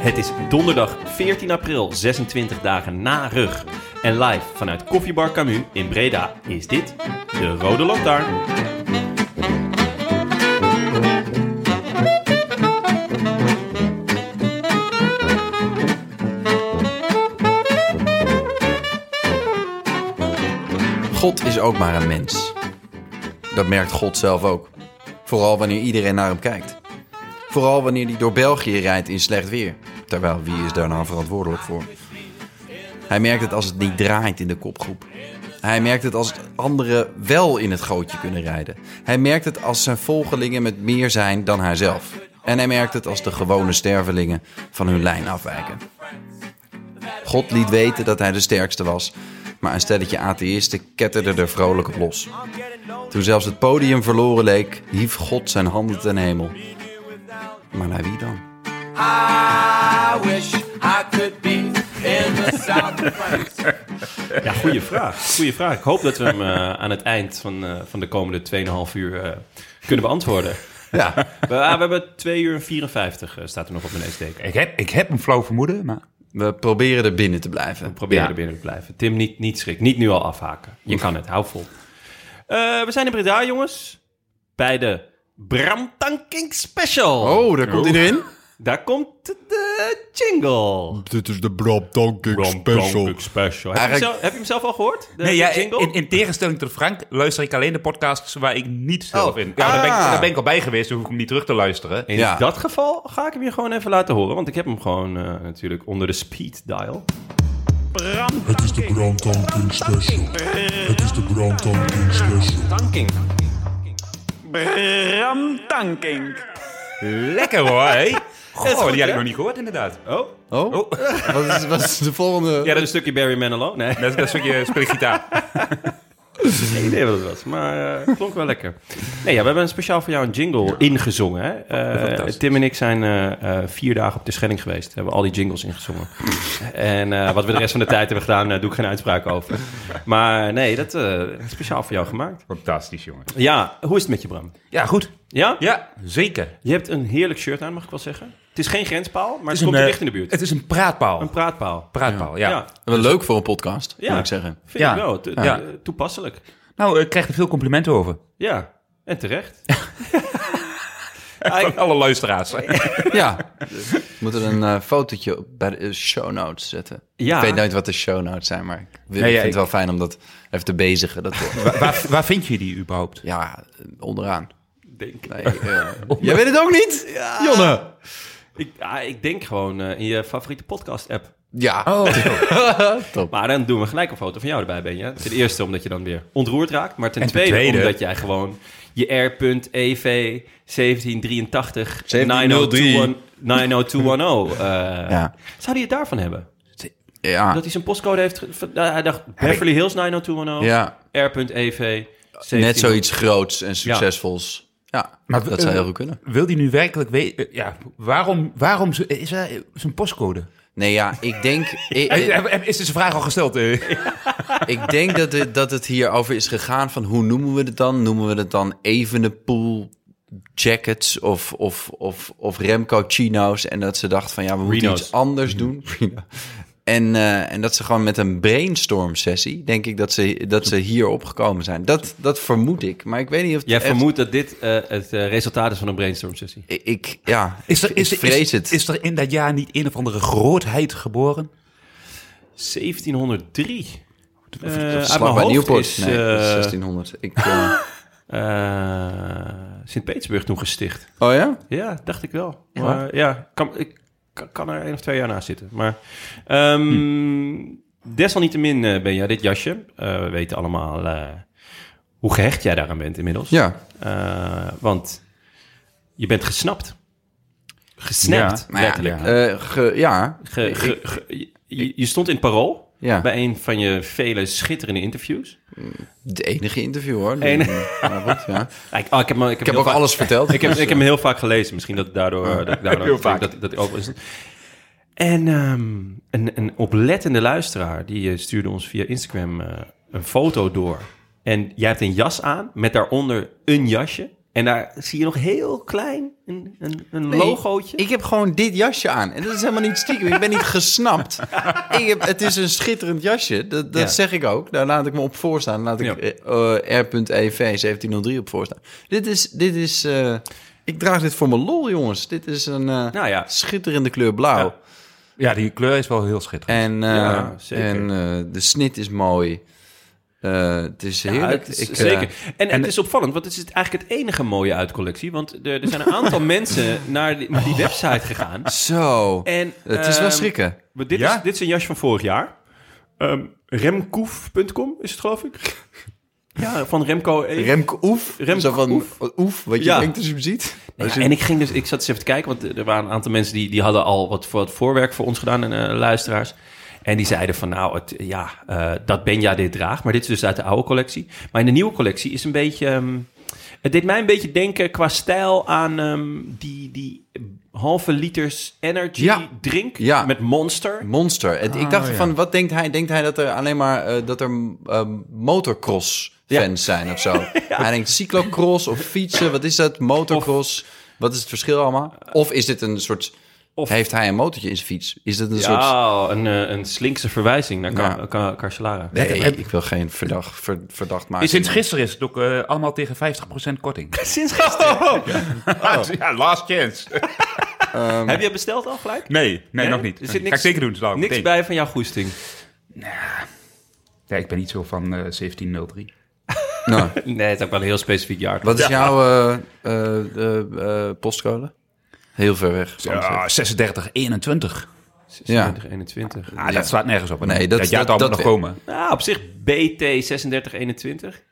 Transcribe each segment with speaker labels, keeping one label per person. Speaker 1: Het is donderdag 14 april, 26 dagen na rug. En live vanuit Koffiebar Camus in Breda is dit de Rode Lantaarn.
Speaker 2: God is ook maar een mens. Dat merkt God zelf ook. Vooral wanneer iedereen naar hem kijkt. Vooral wanneer hij door België rijdt in slecht weer. Terwijl wie is daar nou verantwoordelijk voor? Hij merkt het als het niet draait in de kopgroep. Hij merkt het als anderen wel in het gootje kunnen rijden. Hij merkt het als zijn volgelingen met meer zijn dan hijzelf. En hij merkt het als de gewone stervelingen van hun lijn afwijken. God liet weten dat hij de sterkste was, maar een stelletje atheïsten ketterde er vrolijk op los. Toen zelfs het podium verloren leek, hief God zijn handen ten hemel. Maar naar wie dan?
Speaker 3: I wish I could be in the south of France.
Speaker 1: Ja, goede vraag. Goede vraag. Ik hoop dat we hem eh, aan het eind van, eh, van de komende 2,5 uur eh, kunnen beantwoorden.
Speaker 2: Ja,
Speaker 1: We, ah, we hebben 2 uur en 54, eh, staat er nog op mijn neusdeken.
Speaker 4: Ik heb, ik heb een flauw vermoeden, maar...
Speaker 2: we proberen er binnen te blijven.
Speaker 1: We proberen
Speaker 2: Ja.
Speaker 1: er binnen te blijven. Tim, niet, niet schrik. Niet nu al afhaken. Je kan het. Hou vol. Eh, we zijn in Breda, jongens. Bij de Bram Tanking Special.
Speaker 2: Oh, daar komt hij erin.
Speaker 1: Daar komt de jingle.
Speaker 5: Dit is de Bram Tanking Special.
Speaker 1: Special. Heb, je hem
Speaker 2: Eigenlijk-
Speaker 1: zelf, heb je hem zelf al gehoord? De,
Speaker 4: Nee,
Speaker 1: de
Speaker 4: ja,
Speaker 1: jingle?
Speaker 4: in, in tegenstelling tot Frank luister ik alleen de podcasts waar ik niet zelf
Speaker 2: Oh,
Speaker 4: in. Ja, daar, ben ik,
Speaker 2: ah.
Speaker 4: daar ben ik al bij geweest, dan hoef ik hem niet terug te luisteren.
Speaker 1: In
Speaker 2: Ja.
Speaker 1: dat geval ga ik hem je gewoon even laten horen. Want ik heb hem gewoon eh, natuurlijk onder de speed dial.
Speaker 5: Het is de Bram Tanking Special. Het is de Bram Tanking Special.
Speaker 1: Tanking.
Speaker 3: Bram Tanking.
Speaker 4: Lekker hoor, hè? Goh,
Speaker 1: goed,
Speaker 4: die had
Speaker 1: hè?
Speaker 4: ik nog niet gehoord, inderdaad.
Speaker 1: Oh,
Speaker 2: Oh, Wat, is, wat is de volgende?
Speaker 1: ja, dat is een stukje Barry Manilow. Nee,
Speaker 4: Dat, dat stukje speelgitaar.
Speaker 1: geen idee wat het was. Maar eh klonk wel lekker. Nee, ja, we hebben een speciaal voor jou een jingle ingezongen.
Speaker 4: Oh,
Speaker 1: Hè? Eh, Tim en ik zijn eh, eh, vier dagen op de Schelling geweest. We hebben al die jingles ingezongen. en eh, wat we de rest van de tijd hebben gedaan, eh, doe ik geen uitspraak over. Maar nee, dat eh, speciaal voor jou gemaakt.
Speaker 4: Fantastisch, jongen.
Speaker 1: Ja, hoe is het met je, Bram?
Speaker 4: Ja, goed.
Speaker 1: Ja?
Speaker 4: Ja, zeker. Het
Speaker 1: Je hebt een heerlijk shirt aan, mag ik wel zeggen. Het is geen grenspaal, maar het,
Speaker 4: een,
Speaker 1: komt er
Speaker 4: eh,
Speaker 1: dicht in de buurt.
Speaker 4: Het is een praatpaal.
Speaker 1: Een praatpaal.
Speaker 4: praatpaal, ja.
Speaker 1: Ja,
Speaker 2: Wel leuk voor een podcast,
Speaker 1: Ja.
Speaker 2: moet ik zeggen.
Speaker 1: vind
Speaker 4: Ja.
Speaker 1: ik wel. To-
Speaker 4: Ja.
Speaker 1: eh, Toepasselijk.
Speaker 4: Nou, ik krijg er veel complimenten over.
Speaker 1: Ja, en terecht.
Speaker 4: Van alle luisteraars.
Speaker 2: Ja. We moeten een eh, fotootje op- bij de eh, show notes zetten.
Speaker 1: Ja.
Speaker 2: Ik weet nooit wat de show notes zijn, maar ik, wil-
Speaker 4: Nee,
Speaker 2: ik
Speaker 4: ja,
Speaker 2: vind het
Speaker 4: ik-
Speaker 2: wel fijn om dat even te bezigen. Dat,
Speaker 4: waar, waar, waar vind je die überhaupt?
Speaker 2: ja, onderaan.
Speaker 1: Denk.
Speaker 2: Nee, eh, jij weet het ook niet? Jonne!
Speaker 1: Ik, ah, ik denk gewoon eh, in je favoriete podcast-app.
Speaker 2: Ja.
Speaker 1: Oh, Maar dan doen we gelijk een foto van jou erbij, ben je. Ten eerste omdat je dan weer ontroerd raakt. Maar ten,
Speaker 4: En ten
Speaker 1: tweede,
Speaker 4: tweede-
Speaker 1: omdat jij gewoon je R.EV 1783
Speaker 2: 17031
Speaker 1: 90210. eh,
Speaker 2: Ja.
Speaker 1: Zou die het daarvan hebben?
Speaker 2: Ja.
Speaker 1: Dat hij zijn postcode heeft... ge- van- hij dacht Beverly Hills 90210.
Speaker 2: ja.
Speaker 1: R.EV.
Speaker 2: Net zoiets groots en succesvols. Ja,
Speaker 4: Maar,
Speaker 2: dat zou
Speaker 4: eh,
Speaker 2: heel goed kunnen.
Speaker 4: Wil die nu werkelijk weten... Ja, waarom, waarom ze- is hij zijn postcode?
Speaker 2: Nee, ja, ik denk, ik, ik-
Speaker 4: Is deze vraag al gesteld? eh?
Speaker 2: ik denk dat, het, dat het hierover is gegaan van hoe noemen we het dan? Noemen we het dan Evenepoel Jackets of, of, of, of Remco Chino's? En dat ze dacht van ja, we moeten
Speaker 1: Reno's. Mhm.
Speaker 2: iets anders doen. En, eh, en dat ze gewoon met een brainstorm sessie, denk ik, dat ze, dat ze hier opgekomen zijn. Dat, dat vermoed ik, maar ik weet niet of... het
Speaker 1: Jij
Speaker 2: echt-
Speaker 1: vermoedt dat dit eh, het eh, resultaat is van een brainstorm sessie.
Speaker 2: Ik, ik- ja,
Speaker 4: Is er,
Speaker 2: ik
Speaker 4: is,
Speaker 2: vrees
Speaker 4: is,
Speaker 2: het.
Speaker 4: is er in dat jaar niet een of andere grootheid geboren?
Speaker 1: 1703. Eh,
Speaker 2: Of
Speaker 1: uit
Speaker 2: Slag
Speaker 1: mijn
Speaker 2: bij
Speaker 1: hoofd
Speaker 2: Nieuwpoort.
Speaker 1: is
Speaker 2: nee, dat is
Speaker 1: eh,
Speaker 2: 1600. Ik, eh,
Speaker 1: eh, Sint-Petersburg toen gesticht.
Speaker 2: oh ja?
Speaker 1: Ja, dacht ik wel. Maar ja, kan, ik kan- kan er één of twee jaar naast zitten. Maar ehm,
Speaker 2: Hm.
Speaker 1: desalniettemin, eh, Benja, dit jasje. eh, we weten allemaal eh, hoe gehecht jij daaraan bent inmiddels.
Speaker 2: Ja.
Speaker 1: Eh, want je bent gesnapt. Gesnapt,
Speaker 2: Nou ja,
Speaker 1: letterlijk.
Speaker 2: eh, ge- ja,
Speaker 1: Ge- ge- ge- je, je stond in het parool
Speaker 2: ja.
Speaker 1: bij een van je vele schitterende interviews.
Speaker 2: De enige interview hoor.
Speaker 1: Eén.
Speaker 2: Maar goed, ja.
Speaker 1: Ah, Ik, ah, ik heb, me- ik heb
Speaker 2: Ik heb
Speaker 1: heel
Speaker 2: ook
Speaker 1: vaak-
Speaker 2: alles verteld. Dus, eh,
Speaker 1: Ik heb, ik heb hem heel vaak gelezen. Misschien dat ik daardoor... eh, dat ik daardoor
Speaker 6: Heel vaak.
Speaker 1: Dat, dat ik over is. En ehm, een, een oplettende luisteraar... die eh, stuurde ons via Instagram eh, een foto door. En jij hebt een jas aan met daaronder een jasje. En daar zie je nog heel klein een, een, een
Speaker 2: Nee,
Speaker 1: logootje.
Speaker 2: Ik heb gewoon dit jasje aan. En dat is helemaal niet stiekem. Ik ben niet gesnapt. Ik heb, het is een schitterend jasje. Dat, dat
Speaker 1: Ja.
Speaker 2: zeg ik ook. Daar laat ik me op voorstaan. Laat ik
Speaker 1: Ja.
Speaker 2: eh, eh, R.EV 1703 op voorstaan. Dit is... Dit is eh, ik draag dit voor mijn lol, jongens. Dit is een eh,
Speaker 1: Nou ja.
Speaker 2: schitterende kleur blauw.
Speaker 1: Ja.
Speaker 4: Ja, die kleur is wel heel schitterend.
Speaker 2: En, eh,
Speaker 1: Ja, zeker.
Speaker 2: en eh, de snit is mooi. Eh, het is
Speaker 1: Ja,
Speaker 2: heerlijk.
Speaker 1: het is
Speaker 2: Ik, eh,
Speaker 1: zeker. en, het is opvallend, want het is eigenlijk het enige mooie uit de collectie. Want er, er zijn een aantal mensen naar die, naar die website gegaan.
Speaker 2: zo.
Speaker 1: En,
Speaker 2: het is wel
Speaker 1: ehm,
Speaker 2: schrikken.
Speaker 1: Maar dit, is, dit is een jasje van vorig jaar. Ehm, Remkoef.com is het, geloof ik. Ja, van Remco. E.
Speaker 2: Remke Oef.
Speaker 1: Remke
Speaker 2: zo van,
Speaker 1: Oef.
Speaker 2: oef. wat je
Speaker 1: Ja.
Speaker 2: denkt als je hem ziet.
Speaker 1: Ja,
Speaker 2: Als je-
Speaker 1: en ik, ging dus, ik zat eens even te kijken, want er waren een aantal mensen die, die hadden al wat, voor, wat voorwerk voor ons gedaan, en, eh, luisteraars. En die zeiden van, nou, het, ja, eh, dat Benja dit draagt. Maar dit is dus uit de oude collectie. Maar in de nieuwe collectie is een beetje... ehm, het deed mij een beetje denken qua stijl aan ehm, die, die halve liters energy
Speaker 2: Ja.
Speaker 1: drink
Speaker 2: Ja.
Speaker 1: met Monster.
Speaker 2: Monster. Het- ik dacht van, wat denkt hij? Denkt hij dat er alleen maar eh, dat er ehm, motocross fans zijn of zo? Hij denkt cyclocross of fietsen. Wat is dat? Motocross. wat is het verschil allemaal? Of is dit een soort...
Speaker 1: Eh, Of-
Speaker 2: Heeft hij een motortje in zijn fiets? Is dit een soort...
Speaker 1: Ja, een, eh, een slinkse verwijzing naar Car-
Speaker 2: Ja.
Speaker 1: Car- Carcelara.
Speaker 2: Eh, Nee, ik wil geen verdacht, ver- verdacht maken.
Speaker 4: Sinds gisteren is het ook eh, allemaal tegen 50% korting. Oh.
Speaker 1: Sinds gisteren.
Speaker 4: ja, last chance.
Speaker 1: Heb je besteld al gelijk?
Speaker 4: Nee, nee,
Speaker 1: Nee?
Speaker 4: nog niet.
Speaker 1: Er zit
Speaker 4: Nog niet. Ga ik
Speaker 1: niks-
Speaker 4: zeker doen. Slauw,
Speaker 1: Niks
Speaker 4: meteen.
Speaker 1: bij van jouw goesting.
Speaker 4: Ja, ik ben niet zo van eh, 1703.
Speaker 2: Nou,
Speaker 1: Nee, het is ook wel een heel specifiek jaar.
Speaker 2: wat is jouw eh, eh, eh, eh, postcode? Heel ver weg. van
Speaker 4: Ja, 36, 21.
Speaker 2: ja.
Speaker 1: 36, 21.
Speaker 4: Ah, dat slaat nergens op.
Speaker 2: Nee, dat-
Speaker 4: dat jaar
Speaker 2: dat-
Speaker 4: dat,
Speaker 2: dat-
Speaker 4: nog komen.
Speaker 1: Nou, op zich BT 36, 21.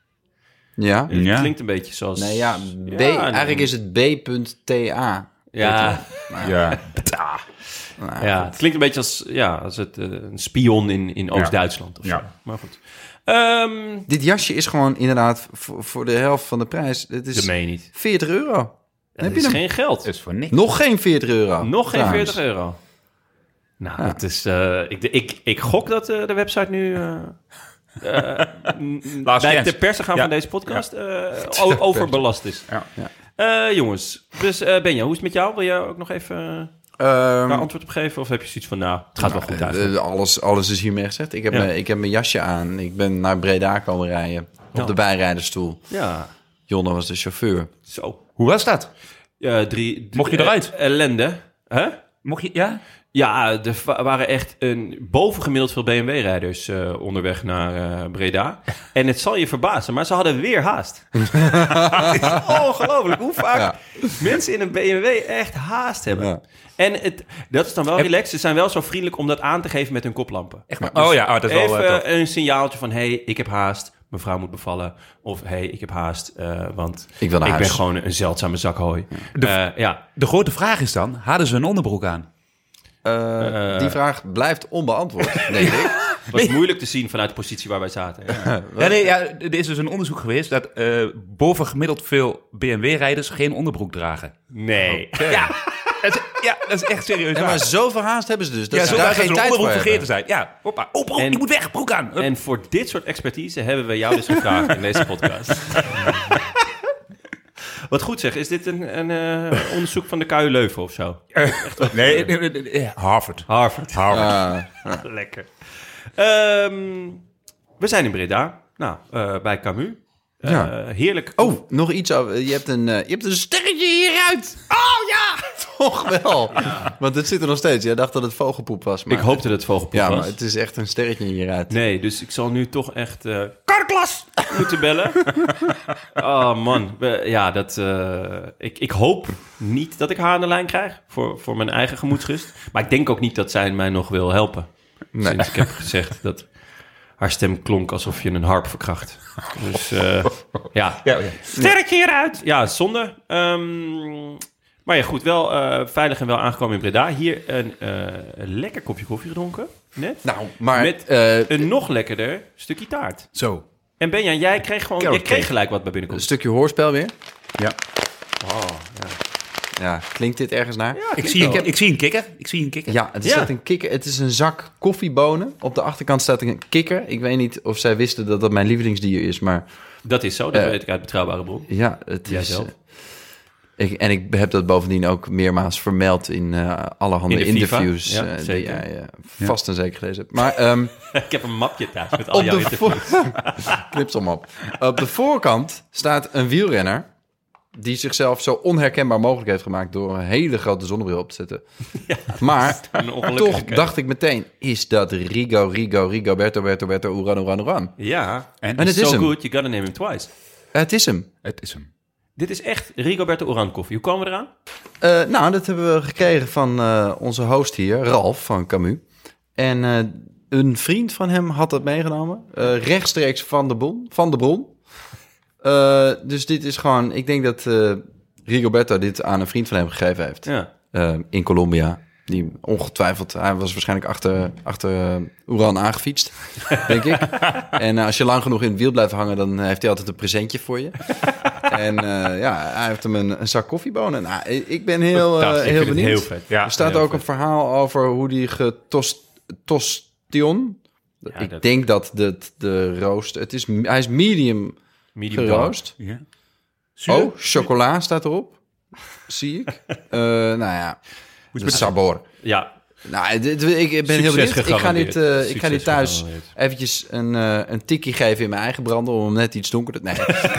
Speaker 2: ja.
Speaker 1: Het
Speaker 4: Ja.
Speaker 1: klinkt een beetje zoals...
Speaker 2: Nee, ja, B,
Speaker 1: nee.
Speaker 2: eigenlijk is het B.TA.
Speaker 1: Ja,
Speaker 4: Ja.
Speaker 1: ja, het klinkt een beetje als, ja, als het, eh, een spion in, in Oost-Duitsland. of zo.
Speaker 4: Ja.
Speaker 1: Maar goed. Ehm
Speaker 2: Dit jasje is gewoon inderdaad voor, voor de helft van de prijs. Het
Speaker 1: dat
Speaker 2: is
Speaker 1: meen je niet.
Speaker 2: 40 euro.
Speaker 1: Dat
Speaker 2: Heb je
Speaker 1: is
Speaker 2: hem?
Speaker 1: geen geld.
Speaker 4: Dat is voor niks.
Speaker 2: Nog geen 40 euro.
Speaker 1: Nog geen
Speaker 2: trouwens.
Speaker 1: 40 euro. Nou, het is, eh, ik, ik, ik gok dat eh, de website nu eh, eh, m-
Speaker 4: Laatste
Speaker 1: bij
Speaker 4: grens.
Speaker 1: de persen gaan
Speaker 4: Ja.
Speaker 1: van deze podcast eh, o- overbelast is.
Speaker 4: Ja.
Speaker 1: Eh, jongens, dus eh, Benja, hoe is het met jou? Wil jij ook nog even
Speaker 4: Hm.
Speaker 1: eh,
Speaker 2: Ehm,
Speaker 1: daar antwoord op geven? Of heb je zoiets van, nou, het gaat wel goed uit?
Speaker 2: eh, alles, alles is hiermee gezegd. Ik heb,
Speaker 1: Ja.
Speaker 2: mijn, ik heb mijn jasje aan. Ik ben naar Breda komen rijden. Op
Speaker 1: Ja.
Speaker 2: de bijrijderstoel.
Speaker 1: ja,
Speaker 2: Jonne was de chauffeur.
Speaker 1: zo.
Speaker 4: Hoe was dat?
Speaker 1: Ja, drie,
Speaker 4: Mocht je
Speaker 1: eh,
Speaker 4: eruit?
Speaker 1: Ellende. Hè?
Speaker 4: Mocht je, ja?
Speaker 1: Ja, er va- waren echt een bovengemiddeld veel BMW-rijders eh, onderweg naar eh, Breda. En het zal je verbazen, maar ze hadden weer haast. Het is ongelooflijk hoe vaak
Speaker 2: Ja.
Speaker 1: mensen in een BMW echt haast hebben.
Speaker 2: Ja.
Speaker 1: En het, dat is dan wel relaxed. Ze zijn wel zo vriendelijk om dat aan te geven met hun koplampen.
Speaker 4: Echt maar. Oh ja, ah, dat is wel eh, tof.
Speaker 1: Even een signaaltje van, hey, ik heb haast. Mevrouw moet bevallen. Of, hey, ik heb haast, eh, want
Speaker 2: Ik wil naar huis.
Speaker 1: ben gewoon een zeldzame zak hooi. Eh, ja.
Speaker 4: De grote vraag is dan, hadden ze een onderbroek aan?
Speaker 2: Eh, die vraag blijft onbeantwoord, denk ik.
Speaker 1: Het was moeilijk te zien vanuit de positie waar wij zaten.
Speaker 4: Ja, nee, ja, er is dus een onderzoek geweest dat eh bovengemiddeld veel BMW-rijders geen onderbroek dragen.
Speaker 1: Nee.
Speaker 4: Ja, dat is, ja, dat is echt serieus
Speaker 2: Ja,
Speaker 4: waar.
Speaker 2: maar zoveel haast hebben ze dus. Dat
Speaker 4: ja,
Speaker 2: ze
Speaker 4: zo
Speaker 2: daar
Speaker 4: dat ze
Speaker 2: geen
Speaker 4: hun
Speaker 2: tijd voor
Speaker 4: onderbroek vergeten
Speaker 2: hebben.
Speaker 4: zijn. Ja, hoppa, oh broek,
Speaker 1: En-
Speaker 4: ik moet weg, broek aan. Hup.
Speaker 1: En voor dit soort expertise hebben we jou dus gevraagd in deze podcast. Wat goed zeg, is dit een, een eh, onderzoek van de KU Leuven of zo?
Speaker 4: Nee, nee, nee, nee, Harvard.
Speaker 1: Harvard.
Speaker 4: Harvard.
Speaker 2: Eh,
Speaker 1: Lekker. Ehm, we zijn in Breda. Nou, eh, bij Camus. Eh,
Speaker 2: Ja.
Speaker 1: Heerlijk.
Speaker 2: Oh, nog iets. over- Je hebt een, eh, je hebt een sterretje hieruit. Oh ja, toch wel. Want het zit er nog steeds. Jij dacht dat het vogelpoep was. Maar
Speaker 1: ik hoopte dat het vogelpoep
Speaker 2: Ja,
Speaker 1: was.
Speaker 2: maar het is echt een sterretje hieruit.
Speaker 1: Nee, dus ik zal nu toch echt eh Karklas moeten bellen. oh man, We- ja, dat, eh, ik, ik hoop niet dat ik haar aan de lijn krijg voor, voor mijn eigen gemoedsrust. Maar ik denk ook niet dat zij mij nog wil helpen. Sinds ik heb gezegd dat haar stem klonk alsof je een harp verkracht. Dus eh, ja. Sterk hieruit! Ja, zonde. Ehm, maar ja, goed, wel eh, veilig en wel aangekomen in Breda. Hier een eh, een lekker kopje koffie gedronken, net.
Speaker 2: Nou, maar...
Speaker 1: Met-
Speaker 2: eh,
Speaker 1: Een nog lekkerder stukje taart.
Speaker 2: zo,
Speaker 1: En Benjan, jij kreeg gewoon
Speaker 2: Carrot
Speaker 1: jij kreeg
Speaker 2: cake. Dus-
Speaker 1: gelijk wat bij
Speaker 2: een
Speaker 1: binnenkomst.
Speaker 2: stukje hoorspel weer. Oh,
Speaker 4: Ja.
Speaker 2: ja. klinkt dit ergens naar? Ja,
Speaker 4: Ik zie, een, ik zie een kikker. Ik zie een kikker.
Speaker 2: het,
Speaker 1: Ja.
Speaker 2: is dat een kikker, het is een zak koffiebonen. Op de achterkant staat een kikker. Ik weet niet of zij wisten dat dat mijn lievelingsdier is, maar
Speaker 1: Dat is zo, dat
Speaker 2: Eh,
Speaker 1: weet ik uit betrouwbare bron.
Speaker 2: ja, het is...
Speaker 1: Jijzelf.
Speaker 2: eh, Ik, en ik heb dat bovendien ook meermaals vermeld in eh, allerhande
Speaker 1: In de FIFA,
Speaker 2: interviews
Speaker 1: ja,
Speaker 2: eh, die
Speaker 1: zeker.
Speaker 2: jij eh, vast en zeker gelezen hebt. Maar ehm,
Speaker 1: ik heb een mapje thuis met al
Speaker 2: op
Speaker 1: jouw
Speaker 2: de
Speaker 1: interviews.
Speaker 2: voor... Knips hem op. Op de voorkant staat een wielrenner die zichzelf zo onherkenbaar mogelijk heeft gemaakt door een hele grote zonnebril op te zetten. maar
Speaker 1: Een ongelukkige.
Speaker 2: toch dacht ik meteen, is dat Rigo, Rigo, Rigo, Berto, Berto, Berto, Uran, Uran, Uran?
Speaker 1: Ja,
Speaker 4: En
Speaker 2: En het is
Speaker 1: so
Speaker 2: hem.
Speaker 1: good, you gotta name him twice.
Speaker 2: Het is hem.
Speaker 4: Het is hem.
Speaker 1: Dit is echt Rigoberto Oran koffie. Hoe komen we eraan?
Speaker 2: Eh, nou, dat hebben we gekregen van eh, onze host hier, Ralf van Camus. En eh, een vriend van hem had dat meegenomen, eh, rechtstreeks van de, bon, van de bron. Eh, dus dit is gewoon, ik denk dat eh Rigoberto dit aan een vriend van hem gegeven heeft
Speaker 1: Ja.
Speaker 2: eh, in Colombia. Die ongetwijfeld, hij was waarschijnlijk achter, achter eh, Oeran aangefietst, denk ik. En eh, als je lang genoeg in het wiel blijft hangen, dan eh, heeft hij altijd een presentje voor je. En eh, ja, hij heeft hem een, een zak koffiebonen. Nou, ik ik ben heel, eh,
Speaker 1: Fantastisch, ik
Speaker 2: heel
Speaker 1: vind het
Speaker 2: benieuwd.
Speaker 1: heel vet.
Speaker 4: Ja,
Speaker 2: er staat
Speaker 1: heel
Speaker 2: ook
Speaker 1: vet.
Speaker 2: een verhaal over hoe die getostion... ik
Speaker 1: dat-
Speaker 2: denk dat de, de roost... Het is, hij is medium
Speaker 1: Medium dark.
Speaker 2: geroost.
Speaker 4: Ja.
Speaker 2: Oh, chocola staat erop. Zie ik. Eh nou ja, de sabor.
Speaker 1: Ja,
Speaker 2: Nou, dit, ik ben
Speaker 1: Succes
Speaker 2: heel benieuwd. Ik ga
Speaker 1: gegarandeerd.
Speaker 2: dit, eh, ik ga
Speaker 1: Succes
Speaker 2: dit thuis
Speaker 1: gegarandeerd.
Speaker 2: eventjes een, eh, een tikkie geven in mijn eigen brander... om hem net iets donkerder... Nee,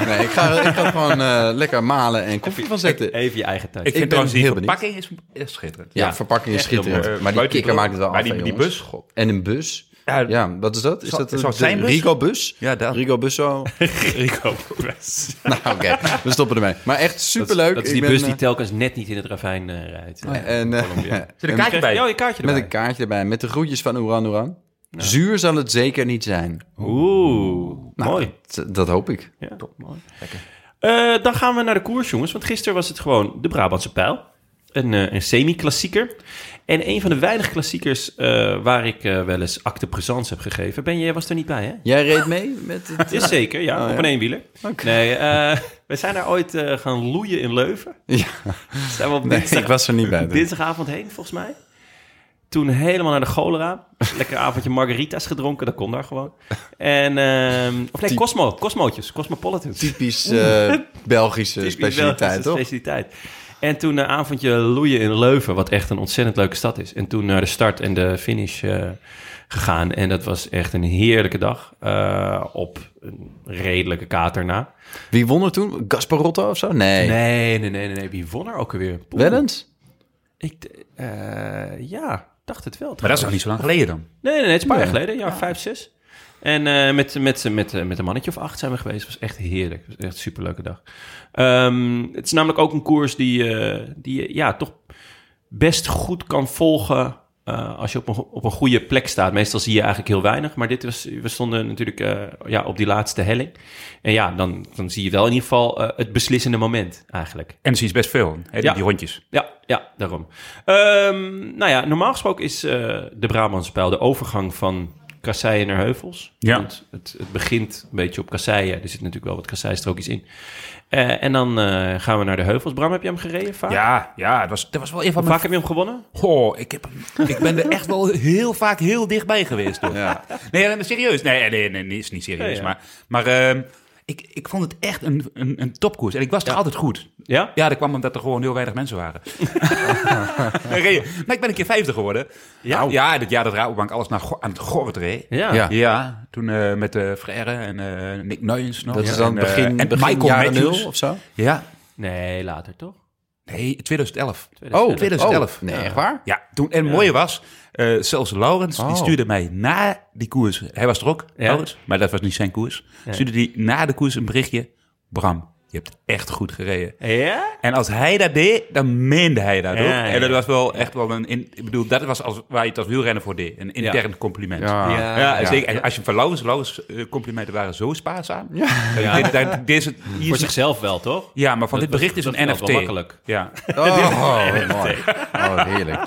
Speaker 2: nee ik, ga, ik ga gewoon eh, lekker malen en koffie van
Speaker 4: Eh,
Speaker 2: zetten.
Speaker 1: even je eigen tijd.
Speaker 4: Ik vind
Speaker 2: ben
Speaker 4: trouwens die
Speaker 2: heel benieuwd.
Speaker 4: verpakking is, is schitterend.
Speaker 2: ja,
Speaker 1: ja,
Speaker 2: verpakking is
Speaker 1: echt heel
Speaker 2: schitterend.
Speaker 4: mooi. Eh,
Speaker 2: maar die
Speaker 4: buiten
Speaker 2: kikker
Speaker 4: die
Speaker 2: maakt het wel
Speaker 4: maar
Speaker 2: af,
Speaker 4: die-
Speaker 2: hè,
Speaker 4: die
Speaker 2: jongens.
Speaker 4: bus?
Speaker 2: God. En een bus.
Speaker 4: Ja,
Speaker 2: Ja, wat is dat? Is
Speaker 4: Zal-
Speaker 2: dat
Speaker 4: zal
Speaker 2: een
Speaker 4: het zijn bus?
Speaker 2: Rigo-bus?
Speaker 4: Ja, dat.
Speaker 2: Rigo-busso?
Speaker 1: Rico Press.
Speaker 2: nou, oké. We stoppen ermee. Maar echt superleuk.
Speaker 1: Dat is
Speaker 2: Ik
Speaker 1: die
Speaker 2: ben,
Speaker 1: bus
Speaker 2: eh,
Speaker 1: die telkens net niet in het ravijn eh, rijdt. Ja.
Speaker 2: En, eh,
Speaker 4: Zit een kaartje bij?
Speaker 1: Ja, je kaartje
Speaker 2: Met
Speaker 1: erbij.
Speaker 2: een kaartje erbij, met de groetjes van Oeran Oeran. Zuur zal het zeker niet zijn.
Speaker 1: Oeh,
Speaker 2: Nou,
Speaker 1: mooi.
Speaker 2: T- Dat hoop ik.
Speaker 1: Ja, mooi. Eh, dan gaan we naar de koers, jongens. Want gisteren was het gewoon de Brabantse pijl. Een, eh, een semi-klassieker. En een van de weinige klassiekers eh, waar ik eh, wel eens acte présence heb gegeven. Ben je, jij was er niet bij, hè?
Speaker 2: Jij reed mee met het...
Speaker 1: Is zeker,
Speaker 2: Oh,
Speaker 1: ja. op een eenwieler. Nee, eh, we zijn daar ooit eh, gaan loeien in Leuven.
Speaker 2: Ja.
Speaker 1: Zijn we op
Speaker 2: Nee,
Speaker 1: dinsdag-
Speaker 2: ik was er niet bij.
Speaker 1: Dinsdagavond heen, volgens mij. Toen helemaal naar de cholera. Lekker avondje margaritas gedronken, dat kon daar gewoon. En, ehm, of nee, Cosmo, Cosmootjes, Cosmopolitans.
Speaker 2: Typisch eh, Belgische
Speaker 1: Typisch
Speaker 2: specialiteit,
Speaker 1: Belgische
Speaker 2: toch?
Speaker 1: specialiteit. En toen een avondje loeien in Leuven, wat echt een ontzettend leuke stad is. En toen naar de start en de finish eh, gegaan. En dat was echt een heerlijke dag. eh, op een redelijke kater na.
Speaker 2: Wie won er toen? Gasparotto of zo? Nee.
Speaker 1: Nee, nee, nee, nee. nee. Wie won er ook alweer? Poeh.
Speaker 2: Wel eens?
Speaker 1: Ik, d- eh, ja, dacht het wel.
Speaker 4: Maar dat is nog niet zo lang geleden dan.
Speaker 1: Nee, nee, nee. Het is een paar jaar geleden. Ja, vijf, zes. En eh, met, met, met, met een mannetje of acht zijn we geweest. Het was echt heerlijk. Het was echt een superleuke dag. Ehm, het is namelijk ook een koers die, eh, die je ja, toch best goed kan volgen eh, als je op een, go- op een goede plek staat. Meestal zie je eigenlijk heel weinig. Maar dit was, we stonden natuurlijk eh, ja, op die laatste helling. En ja, dan, dan zie je wel in ieder geval eh, het beslissende moment eigenlijk.
Speaker 4: En ze is best veel, hè, die,
Speaker 1: Ja.
Speaker 4: die rondjes.
Speaker 1: Ja, ja, daarom. Ehm, nou ja, normaal gesproken is eh, de Brabantse pijl de overgang van kasseien naar heuvels.
Speaker 4: Ja.
Speaker 1: Want het, het begint een beetje op kasseien. Er zit natuurlijk wel wat kasseistrookjes in. Eh, en dan eh, gaan we naar de heuvels. Bram, heb je hem gereden vaak?
Speaker 4: Ja, ja, dat was, dat was wel een
Speaker 1: Hoe
Speaker 4: van mijn...
Speaker 1: vaak heb je hem gewonnen?
Speaker 4: Goh, ik, heb, hem- ik ben er echt wel heel vaak heel dichtbij geweest. Hoor. Nee, nee, maar serieus. Nee, nee, nee, nee, is niet serieus.
Speaker 1: Ja, ja.
Speaker 4: Maar, maar ehm, ik, ik vond het echt een, een, een topkoers. En ik was er altijd goed.
Speaker 1: Ja?
Speaker 4: Ja, dat kwam omdat er gewoon heel weinig mensen waren. Dan reed je. maar ik ben een keer vijfde geworden.
Speaker 1: Ja?
Speaker 4: Ja, dit jaar dat Rabobank alles naar, go- aan het gorret reed.
Speaker 1: Ja.
Speaker 2: Ja.
Speaker 4: Ja, toen eh, met eh Frère en eh, Nick Nuyens nog.
Speaker 2: Dat is
Speaker 4: Ja.
Speaker 2: dan
Speaker 4: en, eh,
Speaker 2: begin,
Speaker 4: en
Speaker 2: begin
Speaker 4: Michael
Speaker 2: jaren
Speaker 4: Matthews. Ah.
Speaker 2: nul of zo?
Speaker 4: Ja,
Speaker 1: Nee, later toch?
Speaker 4: nee, 2011.
Speaker 2: Oh,
Speaker 4: 2011.
Speaker 2: oh, nee, echt waar?
Speaker 4: Ja, toen, en het mooie was, eh, zelfs Laurens,
Speaker 2: Oh.
Speaker 4: die stuurde mij na die koers, hij was er ook,
Speaker 1: Ja.
Speaker 4: Laurens, maar dat was niet zijn koers, stuurde die na de koers een berichtje, Bram, je hebt echt goed gereden.
Speaker 1: Ja?
Speaker 4: En als hij dat deed, dan meende hij dat
Speaker 1: Ja,
Speaker 4: ook.
Speaker 1: ja,
Speaker 4: En dat
Speaker 1: ja.
Speaker 4: was wel echt wel een, in, ik bedoel, dat was als, waar je het als wielrenner voor deed, een intern compliment.
Speaker 2: Ja.
Speaker 4: Ja, en zeker, en als je van Laurens, Laurens eh, complimenten waren zo spaarzaam. Ja. Dit, dat- deze,
Speaker 1: Voor zichzelf wel, toch?
Speaker 4: ja, maar van
Speaker 1: Dat-
Speaker 4: dit bericht is
Speaker 1: dat-
Speaker 4: een
Speaker 1: dat is
Speaker 4: NFT.
Speaker 1: wel makkelijk.
Speaker 4: Ja.
Speaker 2: Oh, mooi. Oh, heerlijk.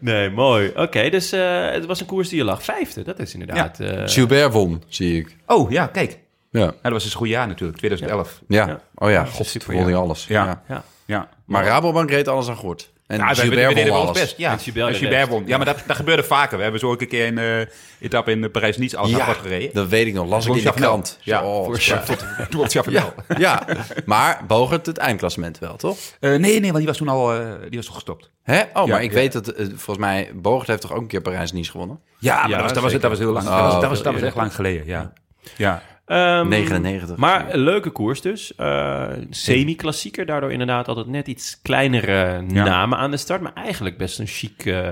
Speaker 1: Nee, mooi. Oké, dus eh, het was een koers die je lag. Vijfde, dat is inderdaad... eh,
Speaker 2: Gilbert won, zie ik.
Speaker 4: Oh ja, kijk. Nou,
Speaker 2: Ja.
Speaker 4: dat was dus een goed jaar natuurlijk, 2011.
Speaker 2: Ja. Oh ja, god, toen won hij alles.
Speaker 4: Ja.
Speaker 2: Ja.
Speaker 1: ja.
Speaker 4: Ja.
Speaker 2: Maar Rabobank reed alles aan goed. En
Speaker 4: Ja, we, we
Speaker 2: Gilbert
Speaker 4: deden
Speaker 2: won
Speaker 4: wel ons
Speaker 2: alles.
Speaker 4: best. Ja,
Speaker 1: En Gilbert
Speaker 4: En
Speaker 1: de
Speaker 4: Gilbert
Speaker 1: rest.
Speaker 4: won. Ja, maar dat, dat gebeurde vaker. We hebben zo ook een keer een eh etappe in Parijs-Nice alles ja. gereden.
Speaker 2: dat weet ik nog. Las ik in de
Speaker 4: Chavanel.
Speaker 2: krant.
Speaker 4: Ja,
Speaker 2: Zo, oh,
Speaker 4: voor
Speaker 2: ja.
Speaker 4: Toen was Chavanel.
Speaker 2: Ja, maar Bogert het eindklassement wel, toch?
Speaker 4: Eh, nee, nee, want die was toen al eh, die was toch gestopt.
Speaker 2: Hè? Oh,
Speaker 4: Ja,
Speaker 2: maar ik
Speaker 4: ja.
Speaker 2: weet dat, eh, volgens mij, Bogert heeft toch ook een keer Parijs-Nice gewonnen?
Speaker 4: Ja, maar
Speaker 1: Ja,
Speaker 4: dat, was, dat, was, dat was heel lang. dat was, dat was, dat was
Speaker 1: eerder.
Speaker 4: echt lang geleden, ja. ja.
Speaker 1: Ehm,
Speaker 2: 99.
Speaker 1: Maar een leuke koers dus. Eh, Semi-klassieker, daardoor inderdaad altijd net iets kleinere
Speaker 4: Ja.
Speaker 1: namen aan de start. Maar eigenlijk best een chic, eh,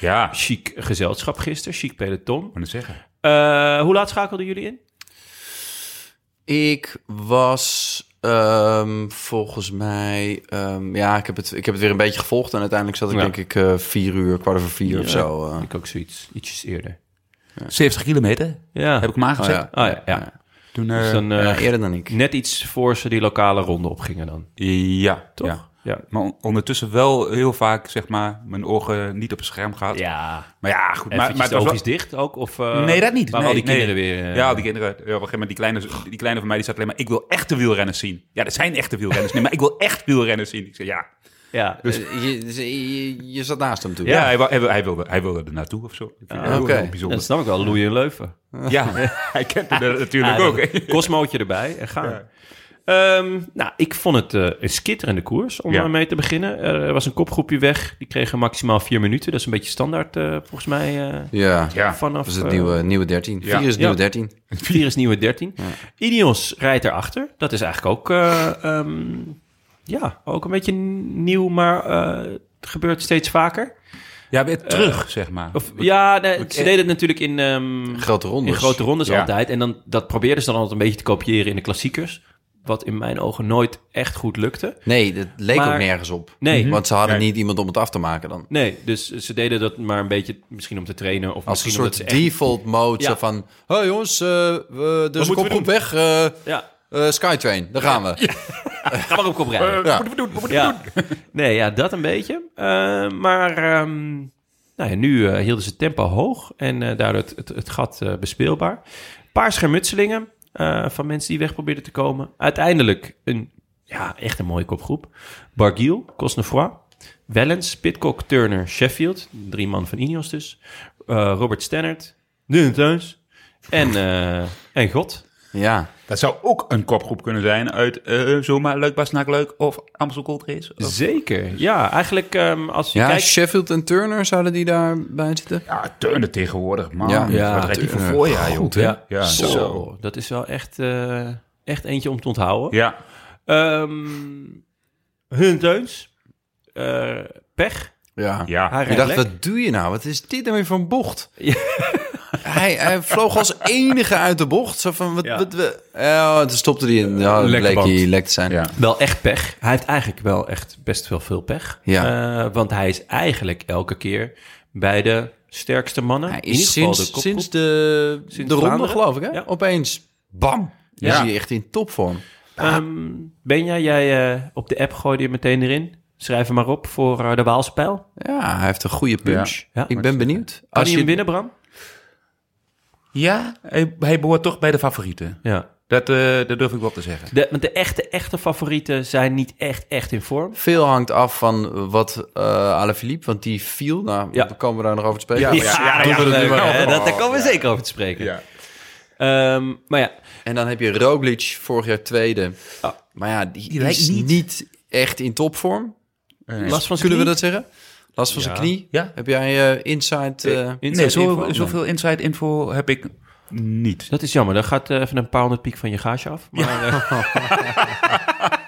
Speaker 4: Ja, ik
Speaker 1: chic gezelschap gisteren, chic peloton.
Speaker 4: moet het zeggen.
Speaker 1: Eh, hoe laat schakelden jullie in?
Speaker 2: Ik was ehm, volgens mij... ehm, ja, ik heb, het, ik heb het weer een beetje gevolgd. En uiteindelijk zat ik
Speaker 1: Ja.
Speaker 2: denk ik eh, vier uur, kwart over vier of
Speaker 1: Ja.
Speaker 2: zo. eh.
Speaker 1: Ik ook zoiets, ietsjes eerder.
Speaker 4: 70 kilometer
Speaker 1: Ja,
Speaker 4: heb ik hem
Speaker 2: Oh,
Speaker 4: aangezet.
Speaker 2: ja.
Speaker 1: Oh, ja, ja.
Speaker 4: Toen, eh,
Speaker 1: Dus dan, eh,
Speaker 2: Ja, eerder dan ik.
Speaker 1: net iets voor ze die lokale ronde opgingen dan.
Speaker 4: ja,
Speaker 1: Toch?
Speaker 4: ja.
Speaker 1: Ja.
Speaker 4: Maar on- ondertussen wel heel vaak, zeg maar, mijn ogen niet op het scherm gehad.
Speaker 1: Ja,
Speaker 4: Maar ja, goed. Maar,
Speaker 1: maar,
Speaker 4: maar het was wel-
Speaker 1: oogjes dicht ook? Of, eh,
Speaker 4: nee, dat niet.
Speaker 1: Waren
Speaker 4: nee,
Speaker 1: al die
Speaker 4: nee.
Speaker 1: kinderen weer... eh,
Speaker 4: ja, al die kinderen. Ja, op een gegeven moment, die kleine, die kleine van mij die zat alleen maar... Ik wil echte wielrenners zien. Ja, er zijn echte wielrenners. Nee, maar ik wil echt wielrenners zien. Ik zei ja.
Speaker 1: ja.
Speaker 2: Dus je, je, je zat naast hem toen.
Speaker 4: Ja, hij, wou- hij, wil- hij, wilde, hij wilde er naartoe of zo. Ik vind het heel,
Speaker 2: oké.
Speaker 4: heel bijzonder.
Speaker 1: Ah, dat snap ik wel, Loeien en Leuven.
Speaker 4: Ja, hij kent hem er natuurlijk ook. hè.
Speaker 1: Ah, Cosmootje erbij en gaan. Ehm, nou, ik vond het eh, een skitterende koers om
Speaker 4: Ja.
Speaker 1: daarmee mee te beginnen. Eh, er was een kopgroepje weg. Die kregen maximaal vier minuten. Dat is een beetje standaard eh, volgens mij. eh,
Speaker 2: Ja,
Speaker 4: Ja,
Speaker 1: vanaf
Speaker 2: dat is het
Speaker 1: eh,
Speaker 2: nieuwe, nieuwe 13.
Speaker 4: Ja.
Speaker 2: Vier is
Speaker 1: Ja.
Speaker 2: het nieuwe 13.
Speaker 1: vier is nieuwe 13. Ineos rijdt erachter. Dat is eigenlijk ook, eh, ehm, ja, ook een beetje nieuw, maar eh, het gebeurt steeds vaker.
Speaker 4: Ja, weer terug, zeg maar.
Speaker 1: Eh, Of, ja, nee, ze deden het natuurlijk in, ehm,
Speaker 2: Grote rondes.
Speaker 1: in grote rondes
Speaker 4: Ja.
Speaker 1: altijd. En dan, dat probeerden ze dan altijd een beetje te kopiëren in de klassiekers. Wat in mijn ogen nooit echt goed lukte.
Speaker 2: Nee, dat leek
Speaker 1: Maar-
Speaker 2: ook nergens op.
Speaker 1: Nee.
Speaker 2: Want ze hadden
Speaker 4: Nee.
Speaker 2: niet iemand om het af te maken dan.
Speaker 1: Nee, dus ze deden dat maar een beetje misschien om te trainen. Of
Speaker 2: Als een
Speaker 1: misschien
Speaker 2: soort
Speaker 1: omdat ze echt-
Speaker 2: default mode zo
Speaker 1: Ja.
Speaker 2: van... Hé jongens, eh we,
Speaker 1: moeten
Speaker 2: dus
Speaker 1: we
Speaker 2: ik kom
Speaker 1: doen?
Speaker 2: goed weg. eh,
Speaker 1: Ja,
Speaker 2: eh, Skytrain, daar gaan we.
Speaker 1: ga maar op kop rijden.
Speaker 2: Ja.
Speaker 1: Ja. Nee, ja, dat een beetje. Eh, maar ehm, nou ja, nu eh, hielden ze het tempo hoog en eh, daardoor het, het, het gat eh, bespeelbaar. Een paar schermutselingen eh, van mensen die weg probeerden te komen. Uiteindelijk een, ja, echt een mooie kopgroep. Barguil, Cosnefroid, Wellens, Pitcock, Turner, Sheffield. Drie man van Ineos dus. Eh, Robert Stennert, Dylan Teuns en, eh, en God.
Speaker 2: Ja,
Speaker 4: Dat zou ook een kopgroep kunnen zijn uit eh, zomaar Leuk Bastenaak Leuk of Amstel Gold Race. Of-
Speaker 1: Zeker, ja. Eigenlijk ehm, als je
Speaker 2: ja
Speaker 1: kijkt...
Speaker 2: Sheffield en Turner zouden die daarbij zitten?
Speaker 4: Ja, turnen tegenwoordig, man.
Speaker 2: Ja.
Speaker 4: Ja, Wat rijdt die voor voorjaar, joh.
Speaker 1: Ja.
Speaker 4: Ja.
Speaker 1: Zo. dat is wel echt, eh, echt eentje om te onthouden.
Speaker 4: Ja.
Speaker 1: Ehm, hun teuns. Eh, pech.
Speaker 2: Ja.
Speaker 4: Ja.
Speaker 1: Hij
Speaker 2: Ik
Speaker 1: rijdt
Speaker 2: dacht,
Speaker 1: lek.
Speaker 2: wat doe je nou? Wat is dit nou weer voor een bocht? hij, hij vloog als enige uit de bocht. Zo van, wat...
Speaker 1: Ja.
Speaker 2: wat we, eh, toen stopte hij in. Ja,
Speaker 1: Lekker
Speaker 2: bleek hij
Speaker 1: band.
Speaker 2: lek te zijn.
Speaker 4: Ja.
Speaker 1: Wel echt pech. Hij heeft eigenlijk wel echt best wel veel pech.
Speaker 2: Ja.
Speaker 1: Eh, want hij is eigenlijk elke keer bij de sterkste mannen.
Speaker 2: Hij
Speaker 1: In ieder
Speaker 2: is
Speaker 1: geval
Speaker 2: sinds,
Speaker 1: de
Speaker 2: sinds de,
Speaker 1: Sinds
Speaker 2: de ronde,
Speaker 1: Vlaanderen?
Speaker 2: geloof ik, hè?
Speaker 1: Ja.
Speaker 2: Opeens, bam,
Speaker 4: Ja.
Speaker 2: is hij echt in topvorm.
Speaker 1: Ehm, Benja, jij eh, op de app gooide je meteen erin. Schrijf hem maar op voor eh, de Waalse pijl.
Speaker 2: Ja, hij heeft een goede punch.
Speaker 1: Ja.
Speaker 2: ik ben benieuwd.
Speaker 1: Kan
Speaker 2: Als
Speaker 1: hij
Speaker 2: je,
Speaker 1: hem winnen, Bram?
Speaker 4: Ja, hij, hij behoort toch bij de favorieten.
Speaker 1: Ja.
Speaker 4: Dat, eh, dat durf ik wel te zeggen.
Speaker 1: De, want de echte, echte favorieten zijn niet echt, echt in vorm.
Speaker 2: veel hangt af van wat eh Alaphilippe, want die viel. Nou,
Speaker 1: Ja.
Speaker 2: dan komen we daar nog over te spreken.
Speaker 4: Ah, Ja, ja, ja, ja,
Speaker 1: dat,
Speaker 4: Oh, ja, ja, ja.
Speaker 1: daar komen we zeker over te spreken.
Speaker 4: Ja.
Speaker 1: Ehm, maar ja,
Speaker 2: En dan heb je Roglic, vorig jaar tweede.
Speaker 1: Ja.
Speaker 2: Maar ja, die,
Speaker 4: lijkt
Speaker 2: is
Speaker 4: niet-
Speaker 2: niet. echt in topvorm.
Speaker 1: last van zijn
Speaker 2: Kunnen we
Speaker 1: knie?
Speaker 2: dat zeggen? Last van
Speaker 1: Ja.
Speaker 2: zijn knie?
Speaker 4: Ja.
Speaker 2: Heb jij eh insight? eh,
Speaker 4: Nee,
Speaker 1: Inside
Speaker 4: zo,
Speaker 1: info? Nee.
Speaker 4: zoveel inside info heb ik niet.
Speaker 1: Dat is jammer. Dan gaat eh, even een paar honderd piek van je gage af. Maar, eh,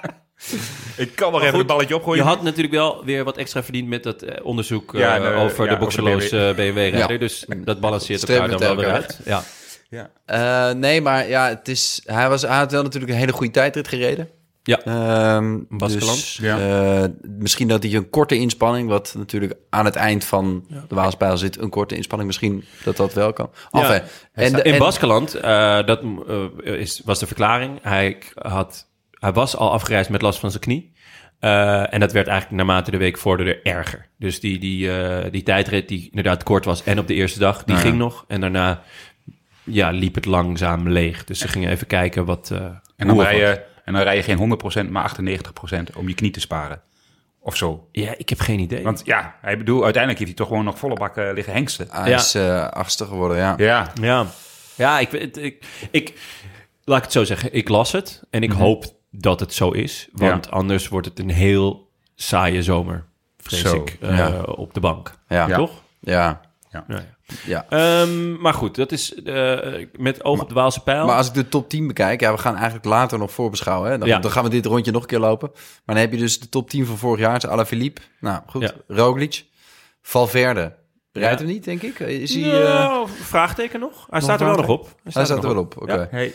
Speaker 4: Ik kan wel even een balletje
Speaker 1: je
Speaker 4: opgooien.
Speaker 1: had natuurlijk wel weer wat extra verdiend met dat eh, onderzoek eh,
Speaker 4: Ja, en, eh,
Speaker 1: over
Speaker 4: ja,
Speaker 1: de
Speaker 4: over
Speaker 1: boxeloos
Speaker 4: de
Speaker 1: BMW-rijder.
Speaker 2: Ja.
Speaker 1: Dus dat balanceert
Speaker 2: Streven
Speaker 1: elkaar dan
Speaker 2: met
Speaker 1: wel weer
Speaker 2: elkaar.
Speaker 1: uit. Ja.
Speaker 2: eh, nee, maar ja, het is, hij, was, hij had wel natuurlijk een hele goede tijdrit gereden.
Speaker 1: Ja.
Speaker 2: Ehm,
Speaker 1: Baskeland.
Speaker 2: dus, eh, misschien dat hij een korte inspanning, wat natuurlijk aan het eind van de Waalspijl zit, een korte inspanning, misschien dat dat wel kan. Enfin, en de-
Speaker 1: in
Speaker 2: en-
Speaker 1: Baskeland eh, dat, eh, is, was de verklaring. Hij, had, hij was al afgereisd met last van zijn knie. Eh, en dat werd eigenlijk naarmate de week vorderde erger. Dus die, die, eh, die tijdrit die inderdaad kort was en op de eerste dag, die ging nog. En daarna ja, liep het langzaam leeg. Dus ze gingen even kijken wat... eh,
Speaker 4: En dan,
Speaker 1: hoe of
Speaker 4: rij
Speaker 1: wat.
Speaker 4: je, en dan rij je geen 100%, maar 98% om je knie te sparen. Of zo.
Speaker 1: eh, Ja, ik heb geen idee.
Speaker 4: Want ja, hij bedoel, uiteindelijk heeft hij toch gewoon nog volle bak eh, liggen hengsten.
Speaker 2: Hij
Speaker 1: Ja.
Speaker 2: is eh, achtste geworden, ja.
Speaker 4: Ja,
Speaker 1: Ja, ja ik, weet- ik, ik, laat ik het zo zeggen. Ik las het en ik
Speaker 2: Mhm.
Speaker 1: hoop dat het zo is. Want anders wordt het een heel saaie zomer, vrees
Speaker 4: Zo,
Speaker 1: ik, eh,
Speaker 2: ja.
Speaker 1: op de bank.
Speaker 2: Ja. Ja.
Speaker 1: Toch?
Speaker 2: Ja.
Speaker 1: Ja. Ehm, maar goed, dat is eh, met oog op de Waalse pijl.
Speaker 2: Maar als ik de top 10 bekijk, ja, we gaan eigenlijk later nog voorbeschouwen. Hè? Dan,
Speaker 1: Ja.
Speaker 2: dan gaan we dit rondje nog een keer lopen. Maar dan heb je dus de top 10 van vorig jaar. Het is Alaphilippe. Nou, goed.
Speaker 1: Ja.
Speaker 2: Roglic. Valverde. Rijdt
Speaker 1: Ja.
Speaker 2: hem niet, denk ik? Is hij...
Speaker 1: Nou,
Speaker 2: eh,
Speaker 1: vraagteken nog? Hij staat er wel nog op. Hij
Speaker 2: hij staat
Speaker 1: nog
Speaker 2: er wel op. Oké.
Speaker 1: Ja.
Speaker 4: hey.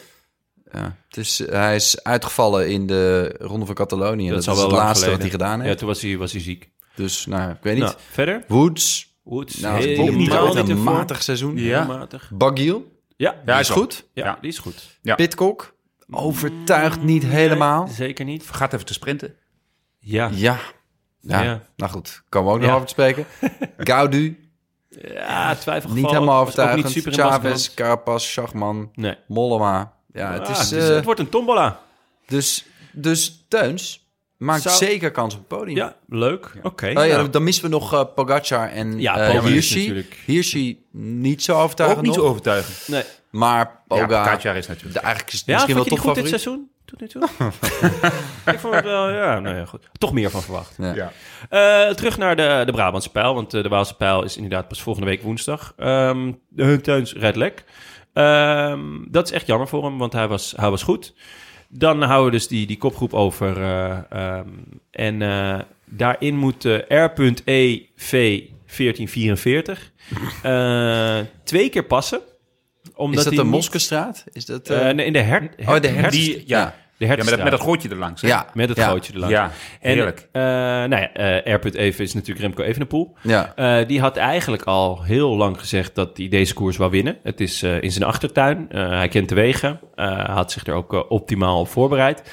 Speaker 2: Ja. Dus hij is uitgevallen in de Ronde van Catalonië. Dat,
Speaker 1: Dat, zal
Speaker 2: is
Speaker 1: wel
Speaker 2: het
Speaker 1: lang
Speaker 2: laatste
Speaker 1: geleden.
Speaker 2: wat hij gedaan
Speaker 1: Ja,
Speaker 2: heeft.
Speaker 1: toen was hij, was hij ziek.
Speaker 2: Dus, nou, ik weet niet.
Speaker 1: Nou, verder?
Speaker 2: Woods.
Speaker 1: Woods,
Speaker 2: Nou,
Speaker 1: helemaal
Speaker 2: ook niet
Speaker 1: niet
Speaker 2: altijd
Speaker 1: in
Speaker 2: een
Speaker 1: vorm.
Speaker 2: matig seizoen.
Speaker 1: Heel matig.
Speaker 2: Bagiel.
Speaker 1: Ja, dus-
Speaker 2: Ja, is goed.
Speaker 1: ja,
Speaker 4: Ja.
Speaker 1: die is goed.
Speaker 4: Ja.
Speaker 2: Pitcock. Overtuigt niet helemaal.
Speaker 1: Nee, zeker niet.
Speaker 4: Gaat even te sprinten.
Speaker 1: Ja.
Speaker 2: Ja. Ja.
Speaker 1: Ja.
Speaker 2: Nou goed, komen we ook nog
Speaker 1: Ja.
Speaker 2: over te spreken. Gaudu,
Speaker 1: Ja, twijfelgeval.
Speaker 2: Niet helemaal
Speaker 1: Was ook niet
Speaker 2: overtuigend.
Speaker 1: super in
Speaker 2: Chavez,
Speaker 1: Baskeland.
Speaker 2: Carapaz, Schachman,
Speaker 1: Nee.
Speaker 2: Mollema. Ja, het
Speaker 1: Ah,
Speaker 2: is...
Speaker 1: het,
Speaker 2: eh,
Speaker 1: het wordt een tombola.
Speaker 2: dus, dus Teuns maakt
Speaker 1: Zou-
Speaker 2: zeker kans op het podium.
Speaker 1: Ja, leuk. Oké.
Speaker 2: Oh ja,
Speaker 1: nou.
Speaker 2: dan missen we nog eh, Pogacar en
Speaker 1: Ja,
Speaker 2: eh,
Speaker 1: Pogacar
Speaker 2: Hirschi.
Speaker 1: natuurlijk.
Speaker 2: Hirschi niet zo overtuigend
Speaker 4: Ook niet zo
Speaker 2: nog,
Speaker 4: overtuigend.
Speaker 1: Nee.
Speaker 2: Maar
Speaker 4: Ja,
Speaker 2: Pogacar,
Speaker 4: Pogacar is natuurlijk.
Speaker 2: de- eigenlijk is het
Speaker 1: Ja,
Speaker 2: misschien
Speaker 1: vond
Speaker 2: wel
Speaker 1: je die goed
Speaker 2: toch
Speaker 1: dit
Speaker 2: favoriet.
Speaker 1: seizoen? Tot nu toe? ik vond het wel, ja, nou ja, goed. Toch meer van verwacht.
Speaker 2: Ja.
Speaker 4: Ja.
Speaker 1: Eh, terug naar de, de Brabantse pijl, want eh, de Waalse pijl is inderdaad pas volgende week woensdag. Ehm de Hunteuns red lek. Ehm, dat is echt jammer voor hem, want hij was, hij was goed. Dan houden we dus die, die kopgroep over. eh, ehm, en eh, daarin moet eh, R.E.V. 1444 eh, twee keer passen. Omdat
Speaker 2: Is dat
Speaker 1: hij
Speaker 2: de
Speaker 1: niet-
Speaker 2: Moskestraat? Is dat... eh,
Speaker 1: Eh, nee, in de her,
Speaker 2: oh, de herfst.
Speaker 4: Die, ja.
Speaker 1: de
Speaker 4: ja, met, dat- met dat
Speaker 1: Hertstraat.
Speaker 4: gootje erlangs. hè?
Speaker 2: Ja,
Speaker 1: Met het
Speaker 2: ja,
Speaker 1: gootje erlangs.
Speaker 4: ja,
Speaker 1: En,
Speaker 4: heerlijk.
Speaker 1: eh, nou ja, eh, R.E.V. is natuurlijk Remco Evenepoel.
Speaker 2: Ja.
Speaker 1: Eh, die had eigenlijk al heel lang gezegd dat hij deze koers wou winnen. Het is eh, in zijn achtertuin. Eh, hij kent de wegen. Eh, Hij had zich er ook eh, optimaal op voorbereid.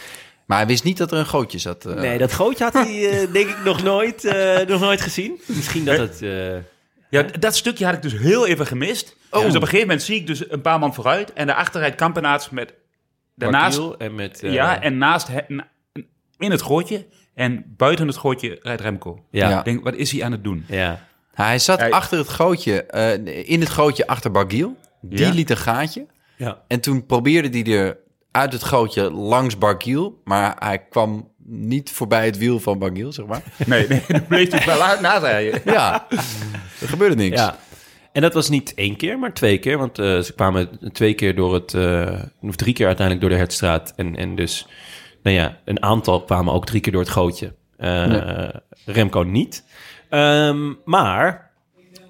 Speaker 2: Maar hij wist niet dat er een gootje zat. eh.
Speaker 1: Nee, dat gootje had hij eh, denk ik nog nooit, eh, nog nooit gezien. Misschien dat het... eh,
Speaker 4: Ja, d- dat stukje had ik dus heel even gemist. Dus op een gegeven moment zie ik dus een paar man vooruit. En daarachter rijdt Kampenaerts met... Daarnaast,
Speaker 1: Barkiel en met... eh,
Speaker 4: ja, en naast he- na- in het gootje. En buiten het gootje rijdt Remco.
Speaker 1: Ja.
Speaker 2: Ja.
Speaker 4: Ik denk, wat is hij aan het doen?
Speaker 1: ja.
Speaker 2: Hij zat
Speaker 4: Hij-
Speaker 2: achter het gootje, eh, in het gootje achter Bargiel. Die
Speaker 4: Ja.
Speaker 2: liet een gaatje.
Speaker 1: Ja.
Speaker 2: En toen probeerde hij er uit het gootje langs Bargiel. Maar hij kwam niet voorbij het wiel van Bargiel, zeg maar.
Speaker 4: Nee, nee, dan bleef hij wel uit narijden.
Speaker 2: ja, er gebeurde niks.
Speaker 1: Ja. En dat was niet één keer, maar twee keer. Want eh, ze kwamen twee keer door het... eh, of drie keer uiteindelijk door de Hertstraat. En, en dus, nou ja, een aantal kwamen ook drie keer door het gootje. Eh, Remco niet. Ehm, maar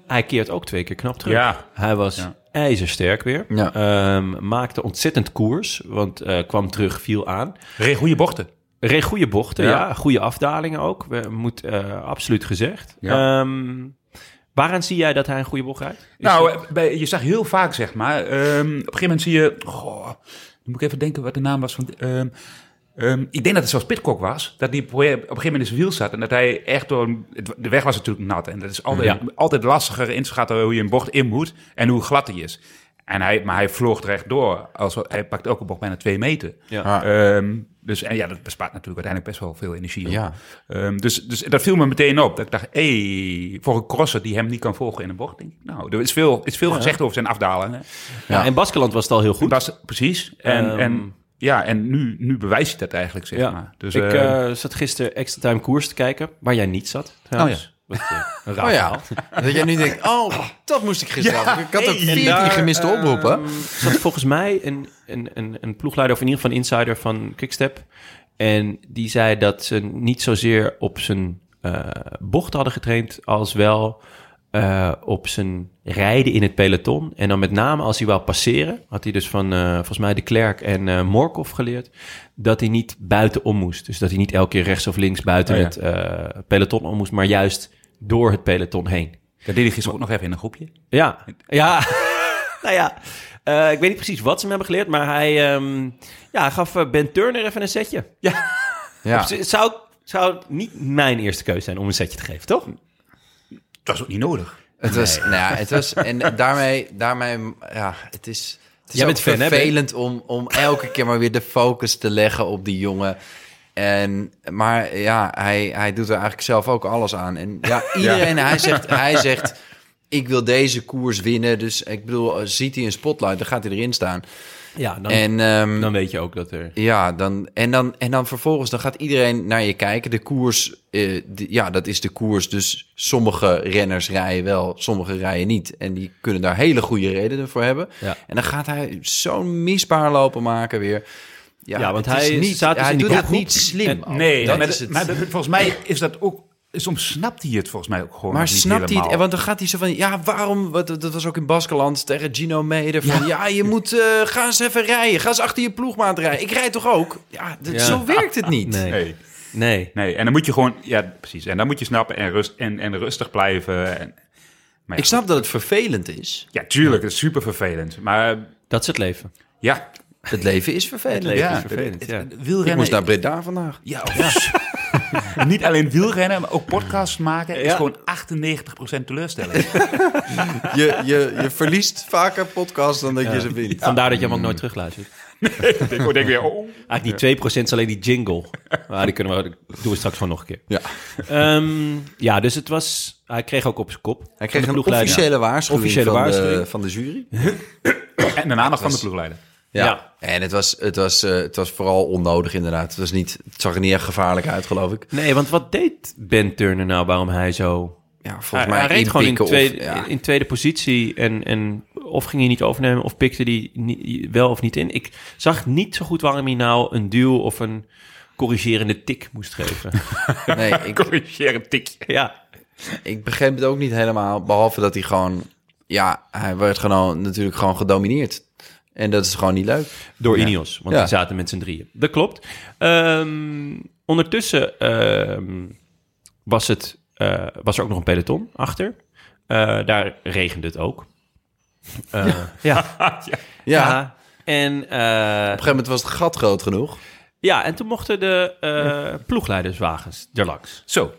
Speaker 1: hij keert ook twee keer knap terug.
Speaker 4: Ja.
Speaker 1: Hij was ijzersterk weer.
Speaker 2: Ja.
Speaker 1: Ehm, maakte ontzettend koers, want eh, kwam terug, viel aan.
Speaker 4: Regen goede bochten.
Speaker 1: Reed goede bochten, ja.
Speaker 4: Ja.
Speaker 1: Goede afdalingen ook. We, moet eh, absoluut gezegd.
Speaker 4: Ja.
Speaker 1: Ehm, waaraan zie jij dat hij een goede bocht rijdt? Is
Speaker 4: nou,
Speaker 1: dat-
Speaker 4: eh, bij, je zag heel vaak, zeg maar. ehm, op een gegeven moment zie je. Goh, dan moet ik even denken wat de naam was van. ehm, ehm, ik denk dat het zelfs Pitcock was. Dat die probeerde- op een gegeven moment in zijn wiel zat. En dat hij echt door. een- het- De weg was natuurlijk nat. En dat is altijd,
Speaker 1: Ja.
Speaker 4: altijd lastiger in te schatten hoe je een bocht in moet. En hoe glad die is. En hij, maar hij vloog er echt door. Als, hij pakt elke bocht bijna twee meter.
Speaker 2: Ah.
Speaker 4: Ehm, dus en ja, dat bespaart natuurlijk uiteindelijk best wel veel energie. op.
Speaker 2: Ja.
Speaker 4: Ehm, dus, dus dat viel me meteen op. Dat ik dacht, hey, voor een crosser die hem niet kan volgen in een bocht. Denk ik, nou, er is veel, is veel gezegd over zijn afdalingen.
Speaker 1: Ja, in Baskeland was het al heel goed.
Speaker 4: Dat is- precies. En,
Speaker 1: Ehm.
Speaker 4: en, ja, en nu, nu bewijst hij dat eigenlijk, zeg maar. Dus,
Speaker 1: ik
Speaker 4: eh, Oh,
Speaker 1: eh, zat gisteren extra time koers te kijken, waar jij niet zat. trouwens. Wat, eh, een raar
Speaker 2: Oh ja,
Speaker 1: verhaal.
Speaker 2: dat jij nu denkt, oh, dat moest ik gisteren. ik had ook
Speaker 1: hey, en
Speaker 2: 14
Speaker 1: daar,
Speaker 2: gemiste oproepen.
Speaker 1: Ehm, zat volgens mij een, een, een, een ploegleider, of in ieder geval een insider van Quickstep. En die zei dat ze niet zozeer op zijn eh, bocht hadden getraind, als wel eh, op zijn rijden in het peloton. En dan met name als hij wou passeren, had hij dus van eh, volgens mij de Klerk en eh Morkov geleerd, dat hij niet buitenom moest. Dus dat hij niet elke keer rechts of links buiten
Speaker 4: Oh ja.
Speaker 1: het eh, peloton om moest, maar juist door het peloton heen.
Speaker 4: dat deed hij gisteren ook nog even in een groepje.
Speaker 1: Ja, ja. nou ja, Eh, ik weet niet precies wat ze hem hebben geleerd, maar hij ehm, ja, hij gaf eh, Ben Turner even een setje. Ja.
Speaker 2: Ja.
Speaker 1: Op zich Zou, zou het niet mijn eerste keuze zijn om een setje te geven, toch?
Speaker 4: Dat is ook niet nodig.
Speaker 2: Het was, nou ja, het was, en daarmee, daarmee, ja, het is, het is
Speaker 1: Jij
Speaker 2: ook
Speaker 1: bent fan, hè, Ben?
Speaker 2: vervelend om, om elke keer maar weer de focus te leggen op die jongen. En, maar ja, hij, hij doet er eigenlijk zelf ook alles aan. En ja, iedereen, Hij, zegt, hij zegt, ik wil deze koers winnen. Dus ik bedoel, eh, ziet hij een spotlight, dan gaat hij erin staan.
Speaker 1: Ja, dan,
Speaker 2: En, ehm,
Speaker 1: dan weet je ook dat er...
Speaker 2: ja, dan, en, dan, en dan vervolgens dan gaat iedereen naar je kijken. De koers, eh, die- ja, dat is de koers. Dus sommige renners rijden wel, sommige rijden niet. En die kunnen daar hele goede redenen voor hebben.
Speaker 1: Ja.
Speaker 2: En dan gaat hij zo'n misbaar lopen maken weer. Ja,
Speaker 1: Ja, want
Speaker 2: het is
Speaker 1: hij
Speaker 2: niet,
Speaker 1: staat dus
Speaker 2: hij
Speaker 1: in die
Speaker 2: doet het
Speaker 1: kopgroep.
Speaker 2: niet slim. ook.
Speaker 4: Nee,
Speaker 2: dat
Speaker 4: maar,
Speaker 2: is
Speaker 4: dat-
Speaker 2: het.
Speaker 4: maar dat- volgens mij is dat ook... Soms snapt hij het volgens mij ook gewoon
Speaker 2: Maar
Speaker 4: nog niet
Speaker 2: snapt hij
Speaker 4: helemaal.
Speaker 2: het? En Want dan gaat hij zo van... Ja, waarom... wat- Dat was ook in Baskeland tegen Gino Meder. Van, ja. je moet... eh, ga eens even rijden. Ga eens achter je ploegmaat rijden. Ik rijd toch ook? Ja, dat-
Speaker 1: Ja.
Speaker 2: zo werkt het niet.
Speaker 1: Nee.
Speaker 4: Nee.
Speaker 1: Nee.
Speaker 4: Nee, en dan moet je gewoon, ja, precies. En dan moet je snappen en, rust, en, en rustig blijven. En, maar ja,
Speaker 2: Ik snap dat het vervelend is.
Speaker 4: Ja, tuurlijk, het is super vervelend. Maar eh,
Speaker 1: Dat is het leven.
Speaker 4: ja,
Speaker 2: Het leven is vervelend.
Speaker 1: Het leven
Speaker 4: Ja.
Speaker 1: is vervelend, ja.
Speaker 4: wielrennen.
Speaker 2: Ik moest naar Breda vandaag.
Speaker 4: ja, ja. niet alleen wielrennen, maar ook podcasts maken. is
Speaker 1: Ja.
Speaker 4: gewoon 98% teleurstelling.
Speaker 2: Je, je, je verliest vaker podcasts dan dat je ze wint.
Speaker 1: Vandaar dat je hem ook nooit terugluistert.
Speaker 4: ik denk, ik denk weer, oh.
Speaker 1: Eigenlijk die 2% is alleen die jingle. Maar die kunnen we, dat doen we straks gewoon nog een keer.
Speaker 2: Ja.
Speaker 1: Ehm, ja, dus het was... Hij kreeg ook op zijn kop.
Speaker 2: Hij kreeg
Speaker 1: Van
Speaker 2: een
Speaker 1: de ploegleider.
Speaker 2: officiële waarschuwing,
Speaker 1: Officiële
Speaker 2: van, De,
Speaker 1: waarschuwing.
Speaker 2: van de jury.
Speaker 4: En de aandacht van de ploegleider.
Speaker 2: Ja.
Speaker 1: Ja.
Speaker 2: En het was, het, was, eh, het was vooral onnodig inderdaad. Het, was niet, het zag er niet echt gevaarlijk uit, geloof ik.
Speaker 1: Nee, want wat deed Ben Turner nou waarom hij zo...
Speaker 2: Ja, volgens
Speaker 1: Hij,
Speaker 2: mij
Speaker 1: hij reed gewoon in
Speaker 2: inpikken
Speaker 1: tweede,
Speaker 2: of- ja.
Speaker 1: in tweede positie en, en of ging hij niet overnemen of pikte hij niet, wel of niet in. Ik zag niet zo goed waarom hij nou een duw of een corrigerende tik moest geven.
Speaker 2: Nee, ik,
Speaker 4: Corrigeer een tikje.
Speaker 1: ja,
Speaker 2: ik begreep het ook niet helemaal. Behalve dat hij gewoon... Ja, hij werd gewoon, natuurlijk gewoon gedomineerd. En dat is gewoon niet leuk.
Speaker 1: door Ineos, want
Speaker 2: Ja.
Speaker 1: die zaten met z'n drieën. Dat klopt. Ehm, ondertussen ehm, was, het, eh, was er ook nog een peloton achter. Eh, daar regende het ook. Eh, ja.
Speaker 2: Ja, op
Speaker 1: En eh,
Speaker 2: een gegeven moment was het gat groot genoeg.
Speaker 1: Ja, en toen mochten de eh ploegleiderswagens erlangs.
Speaker 4: Zo.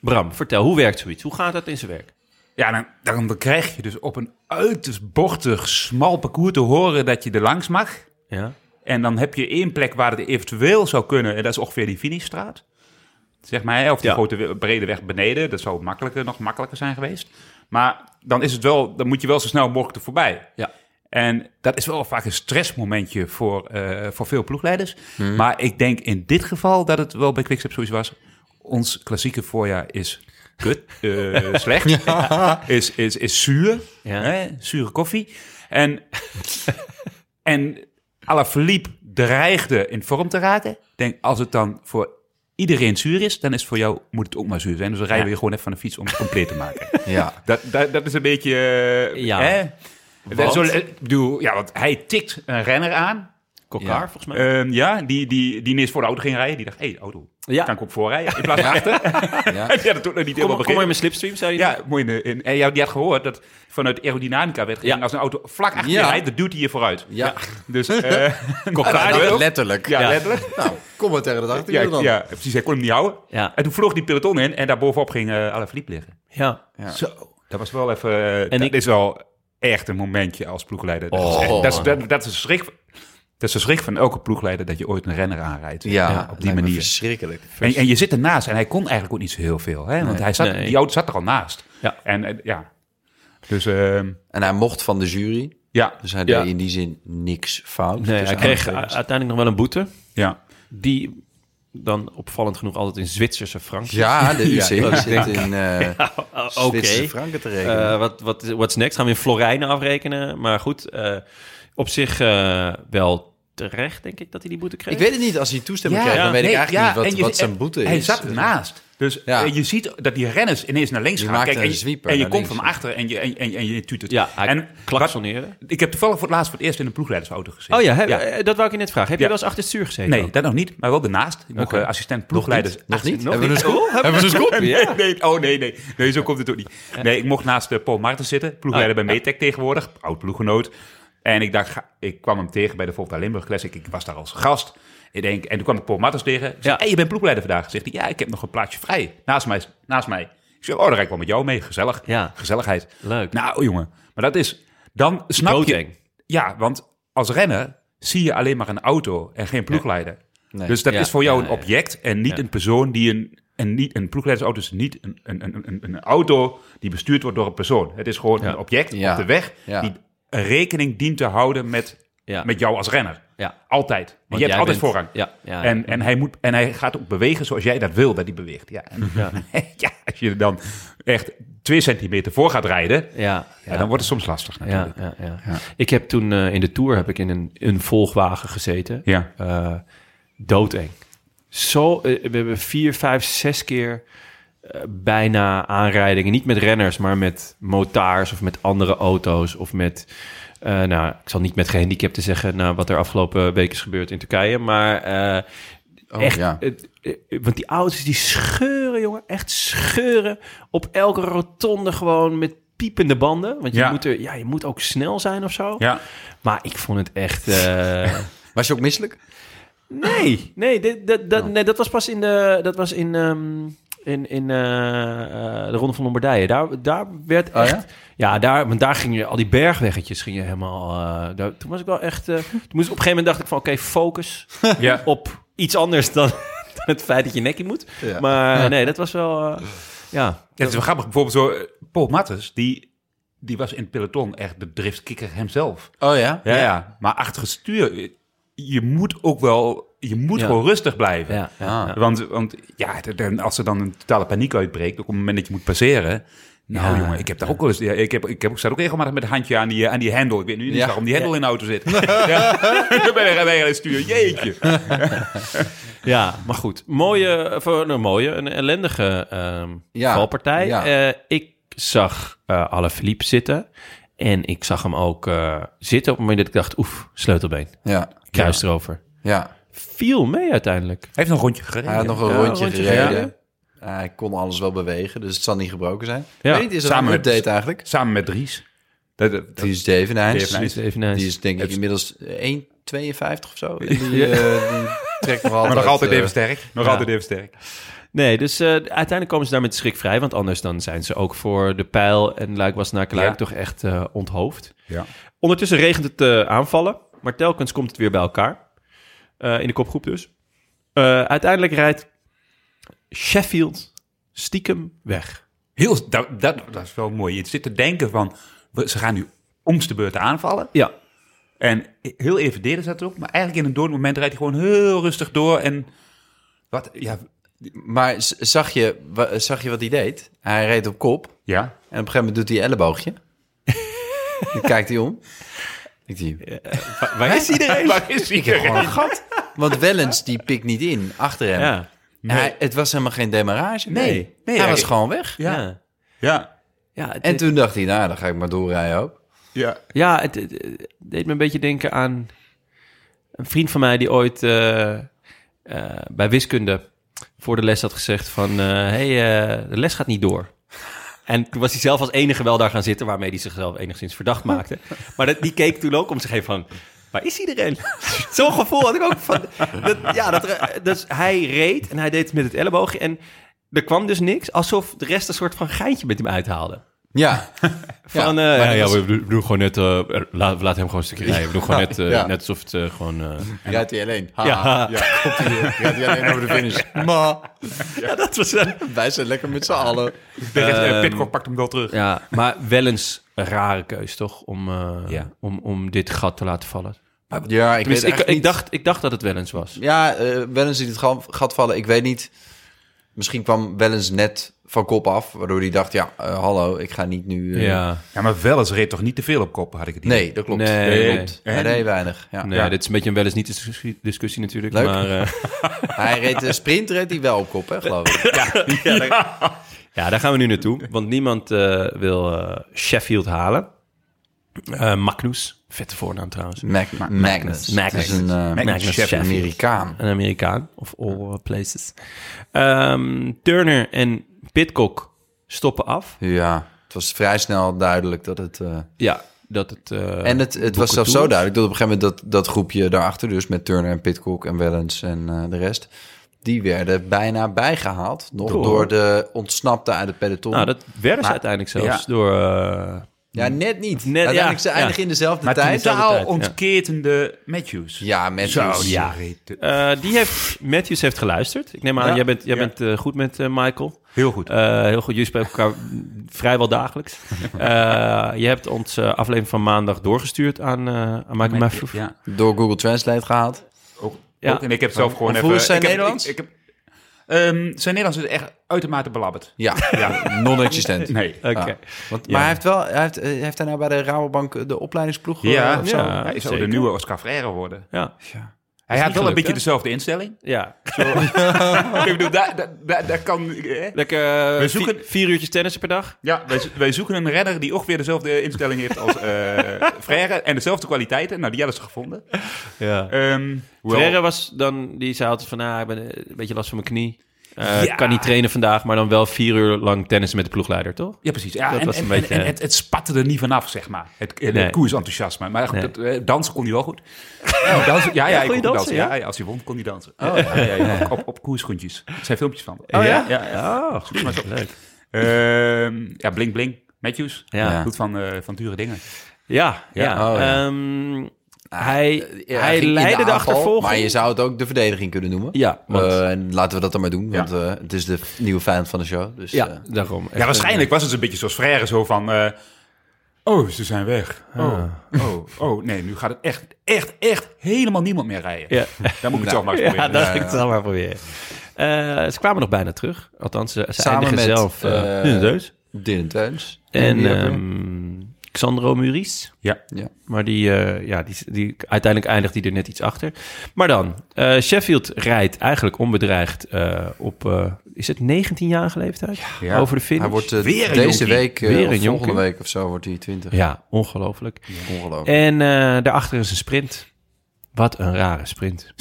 Speaker 1: Bram, vertel, hoe werkt zoiets? Hoe gaat dat in zijn werk?
Speaker 4: Ja, dan, dan, dan krijg je dus op een uiterst bochtig, smal parcours te horen dat je er langs mag.
Speaker 1: Ja.
Speaker 4: En dan heb je één plek waar het eventueel zou kunnen. En dat is ongeveer die finishstraat. Zeg maar, hè, of die
Speaker 1: Ja.
Speaker 4: grote we- brede weg beneden. Dat zou makkelijker, nog makkelijker zijn geweest. Maar dan, is het wel, dan moet je wel zo snel mogelijk er voorbij.
Speaker 1: Ja.
Speaker 4: En dat is wel vaak een stressmomentje voor, eh, voor veel ploegleiders.
Speaker 1: Hmm.
Speaker 4: Maar ik denk in dit geval dat het wel bij Quickstep zoiets was. Ons klassieke voorjaar is kut, eh, slecht, is, is, is zuur,
Speaker 1: Ja.
Speaker 4: hè, zure koffie. En en Alaphilippe dreigde in vorm te raken. Ik denk, als het dan voor iedereen zuur is, dan is het voor jou, moet het ook maar zuur zijn. Dus dan rijden we je gewoon even van de fiets om het compleet te maken.
Speaker 2: Ja.
Speaker 4: Dat, dat, dat is een beetje... eh,
Speaker 1: Ja.
Speaker 4: Hè? Dat is zo- ik bedoel, ja, want hij tikt een renner aan.
Speaker 1: Kokkaar, volgens mij.
Speaker 4: Ehm, ja, die, die, die ineens voor de auto ging rijden. Die dacht, hé, hey, auto,
Speaker 1: Ja.
Speaker 4: kan ik ook voorrijden? In plaats van achter. Ja. dat doet nog niet
Speaker 1: kom, kom
Speaker 4: helemaal
Speaker 1: maar in
Speaker 4: begin.
Speaker 1: mijn slipstream, zei hij.
Speaker 4: Ja, mooi. in- in- en ja, die had gehoord dat vanuit aerodynamica werd gezien,
Speaker 1: Ja.
Speaker 4: als een auto vlak achter je
Speaker 2: Ja.
Speaker 4: rijdt, dan duwt hij je vooruit.
Speaker 2: Ja,
Speaker 4: Dus eh
Speaker 2: Ja,
Speaker 4: Kokkaar
Speaker 2: dat
Speaker 4: ook.
Speaker 2: Nou, letterlijk.
Speaker 4: Ja,
Speaker 1: Ja.
Speaker 4: letterlijk.
Speaker 2: Nou, kom maar tegen de achter
Speaker 4: Ja, ja, precies. Hij kon hem niet houden.
Speaker 1: Ja.
Speaker 4: En toen vloog die peloton in en daarbovenop ging eh Alaphilippe liggen.
Speaker 1: Ja.
Speaker 4: Zo. Dat was wel even... eh,
Speaker 1: En
Speaker 4: dat
Speaker 1: ik-
Speaker 4: is wel echt een momentje als ploegleider. Dat,
Speaker 2: Oh.
Speaker 4: is, echt- dat, is, dat, dat is een schrik. Dat is de schrik van elke ploegleider dat je ooit een renner aanrijdt.
Speaker 2: Ja,
Speaker 4: op
Speaker 2: lijkt
Speaker 4: die
Speaker 2: me
Speaker 4: manier.
Speaker 2: Verschrikkelijk.
Speaker 4: En, en je zit ernaast en hij kon eigenlijk ook niet zo heel veel. Hè? Want hij zat,
Speaker 1: Nee.
Speaker 4: die auto zat er al naast.
Speaker 1: Ja.
Speaker 4: En eh, ja. Dus ehm,
Speaker 2: En hij mocht van de jury,
Speaker 4: ja,
Speaker 2: dus hij
Speaker 1: Ja.
Speaker 2: deed in die zin niks fout.
Speaker 1: Nee,
Speaker 2: Dus
Speaker 1: hij kreeg u-
Speaker 2: aangetekend.
Speaker 1: uiteindelijk nog wel een boete.
Speaker 4: ja.
Speaker 1: Die dan opvallend genoeg altijd in Zwitserse frank. Ah,
Speaker 2: Ja, de UC zit in eh
Speaker 1: Oké.
Speaker 2: Zwitserse franken te rekenen.
Speaker 1: Eh, wat, wat, what's next? Gaan we in Florijnen afrekenen? Maar goed, eh, op zich eh, wel terecht, denk ik, dat hij die boete kreeg.
Speaker 2: ik weet het niet, als hij toestemming krijgt, dan weet
Speaker 4: nee,
Speaker 2: ik eigenlijk
Speaker 4: ja,
Speaker 2: niet wat,
Speaker 4: en je-
Speaker 2: wat zijn boete
Speaker 4: Hij
Speaker 2: is.
Speaker 4: zat ernaast. Dus
Speaker 2: Ja.
Speaker 4: eh, je ziet dat die renners ineens naar links
Speaker 2: Die
Speaker 4: gaan.
Speaker 2: maakte
Speaker 4: Kijk, en,
Speaker 2: een
Speaker 4: je-
Speaker 2: zwieper
Speaker 4: en je
Speaker 2: naar
Speaker 4: komt
Speaker 2: links,
Speaker 4: van achteren en je, en, en, en je tuut het.
Speaker 1: Ja, hij
Speaker 4: en wat,
Speaker 1: klaksoneerde.
Speaker 4: ik heb toevallig voor het laatst voor het eerst in een ploegleidersauto gezeten.
Speaker 1: Oh ja, heb- eh, dat wou ik je net vragen. Heb
Speaker 4: Ja.
Speaker 1: je wel eens achter het stuur gezeten?
Speaker 4: Nee,
Speaker 1: dan?
Speaker 4: dat nog niet, maar wel daarnaast. Ik mocht
Speaker 1: Oké.
Speaker 4: eh, assistent ploegleiders.
Speaker 2: Nog niet?
Speaker 1: Nog
Speaker 2: Hebben we een
Speaker 1: niet.
Speaker 2: scoop?
Speaker 1: Oh,
Speaker 2: Hebben we een scoop?
Speaker 4: Nee, nee, oh nee, nee. Nee, zo komt het ook niet. Nee, ik mocht naast eh, Paul Martens zitten,
Speaker 1: Oh,
Speaker 4: ploegleider bij Metec tegenwoordig, oud ploeggenoot. En ik dacht, ga- ik kwam hem tegen bij de Volta Limburg Classic. Ik was daar als gast. Ik denk, en toen kwam ik Paul Martens tegen. Ik zei,
Speaker 1: Ja.
Speaker 4: hey, je bent ploegleider vandaag. Zegt hij, ja, ik heb nog een plaatsje vrij naast mij. Naast mij. Ik zeg, oh, dan rijd ik wel met jou mee. Gezellig.
Speaker 1: Ja.
Speaker 4: Gezelligheid.
Speaker 1: Leuk.
Speaker 4: Nou, jongen. Maar dat is, dan snap
Speaker 1: Doodeng.
Speaker 4: je... Ja, want als renner zie je alleen maar een auto en geen ploegleider. Dus dat
Speaker 1: Ja,
Speaker 4: is voor jou
Speaker 1: ja,
Speaker 4: een
Speaker 1: ja.
Speaker 4: object en niet een persoon die een... En niet, een ploegleidersauto is niet een, een, een, een, een auto die bestuurd wordt door een persoon. Het is gewoon een object
Speaker 2: Ja.
Speaker 4: op de weg
Speaker 2: Ja.
Speaker 4: die rekening dient te houden met,
Speaker 1: Ja.
Speaker 4: met jou als renner.
Speaker 1: Ja.
Speaker 4: Altijd. En
Speaker 1: Want
Speaker 4: je
Speaker 1: jij
Speaker 4: hebt altijd
Speaker 1: bent-
Speaker 4: voorrang.
Speaker 1: Ja, ja.
Speaker 4: En, en, hij moet, en hij gaat ook bewegen zoals jij dat wil dat hij beweegt. Ja. En-
Speaker 1: Ja.
Speaker 4: ja, als je er dan echt twee centimeter voor gaat rijden,
Speaker 1: ja,
Speaker 4: ja, dan wordt het soms lastig
Speaker 1: ja,
Speaker 4: natuurlijk.
Speaker 1: ja, ja. Ik heb toen eh, in de tour heb ik in een, een volgwagen gezeten.
Speaker 4: Ja.
Speaker 1: Eh, doodeng. Zo, eh, we hebben vier, vijf, zes keer eh, bijna aanrijdingen. Niet met renners, maar met motaars of met andere auto's. Of met, eh, nou, ik zal niet met gehandicapten zeggen nou, wat er afgelopen week is gebeurd in Turkije. Maar eh, echt,
Speaker 2: Oh, ja.
Speaker 1: het- eh, want die auto's die scheuren, jongen. Echt scheuren op elke rotonde gewoon met piepende banden. Want je,
Speaker 4: Ja.
Speaker 1: moet, er, ja, je moet ook snel zijn of zo.
Speaker 4: Ja.
Speaker 1: Maar ik vond het echt... eh,
Speaker 2: Was je ook misselijk?
Speaker 1: Nee, nee, dit, dat, dat, nee, dat was pas in de. Dat was in. ehm, in, in eh, eh, de Ronde van Lombardije. Daar, daar werd
Speaker 2: Oh,
Speaker 1: echt...
Speaker 2: ja?
Speaker 1: ja? daar, want daar gingen al die bergweggetjes gingen helemaal... eh, daar, toen was ik wel echt... eh, toen moest, ik- op een gegeven moment dacht ik van... Oké, focus
Speaker 4: Ja.
Speaker 1: op iets anders dan, dan het feit dat je nekkie moet.
Speaker 2: Ja.
Speaker 1: Maar nee, dat was wel... eh, ja,
Speaker 4: Het is wel grappig, bijvoorbeeld zo, eh, Paul Mattes, die, die was in het peloton echt de driftkikker hemzelf.
Speaker 2: Oh ja?
Speaker 4: Ja, ja. Maar achter het stuur, eh, je moet ook wel, je moet
Speaker 1: Ja.
Speaker 4: gewoon rustig blijven.
Speaker 1: ja, ja.
Speaker 2: Ah.
Speaker 4: Want, want ja, de- de- als er dan een totale paniek uitbreekt, ook op het moment dat je moet passeren. Nou
Speaker 1: Ja.
Speaker 4: jongen, ik heb daar ook wel eens, ja, ik, heb, ik, heb, ik zat ook regelmatig met een handje aan die, eh, aan die hendel. Ik weet nu niet
Speaker 2: Ja.
Speaker 4: waarom die hendel in de auto zit. ja. Dan ben ik bij het stuur, jeetje.
Speaker 1: Ja, maar goed. Mooie, of, eh, nou, mooie een ellendige ehm
Speaker 2: Ja,
Speaker 1: valpartij.
Speaker 2: ja.
Speaker 1: Eh, ik zag eh Alaphilippe zitten. En ik zag hem ook eh, zitten op het moment dat ik dacht... oef, sleutelbeen,
Speaker 2: Ja.
Speaker 1: kruis erover.
Speaker 2: ja.
Speaker 1: Viel mee uiteindelijk.
Speaker 4: Hij heeft nog een rondje
Speaker 2: Hij
Speaker 4: gereden.
Speaker 2: had nog een
Speaker 1: Ja,
Speaker 2: rondje,
Speaker 1: rondje
Speaker 2: gereden.
Speaker 1: gereden.
Speaker 2: Ja, hij kon alles wel bewegen, dus het zal niet gebroken zijn.
Speaker 1: Ja.
Speaker 2: Ja. Weet niet, is er
Speaker 4: Samen
Speaker 2: een
Speaker 4: met-
Speaker 2: update eigenlijk?
Speaker 4: Samen met Dries. Dat, dat-
Speaker 2: Die is Devenijns.
Speaker 4: Devenijns.
Speaker 1: Absoluut even nice.
Speaker 2: Die is denk ik
Speaker 4: Het-
Speaker 2: inmiddels 1,52 of zo. En die, eh, die trekt nog altijd...
Speaker 4: maar nog altijd
Speaker 2: eh,
Speaker 4: even sterk. Nog
Speaker 1: ja.
Speaker 4: altijd even sterk.
Speaker 1: Nee, dus eh, uiteindelijk komen ze daar met schrik vrij. Want anders dan zijn ze ook voor de pijl en luik was naar
Speaker 4: Ja.
Speaker 1: toch echt eh, onthoofd.
Speaker 4: Ja.
Speaker 1: Ondertussen regent het eh, aanvallen. Maar telkens komt het weer bij elkaar. Eh, in de kopgroep dus. Eh, uiteindelijk rijdt Sheffield stiekem weg.
Speaker 4: Heel, dat, dat, dat is wel mooi. Je zit te denken van, we- ze gaan nu omste de beurt aanvallen.
Speaker 1: Ja,
Speaker 4: En heel even deden ze dat ook. Maar eigenlijk in een dood moment rijdt hij gewoon heel rustig door. En wat, ja,
Speaker 2: Maar z- zag je, wa- zag je wat hij deed? Hij reed op kop en op
Speaker 4: ja.
Speaker 2: een gegeven moment doet hij elleboogje. Dan kijkt hij om. Ik zie
Speaker 1: waar is iedereen?
Speaker 4: Waar is iedereen?
Speaker 2: gat. Want Wellens die pikt niet in achter hem.
Speaker 1: Ja,
Speaker 2: Hij, het was helemaal geen demarrage.
Speaker 4: Nee. Nee,
Speaker 2: hij
Speaker 4: hij-
Speaker 2: was gewoon weg.
Speaker 1: ja. ja.
Speaker 4: Ja,
Speaker 1: het,
Speaker 2: En toen dacht hij, nou, dan ga ik maar doorrijden ook.
Speaker 4: ja.
Speaker 1: ja het, het- het deed me een beetje denken aan een vriend van mij die ooit eh, eh, bij wiskunde voor de les had gezegd van... eh, hey, eh, de les gaat niet door. En toen was hij zelf als enige wel daar gaan zitten... waarmee hij zichzelf enigszins verdacht maakte. Maar dat, die keek toen ook om zich heen van... Waar is iedereen? Zo'n gevoel had ik ook van... Dat, ja, dat, er- dus hij reed en hij deed het met het elleboogje... en er kwam dus niks, alsof de rest een soort van geintje met hem uithaalde.
Speaker 2: Ja.
Speaker 1: Van,
Speaker 2: ja.
Speaker 1: eh,
Speaker 2: maar
Speaker 1: ja,
Speaker 2: dat
Speaker 1: ja, we doen- doen gewoon net... eh, er- laat, we laten hem gewoon een stukje rijden. We doen gewoon net, eh,
Speaker 2: Ja.
Speaker 1: net alsof het eh, gewoon... eh,
Speaker 2: Rijdt hij alleen. Ha,
Speaker 1: Ja.
Speaker 2: ha. ja. Komt hij, weer. rijdt hij alleen over de finish. Maar
Speaker 1: ja, dat was... eh,
Speaker 2: wij zijn lekker met z'n allen.
Speaker 1: Ehm,
Speaker 4: eh, Pitcock pakt hem wel terug.
Speaker 1: ja, maar wel eens een rare keus, toch? Om, eh,
Speaker 4: Ja.
Speaker 1: om, om dit gat te laten vallen.
Speaker 2: Ja, ik, weet
Speaker 1: Tenminste, ik,
Speaker 2: eigenlijk
Speaker 1: ik,
Speaker 2: niet-
Speaker 1: dacht, ik dacht dat het wel eens was.
Speaker 2: Ja, eh Wellens in het gat gat vallen. Ik weet niet. Misschien kwam Wellens net van kop af, waardoor hij dacht, ja, eh, hallo, ik ga niet nu... eh,
Speaker 4: Ja, maar wel eens reed toch niet te veel op kop, had ik het idee.
Speaker 2: Nee, dat klopt.
Speaker 1: Nee.
Speaker 2: dat klopt. Hij
Speaker 4: En-
Speaker 2: reed weinig. Ja.
Speaker 1: Nee, dit is een beetje een wel eens niet discussie, discussie natuurlijk.
Speaker 2: Leuk.
Speaker 1: Maar eh,
Speaker 2: Hij reed de sprint, reed hij wel op kop, hè, geloof ik.
Speaker 1: ja, daar gaan we nu naartoe. Want niemand eh, wil eh, Sheffield halen. Eh Magnus, vette voornaam trouwens.
Speaker 2: Mac- Magnus.
Speaker 1: Magnus.
Speaker 2: Dat is een eh,
Speaker 1: Magnus
Speaker 2: chef
Speaker 1: Sheffield.
Speaker 2: Amerikaan.
Speaker 1: Een Amerikaan, of all places. Ehm, Turner en Pitcock stoppen af.
Speaker 2: Ja, het was vrij snel duidelijk dat het... eh,
Speaker 1: Ja, dat het... eh,
Speaker 2: en het, het was zelfs
Speaker 1: Boeketoe.
Speaker 2: zo duidelijk dat op een gegeven moment dat, dat groepje daarachter, dus met Turner en Pitcock en Wellens en eh, de rest, die werden bijna bijgehaald. Nog door, de ontsnapte uit het peloton.
Speaker 1: Nou, dat werden ze uiteindelijk zelfs door... eh,
Speaker 2: Ja, net niet.
Speaker 1: Net-
Speaker 2: Uiteindelijk
Speaker 1: ja,
Speaker 2: ze eindigen
Speaker 1: ja.
Speaker 2: in dezelfde
Speaker 4: Maar
Speaker 2: tijd.
Speaker 1: dezelfde
Speaker 4: totaal
Speaker 1: tijd, ja.
Speaker 4: ontketende Matthews.
Speaker 2: Ja, met
Speaker 4: Zo,
Speaker 2: dus-
Speaker 4: ja.
Speaker 1: eh, die heeft... Matthews heeft geluisterd. Ik neem aan,
Speaker 4: Ja,
Speaker 1: jij bent, jij
Speaker 4: ja.
Speaker 1: bent eh, goed met eh, Michael.
Speaker 4: Heel goed.
Speaker 1: Eh, heel goed, jullie spreken elkaar vrijwel dagelijks. Eh, je hebt ons eh, aflevering van maandag doorgestuurd aan, eh aan Michael Matthews.
Speaker 4: ja,
Speaker 2: door Google Translate gehaald.
Speaker 4: ook,
Speaker 1: Ja.
Speaker 4: ook. En ik heb zelf gewoon
Speaker 2: hoe
Speaker 4: even...
Speaker 2: is zijn
Speaker 4: ik heb-
Speaker 2: Nederlands?
Speaker 4: Ik, ik heb, Ehm, zijn Nederlands is echt uitermate belabberd. Eh,
Speaker 2: Ja, non-existent.
Speaker 4: Nee.
Speaker 1: Oké.
Speaker 2: Ja. Want, maar hij heeft wel, hij heeft, eh, heeft hij nou bij de Rabobank de opleidingsploeg eh,
Speaker 4: Ja,
Speaker 2: of zo?
Speaker 1: ja,
Speaker 4: hij zou
Speaker 1: zeker.
Speaker 4: de nieuwe Oscar Freire worden.
Speaker 1: Ja.
Speaker 4: Hij had wel
Speaker 1: gelukt,
Speaker 4: een beetje
Speaker 1: hè?
Speaker 4: dezelfde instelling.
Speaker 1: ja.
Speaker 4: ik bedoel, daar, daar, daar, daar kan... eh,
Speaker 1: Lekker
Speaker 4: We
Speaker 1: eh,
Speaker 4: zoeken-
Speaker 1: vi- vier uurtjes tennissen per dag.
Speaker 4: Ja, wij, zo- wij zoeken een renner die ongeveer dezelfde instelling heeft als eh Freire. En dezelfde kwaliteiten. Nou, die hadden ze gevonden.
Speaker 1: Ja.
Speaker 4: Ehm, hoewel-
Speaker 1: Ferreira was dan, die zei altijd van, ah, ik ben een beetje last van mijn knie. Eh,
Speaker 4: Ja.
Speaker 1: Kan niet trainen vandaag, maar dan wel vier uur lang tennissen met de ploegleider, toch?
Speaker 4: Ja, precies. Ja,
Speaker 1: Dat
Speaker 4: en,
Speaker 1: was een
Speaker 4: en-
Speaker 1: beetje-
Speaker 4: en het, het spatte er niet vanaf, zeg maar. Het, het
Speaker 1: Nee.
Speaker 4: koersenthousiasme. Maar goed,
Speaker 1: Nee.
Speaker 4: dat, eh, dansen kon hij wel goed. Ja, dansen, ja, ja, hij
Speaker 1: kon je
Speaker 4: goed
Speaker 1: dansen, ja?
Speaker 4: Ja, ja, als hij won, kon hij dansen. ja, ja, ja, Op, op, op koersschoentjes. Er zijn filmpjes van.
Speaker 1: Oh, ja?
Speaker 4: Ja, ja.
Speaker 1: Oh, goed. Leuk.
Speaker 4: Ehm, ja, Blink Blink. Matthews.
Speaker 1: Ja.
Speaker 4: Goed van, eh, van dure dingen.
Speaker 1: Ja, ja.
Speaker 2: Ja. Oh, ja. Ah, eh,
Speaker 1: Ehm, hij
Speaker 2: Ja,
Speaker 1: hij
Speaker 2: ging in
Speaker 1: leidde de,
Speaker 2: aanval,
Speaker 1: achtervolging.
Speaker 2: Maar je zou het ook de verdediging kunnen noemen.
Speaker 1: Ja, want-
Speaker 2: Eh, en laten we dat dan maar doen, want eh, het is de f- nieuwe vijand van de show. Dus,
Speaker 1: ja,
Speaker 2: eh,
Speaker 1: daarom.
Speaker 4: Ja, waarschijnlijk was het een eh, beetje zoals Frère. Zo van... eh, oh, ze zijn weg. Oh, oh, oh. Nee, nu gaat het echt, echt, echt helemaal niemand meer rijden.
Speaker 1: eh, Ja.
Speaker 4: Daar moet ik het toch maar eens
Speaker 1: Ja,
Speaker 4: proberen.
Speaker 1: dat ik het zal maar proberen. Eh, ze kwamen nog bijna terug. Althans, eh, ze, ze
Speaker 2: Samen
Speaker 1: eindigen
Speaker 2: met,
Speaker 1: zelf eh,
Speaker 2: eh,
Speaker 1: in de deus.
Speaker 2: Dylan Teuns.
Speaker 1: En
Speaker 2: Die hebben-
Speaker 1: ehm, Xandro Muris.
Speaker 4: Ja.
Speaker 2: Ja.
Speaker 1: Maar die, eh, ja, die, die, uiteindelijk eindigt die er net iets achter. Maar dan, eh, Sheffield rijdt eigenlijk onbedreigd eh, op, eh, is het 19-jarige leeftijd?
Speaker 4: Ja.
Speaker 1: Over de finish.
Speaker 2: hij wordt eh,
Speaker 4: Weer een
Speaker 2: deze
Speaker 4: jonkie.
Speaker 2: week, eh,
Speaker 1: Weer een
Speaker 2: of volgende
Speaker 1: jonkie.
Speaker 2: week of zo, wordt hij 20.
Speaker 1: Ja, ongelooflijk.
Speaker 2: Ongelooflijk.
Speaker 1: En eh, daarachter is een sprint. Wat een rare sprint.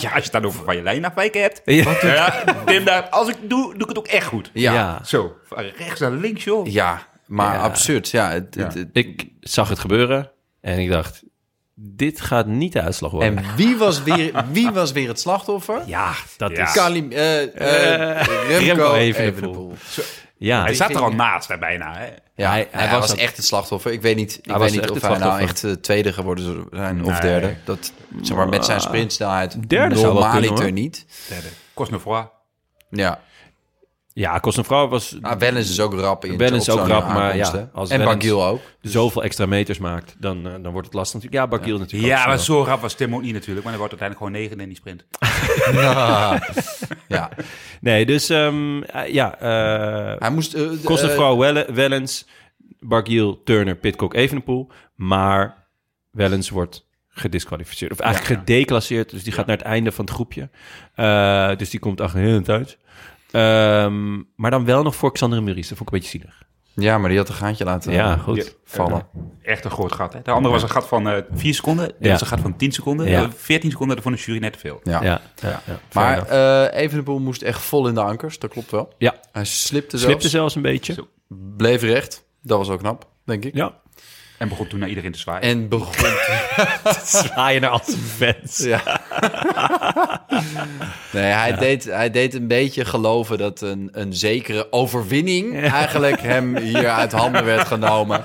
Speaker 4: Ja, als je het dan over van je lijn afwijken hebt.
Speaker 1: Ja.
Speaker 4: Ja, Tim, daar, als ik doe, doe ik het ook echt goed.
Speaker 2: Ja, ja.
Speaker 1: Ja.
Speaker 4: Zo, van rechts naar links, joh.
Speaker 2: maar
Speaker 1: Ja.
Speaker 2: absurd. Ja, het, het- het-
Speaker 1: Ik zag het gebeuren en ik dacht, dit gaat niet de uitslag worden.
Speaker 2: en wie was, weer, wie was weer het slachtoffer?
Speaker 1: ja, dat
Speaker 4: Ja.
Speaker 1: is...
Speaker 2: Kalim, eh, eh, Remco,
Speaker 1: Remco Evenepoel.
Speaker 2: Evenepoel.
Speaker 1: Ja,
Speaker 4: Hij zat er al naast, hè, bijna. Hè.
Speaker 2: Ja,
Speaker 1: Hij-
Speaker 2: hij,
Speaker 1: hij was
Speaker 2: was
Speaker 1: het-
Speaker 2: echt het slachtoffer. Ik weet niet, ik
Speaker 1: was
Speaker 2: weet niet
Speaker 1: echt
Speaker 2: of
Speaker 1: het
Speaker 2: hij nou echt
Speaker 1: slachtoffer.
Speaker 2: eh, tweede geworden zou zijn of derde. Dat, zeg maar, met zijn sprintsnelheid
Speaker 1: Derde zou wel
Speaker 2: normaliter
Speaker 1: kunnen, hoor.
Speaker 2: niet.
Speaker 4: Cosnefroy.
Speaker 2: Ja,
Speaker 1: ja Cosnefroid was
Speaker 2: nou, Wellens is ook rap in
Speaker 1: Wellens
Speaker 2: op
Speaker 1: ook
Speaker 2: zo'n
Speaker 1: rap, maar
Speaker 2: aankomst,
Speaker 1: ja,
Speaker 2: hè.
Speaker 1: als
Speaker 2: En
Speaker 1: Wellens-
Speaker 2: Bagiel ook.
Speaker 1: zoveel extra meters maakt, dan, eh, dan wordt het lastig natuurlijk. Ja, Bakiel natuurlijk ook
Speaker 4: Ja, maar
Speaker 1: snel.
Speaker 4: zo rap was Tim ook niet natuurlijk. Maar hij wordt uiteindelijk gewoon negen in die sprint.
Speaker 2: Ja.
Speaker 1: Nee, dus ehm, eh, ja, eh
Speaker 2: Hij moest... eh, de-
Speaker 1: Kostenvrouw Welle- Wellens, Bargiel, Turner, Pitcock, Evenepoel. Maar Wellens wordt gedisqualificeerd. Of eigenlijk gedeclasseerd, dus die gaat naar het einde van het groepje. Eh, dus die komt achter heel het uit. Ehm, maar dan wel nog voor Xander Muris. Dat vond ik een beetje zielig.
Speaker 2: eh, ja, maar die had een gaantje laten
Speaker 1: Ja,
Speaker 2: eh,
Speaker 1: goed.
Speaker 2: vallen.
Speaker 4: Echt een groot gat, hè. De andere was een gat van eh, vier seconden. Dit
Speaker 1: Ja.
Speaker 4: was een gat van tien seconden.
Speaker 1: Ja.
Speaker 4: Eh, Veertien seconden, daarvan de jury net te veel.
Speaker 2: Ja.
Speaker 1: Ja, ja, ja,
Speaker 2: Maar
Speaker 1: Feyenoord.
Speaker 2: eh Evenepoel moest echt vol in de ankers, dat klopt wel.
Speaker 1: ja,
Speaker 2: Hij slipte zelfs,
Speaker 1: slipte zelfs een beetje.
Speaker 2: bleef recht. Dat was ook knap, denk ik.
Speaker 1: Ja.
Speaker 4: En begon toen naar iedereen te zwaaien.
Speaker 2: En begon...
Speaker 1: Zwaaien naar als fans.
Speaker 2: ja. nee, hij, Deed, hij deed een beetje geloven dat een, een zekere overwinning... eigenlijk hem hier uit handen werd genomen.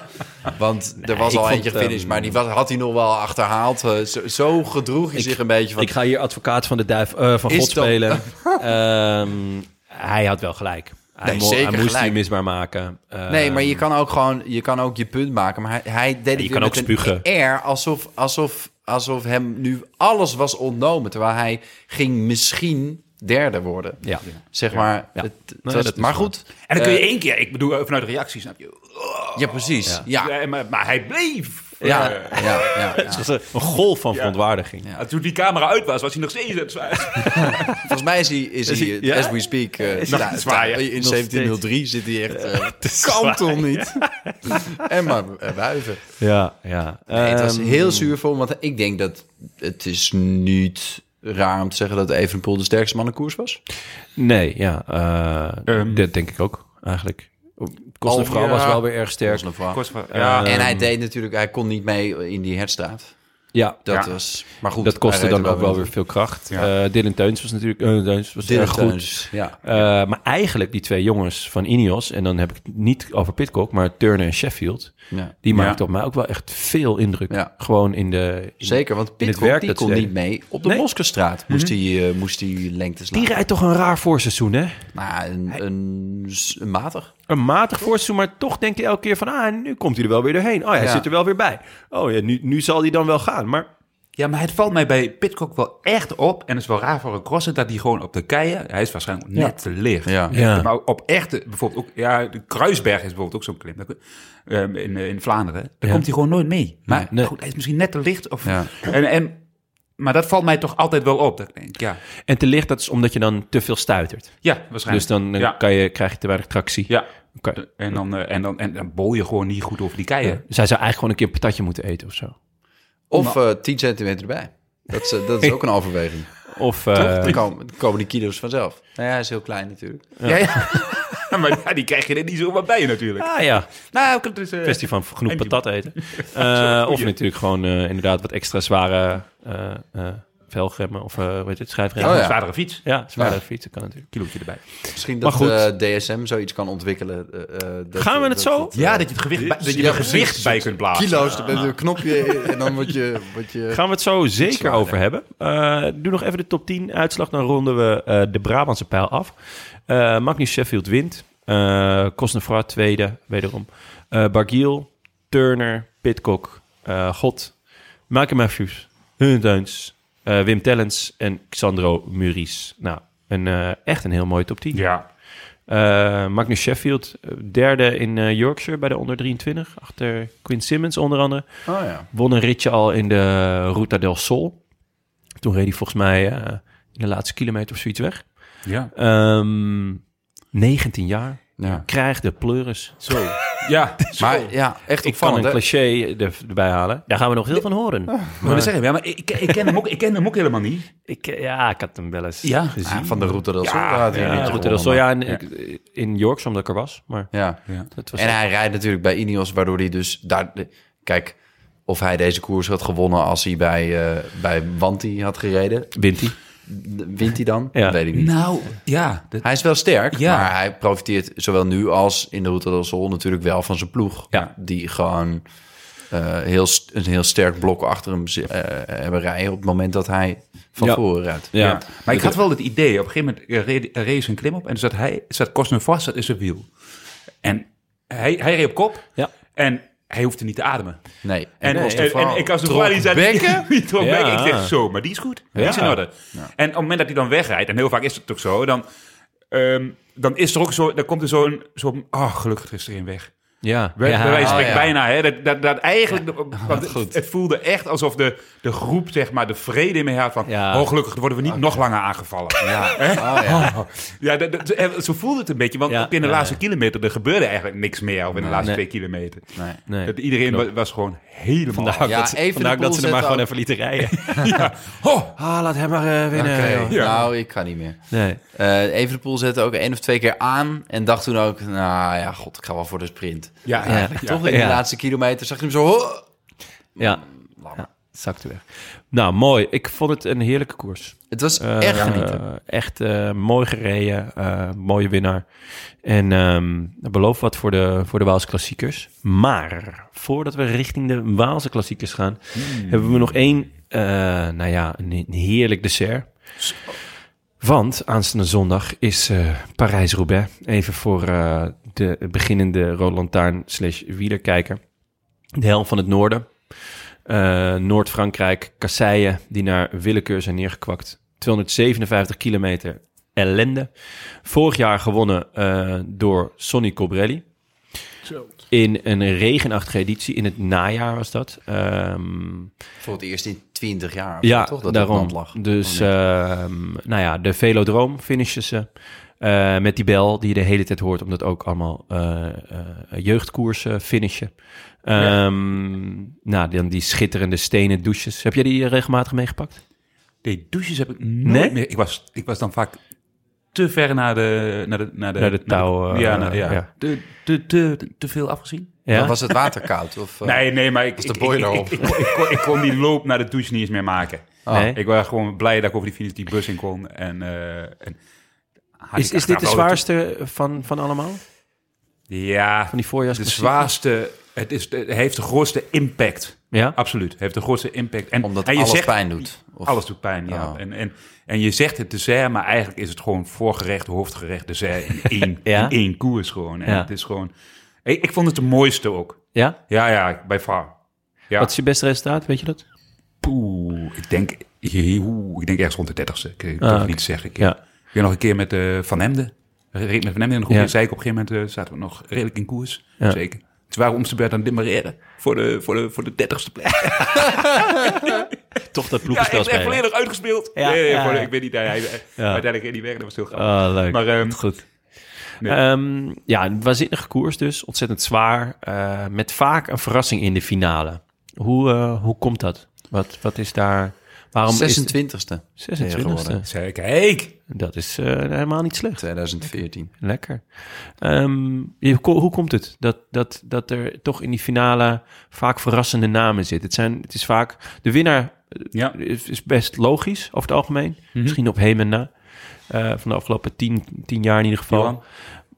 Speaker 2: Want er was
Speaker 1: ik
Speaker 2: al
Speaker 1: vond,
Speaker 2: eentje finish,
Speaker 1: ehm,
Speaker 2: maar die was, had hij nog wel achterhaald. Eh, Zo, zo gedroeg hij zich een beetje van...
Speaker 1: Ik ga hier advocaat van de duif, eh, van
Speaker 2: Is
Speaker 1: God
Speaker 2: dat-
Speaker 1: spelen. Ehm, hij had wel gelijk. Hij,
Speaker 2: Nee,
Speaker 1: mo-
Speaker 2: zeker
Speaker 1: hij moest
Speaker 2: gelijk.
Speaker 1: die misbaar maken. Ehm,
Speaker 2: Nee, maar je kan ook gewoon je kan ook je punt maken. Maar hij, hij deed het
Speaker 1: je
Speaker 2: weer
Speaker 1: kan
Speaker 2: met
Speaker 1: ook spugen.
Speaker 2: een air alsof, alsof, alsof hem nu alles was ontnomen. Terwijl hij ging misschien derde worden.
Speaker 1: Ja.
Speaker 2: Zeg maar.
Speaker 1: Ja.
Speaker 2: Het, het
Speaker 1: Nee,
Speaker 2: was-
Speaker 1: dat is
Speaker 2: maar
Speaker 1: waar.
Speaker 2: goed.
Speaker 4: En dan kun je één keer, ik bedoel eh, vanuit de reactie, snap je? Oh.
Speaker 2: Ja, precies. Ja. Ja.
Speaker 4: Ja, maar, maar hij bleef.
Speaker 2: Ja.
Speaker 4: Eh,
Speaker 2: Ja. ja, ja.
Speaker 1: Het was een- een golf van verontwaardiging.
Speaker 4: en toen die camera uit was, was hij nog steeds aan het zwaaien.
Speaker 2: Volgens mij is hij, is hij
Speaker 1: ja?
Speaker 2: as we speak, eh,
Speaker 4: hij
Speaker 2: sta-
Speaker 4: aan het
Speaker 2: sta-
Speaker 4: zwaaien?
Speaker 2: in 1703 zit hij echt... eh, kan toch niet? en maar eh, wuiven.
Speaker 1: Ja, ja.
Speaker 2: Nee, het was
Speaker 1: Ehm,
Speaker 2: heel zuur voor hem, want ik denk dat het is niet raar om te zeggen dat Evenpoel de sterkste man in koers was.
Speaker 1: Nee, ja. eh, dat denk ik ook, eigenlijk. Kostenvrouw
Speaker 2: Ehm. Oh, ja.
Speaker 1: was wel weer erg
Speaker 2: Dat
Speaker 1: sterk. Ehm.
Speaker 2: was een vraag.
Speaker 4: ja.
Speaker 2: en hij deed natuurlijk, hij kon niet mee in die herstraat.
Speaker 1: Ja,
Speaker 2: Dat
Speaker 4: Ja.
Speaker 2: was, maar goed.
Speaker 1: dat kostte
Speaker 2: hij reed
Speaker 1: dan
Speaker 2: er
Speaker 1: ook wel weer veel kracht.
Speaker 4: Ja.
Speaker 1: Eh, Dylan Teuns was natuurlijk eh, Teuns was
Speaker 2: Dylan
Speaker 1: erg goed.
Speaker 2: Teuns, ja.
Speaker 1: Eh, maar eigenlijk die twee jongens van Ineos... en dan heb ik het niet over Pitcock, maar Turner en Sheffield...
Speaker 2: Ja.
Speaker 1: die maakten op mij ook wel echt veel indruk.
Speaker 2: Ja.
Speaker 1: Gewoon in de... in-
Speaker 2: Zeker, want
Speaker 1: in het
Speaker 2: Pitcock
Speaker 1: werk
Speaker 2: die
Speaker 1: dat ze
Speaker 2: kon
Speaker 1: deden.
Speaker 2: niet mee. Op de
Speaker 1: Nee. Mhm.
Speaker 2: Moskestraat moest hij eh, moest hij lengte slaan.
Speaker 1: Die rijdt toch een raar voorseizoen, hè?
Speaker 2: Nou, een, een, s- een matig.
Speaker 1: Een matig voorseizoen, maar toch denkt hij elke keer van... ah, nu komt hij er wel weer doorheen. Oh, hij
Speaker 2: Ja.
Speaker 1: zit er wel weer bij. Oh ja, nu, nu zal hij dan wel gaan. Maar
Speaker 4: Ja, maar het valt mij bij Pitcock wel echt op. En het is wel raar voor een crosser dat hij gewoon op de keien... Hij is waarschijnlijk net te licht.
Speaker 2: Ja.
Speaker 1: Ja.
Speaker 4: Maar op echte, bijvoorbeeld ook... Ja, de Kruisberg is bijvoorbeeld ook zo'n klim. Dat- ehm, in, eh, in Vlaanderen. Daar komt hij gewoon nooit mee. Maar
Speaker 1: Nee.
Speaker 4: goed, hij is misschien net te licht. Of,
Speaker 2: Ja.
Speaker 4: en, en, maar dat valt mij toch altijd wel op. Dat ik denk, ja,
Speaker 1: En te licht, dat is omdat je dan te veel stuitert.
Speaker 4: ja waarschijnlijk.
Speaker 1: Dus dan eh,
Speaker 4: Ja.
Speaker 1: kan je, krijg je te weinig tractie.
Speaker 4: Ja.
Speaker 1: Kan-
Speaker 4: En dan, eh, en dan, en dan bol je gewoon niet goed over die keien.
Speaker 1: Zij zou eigenlijk gewoon een keer een patatje moeten eten of zo.
Speaker 2: Of eh 10 centimeter erbij. Dat is, eh, dat is ook een overweging.
Speaker 1: Of eh,
Speaker 2: dan, komen, dan komen die kilo's vanzelf. Nou ja, hij is heel klein natuurlijk.
Speaker 4: Ja, ja. maar ja, die krijg je er niet zomaar bij natuurlijk.
Speaker 1: ah ja,
Speaker 4: Nou, ik heb dus... eh,
Speaker 1: kwestie van genoeg
Speaker 4: en die-
Speaker 1: patat eten. Eh, of natuurlijk gewoon eh, inderdaad wat extra zware eh eh, velgremmen of eh hoe heet het, schijfremmen.
Speaker 2: Oh ja.
Speaker 4: Zwaardere fiets.
Speaker 1: Ja, zware
Speaker 2: Ja.
Speaker 1: fietsen kan natuurlijk.
Speaker 4: Kilootje erbij.
Speaker 2: Misschien
Speaker 1: Maar
Speaker 2: dat
Speaker 1: goed.
Speaker 2: eh, DSM zoiets kan ontwikkelen. eh, eh, dat-
Speaker 1: Gaan we
Speaker 2: dat-
Speaker 1: het zo?
Speaker 4: Ja, dat je het gewicht, bij- dat je er gewicht bij kunt blazen.
Speaker 2: Kilo's, er een knopje en dan word je... Word je...
Speaker 1: Gaan we het zo zeker over hebben. Eh, doe nog even de top 10 uitslag. Dan ronden we eh, de Brabantse pijl af. Eh Magnus Sheffield wint. Eh Cosnefra tweede, wederom. Eh Bargiel, Turner, Pitcock, eh, God, Michael Matthews, Hunteuns, Wim Tellens en Xandro Muris. Nou, een, eh, echt een heel mooie top 10.
Speaker 4: Ja.
Speaker 1: Eh, Magnus Sheffield, eh, derde in eh, Yorkshire bij de onder 23. Achter Quinn Simmons onder andere
Speaker 2: Oh ja.
Speaker 1: won een ritje al in de Ruta del Sol. Toen reed hij volgens mij eh, in de laatste kilometer of zoiets weg.
Speaker 4: Ja.
Speaker 1: Ehm, 19 jaar.
Speaker 2: Ja.
Speaker 1: Krijgt de pleuris.
Speaker 4: Zo. Ja.
Speaker 2: Maar ja, echt
Speaker 1: Ik kan
Speaker 2: opvallend.
Speaker 1: een
Speaker 2: hè?
Speaker 1: cliché er, erbij halen. Daar gaan we nog heel van horen.
Speaker 4: eh, Maar, zeggen, ja, maar ik, ik, ken hem ook, ik ken hem ook helemaal niet.
Speaker 1: Ik, eh, ja, ik had hem wel eens
Speaker 4: Ja.
Speaker 1: gezien.
Speaker 2: Ah, van de Route del Sol.
Speaker 4: Ja,
Speaker 2: had hij
Speaker 1: Ja,
Speaker 2: niet
Speaker 1: Ruta
Speaker 2: gewonnen,
Speaker 1: del Sol.
Speaker 2: maar-
Speaker 1: Ja, in, in Yorkshire omdat ik er was. Maar
Speaker 2: Ja.
Speaker 1: dat was
Speaker 2: En hij rijdt natuurlijk bij Ineos, waardoor hij dus daar... Kijk, of hij deze koers had gewonnen als hij bij, eh, bij Wanty had gereden,
Speaker 1: wint hij.
Speaker 2: wint hij dan?
Speaker 1: Ja.
Speaker 2: Dat weet ik niet.
Speaker 4: Nou, ja. dat-
Speaker 2: Hij is wel sterk,
Speaker 4: Ja.
Speaker 2: maar hij profiteert zowel nu als in de Route del Sol natuurlijk wel van zijn ploeg.
Speaker 1: Ja.
Speaker 2: Die gewoon eh, heel, st- een heel sterk blok achter hem zi- eh, hebben rijden op het moment dat hij van
Speaker 1: Ja.
Speaker 2: voren rijdt.
Speaker 1: Ja.
Speaker 4: ja. Maar ik had wel het idee, op een gegeven moment eh, reed- eh, reed ze een klim op en er zat, hij, zat Cosner vast, dat is zijn wiel. En hij, hij reed op kop
Speaker 1: Ja.
Speaker 4: en hij hoefde niet te ademen.
Speaker 2: Nee.
Speaker 1: eh,
Speaker 4: En,
Speaker 2: Nee.
Speaker 4: en, en, ik als de die zei,
Speaker 2: bekken.
Speaker 4: die trok
Speaker 1: Ja.
Speaker 4: bekken. Ik zeg zo, maar die is goed. Die
Speaker 1: Ja.
Speaker 4: is in orde. En op het moment dat hij dan wegrijdt, en heel vaak is het toch zo, dan, ehm, dan is er ook zo, dan komt er zo'n, zo'n oh gelukkig is er een weg.
Speaker 1: Ja. Oh,
Speaker 4: Bij, bij wijze van
Speaker 2: Oh,
Speaker 4: spreken
Speaker 2: ja.
Speaker 4: bijna, hè. Dat, dat, dat eigenlijk, de- want het-
Speaker 2: goed.
Speaker 4: het voelde echt alsof de, de groep, zeg maar, de vrede in me had van,
Speaker 1: Ja.
Speaker 4: oh gelukkig worden we niet nog langer aangevallen.
Speaker 2: Ja. Oh, ja.
Speaker 4: Ja, dat, dat- eh, zo voelde het een beetje, want
Speaker 1: Ja,
Speaker 4: ook in de
Speaker 1: ja,
Speaker 4: laatste kilometer, er gebeurde eigenlijk niks meer, of in de
Speaker 1: Nee.
Speaker 4: laatste twee kilometer.
Speaker 2: Nee.
Speaker 1: Nee.
Speaker 4: Dat iedereen wa- was gewoon helemaal...
Speaker 1: Vandaar
Speaker 2: Ja,
Speaker 1: dat, ze-
Speaker 2: even de
Speaker 1: vandaar
Speaker 2: boel
Speaker 1: dat ze er maar
Speaker 2: zetten
Speaker 1: gewoon
Speaker 2: ook.
Speaker 1: even lieten rijden.
Speaker 4: Ho!
Speaker 1: Ah, laat hem maar eh, winnen.
Speaker 2: Oké,
Speaker 1: joh.
Speaker 4: Ja.
Speaker 2: Nou, ik kan niet meer.
Speaker 1: Nee.
Speaker 2: Eh Evenepoel zette ook één of twee keer aan en dacht toen ook, nou ja, god, ik ga wel voor de sprint.
Speaker 4: Ja,
Speaker 1: Ja,
Speaker 4: eigenlijk, ja.
Speaker 1: toch?
Speaker 2: In de
Speaker 1: Ja,
Speaker 2: laatste kilometer zag je hem zo... "Ho!"
Speaker 1: ja. ja, zakte weg. Nou, mooi. Ik vond het een heerlijke koers.
Speaker 2: Het was
Speaker 1: Eh,
Speaker 2: echt genieten.
Speaker 1: echt eh, mooi gereden. eh, mooie winnaar. En ehm beloof wat voor de, voor de Waalse klassiekers. Maar voordat we richting de Waalse klassiekers gaan,
Speaker 2: Hmm.
Speaker 1: hebben we nog één, eh, nou ja, een, een heerlijk dessert. Want aanstaande zondag is eh, Parijs-Roubaix. Even voor eh, de beginnende Roland Taarn slash wielerkijker. De helm van het noorden. Eh, Noord-Frankrijk, kasseien die naar willekeur zijn neergekwakt. 257 kilometer ellende. Vorig jaar gewonnen eh, door Sonny Cobrelli. In een regenachtige editie, in het najaar was dat. Ehm,
Speaker 2: Voor het eerst in 20 jaar. of
Speaker 1: ja,
Speaker 2: zo, toch? Dat het
Speaker 1: daarom.
Speaker 2: land lag. Oh,
Speaker 1: Dus, ehm, nou ja, de Velodroom finishen ze. eh, met die bel die je de hele tijd hoort, omdat ook allemaal eh, eh, jeugdkoersen finishen. Ehm, Nou, dan die schitterende stenen douches. Heb jij die eh, regelmatig meegepakt?
Speaker 4: Nee, douches heb ik nooit
Speaker 1: Nee?
Speaker 4: meer. Ik was, ik was dan vaak te ver naar de... Naar de, naar de,
Speaker 1: Naar de touw, eh,
Speaker 4: ja, naar- ja.
Speaker 1: ja.
Speaker 4: Te, te, te, te veel afgezien.
Speaker 1: Ja?
Speaker 2: Maar Was het water koud? Of,
Speaker 1: Oh.
Speaker 2: eh,
Speaker 4: Nee, nee, maar ik,
Speaker 2: Was
Speaker 4: ik,
Speaker 2: de
Speaker 4: ik,
Speaker 2: boiler
Speaker 4: ik,
Speaker 2: op?
Speaker 4: ik, ik- ik kon- ik kon die loop naar de douche niet eens meer maken.
Speaker 2: Ah.
Speaker 1: Nee?
Speaker 4: Ik was gewoon blij dat ik over die finish die bus in kon. En, eh, en had
Speaker 1: Is,
Speaker 4: ik nou,
Speaker 1: is dit de
Speaker 4: achteraf wel
Speaker 1: zwaarste van, van allemaal?
Speaker 4: Ja,
Speaker 1: Van die
Speaker 4: de
Speaker 1: voorjaarsklassiekers?
Speaker 4: zwaarste... Het, is, het heeft de grootste impact.
Speaker 1: Ja?
Speaker 4: Absoluut. Het heeft de grootste impact. En,
Speaker 2: Omdat
Speaker 4: en je
Speaker 2: alles
Speaker 4: zegt-
Speaker 2: pijn doet. Of-
Speaker 4: Alles doet pijn, ja.
Speaker 1: Oh.
Speaker 2: Ja.
Speaker 4: En, en, en je zegt het dessert, maar eigenlijk is het gewoon voorgerecht, hoofdgerecht, dessert in één,
Speaker 1: Ja?
Speaker 4: in één koers gewoon. En
Speaker 1: Ja.
Speaker 4: Het is gewoon... Ik, ik vond het de mooiste ook.
Speaker 1: Ja?
Speaker 4: Ja, ja, bij far. Ja.
Speaker 1: Wat is je beste resultaat, weet je dat?
Speaker 4: Poeh, ik denk, oeh, ik denk ergens rond de dertigste. Ik durf
Speaker 1: Ah,
Speaker 4: het
Speaker 1: oké.
Speaker 4: niet te zeggen. Ik, eh,
Speaker 1: Ja.
Speaker 4: ik ben nog een keer met eh, Van Hemden. Reed met Van Hemden in de groep.
Speaker 1: Ja.
Speaker 4: En zei ik op een gegeven moment eh, zaten we nog redelijk in koers.
Speaker 1: Ja.
Speaker 4: Zeker. Toen waren we om zijn beurt aan het demareren. Voor de, voor de, voor de dertigste plek.
Speaker 1: Toch dat
Speaker 4: Ja, ik
Speaker 1: ploegenspel
Speaker 4: ben
Speaker 1: spelen.
Speaker 4: volledig uitgespeeld.
Speaker 1: Ja,
Speaker 4: nee, nee,
Speaker 1: ja,
Speaker 4: voor de-
Speaker 1: ja.
Speaker 4: ik weet niet. Hij, hij,
Speaker 1: Ja.
Speaker 4: Uiteindelijk in die weg, dat was heel grappig.
Speaker 1: Ah, leuk.
Speaker 4: Maar, ehm,
Speaker 1: goed.
Speaker 4: Nee.
Speaker 1: Ehm, ja, een waanzinnige koers dus. Ontzettend zwaar. eh, met vaak een verrassing in de finale. Hoe, eh, hoe komt dat? Wat, wat is daar... Waarom is
Speaker 2: 26e.
Speaker 1: het 26e?
Speaker 4: Zei ik, kijk.
Speaker 1: Dat is eh, helemaal niet slecht.
Speaker 2: 2014.
Speaker 1: Lekker. Ehm, je- ko- hoe komt het dat, dat, dat er toch in die finale vaak verrassende namen zitten? Het, zijn, het is vaak... De winnaar
Speaker 4: Ja.
Speaker 1: is is best logisch over het algemeen. Misschien op hem en na. Eh, van de afgelopen tien, tien jaar in ieder geval.
Speaker 4: Johan.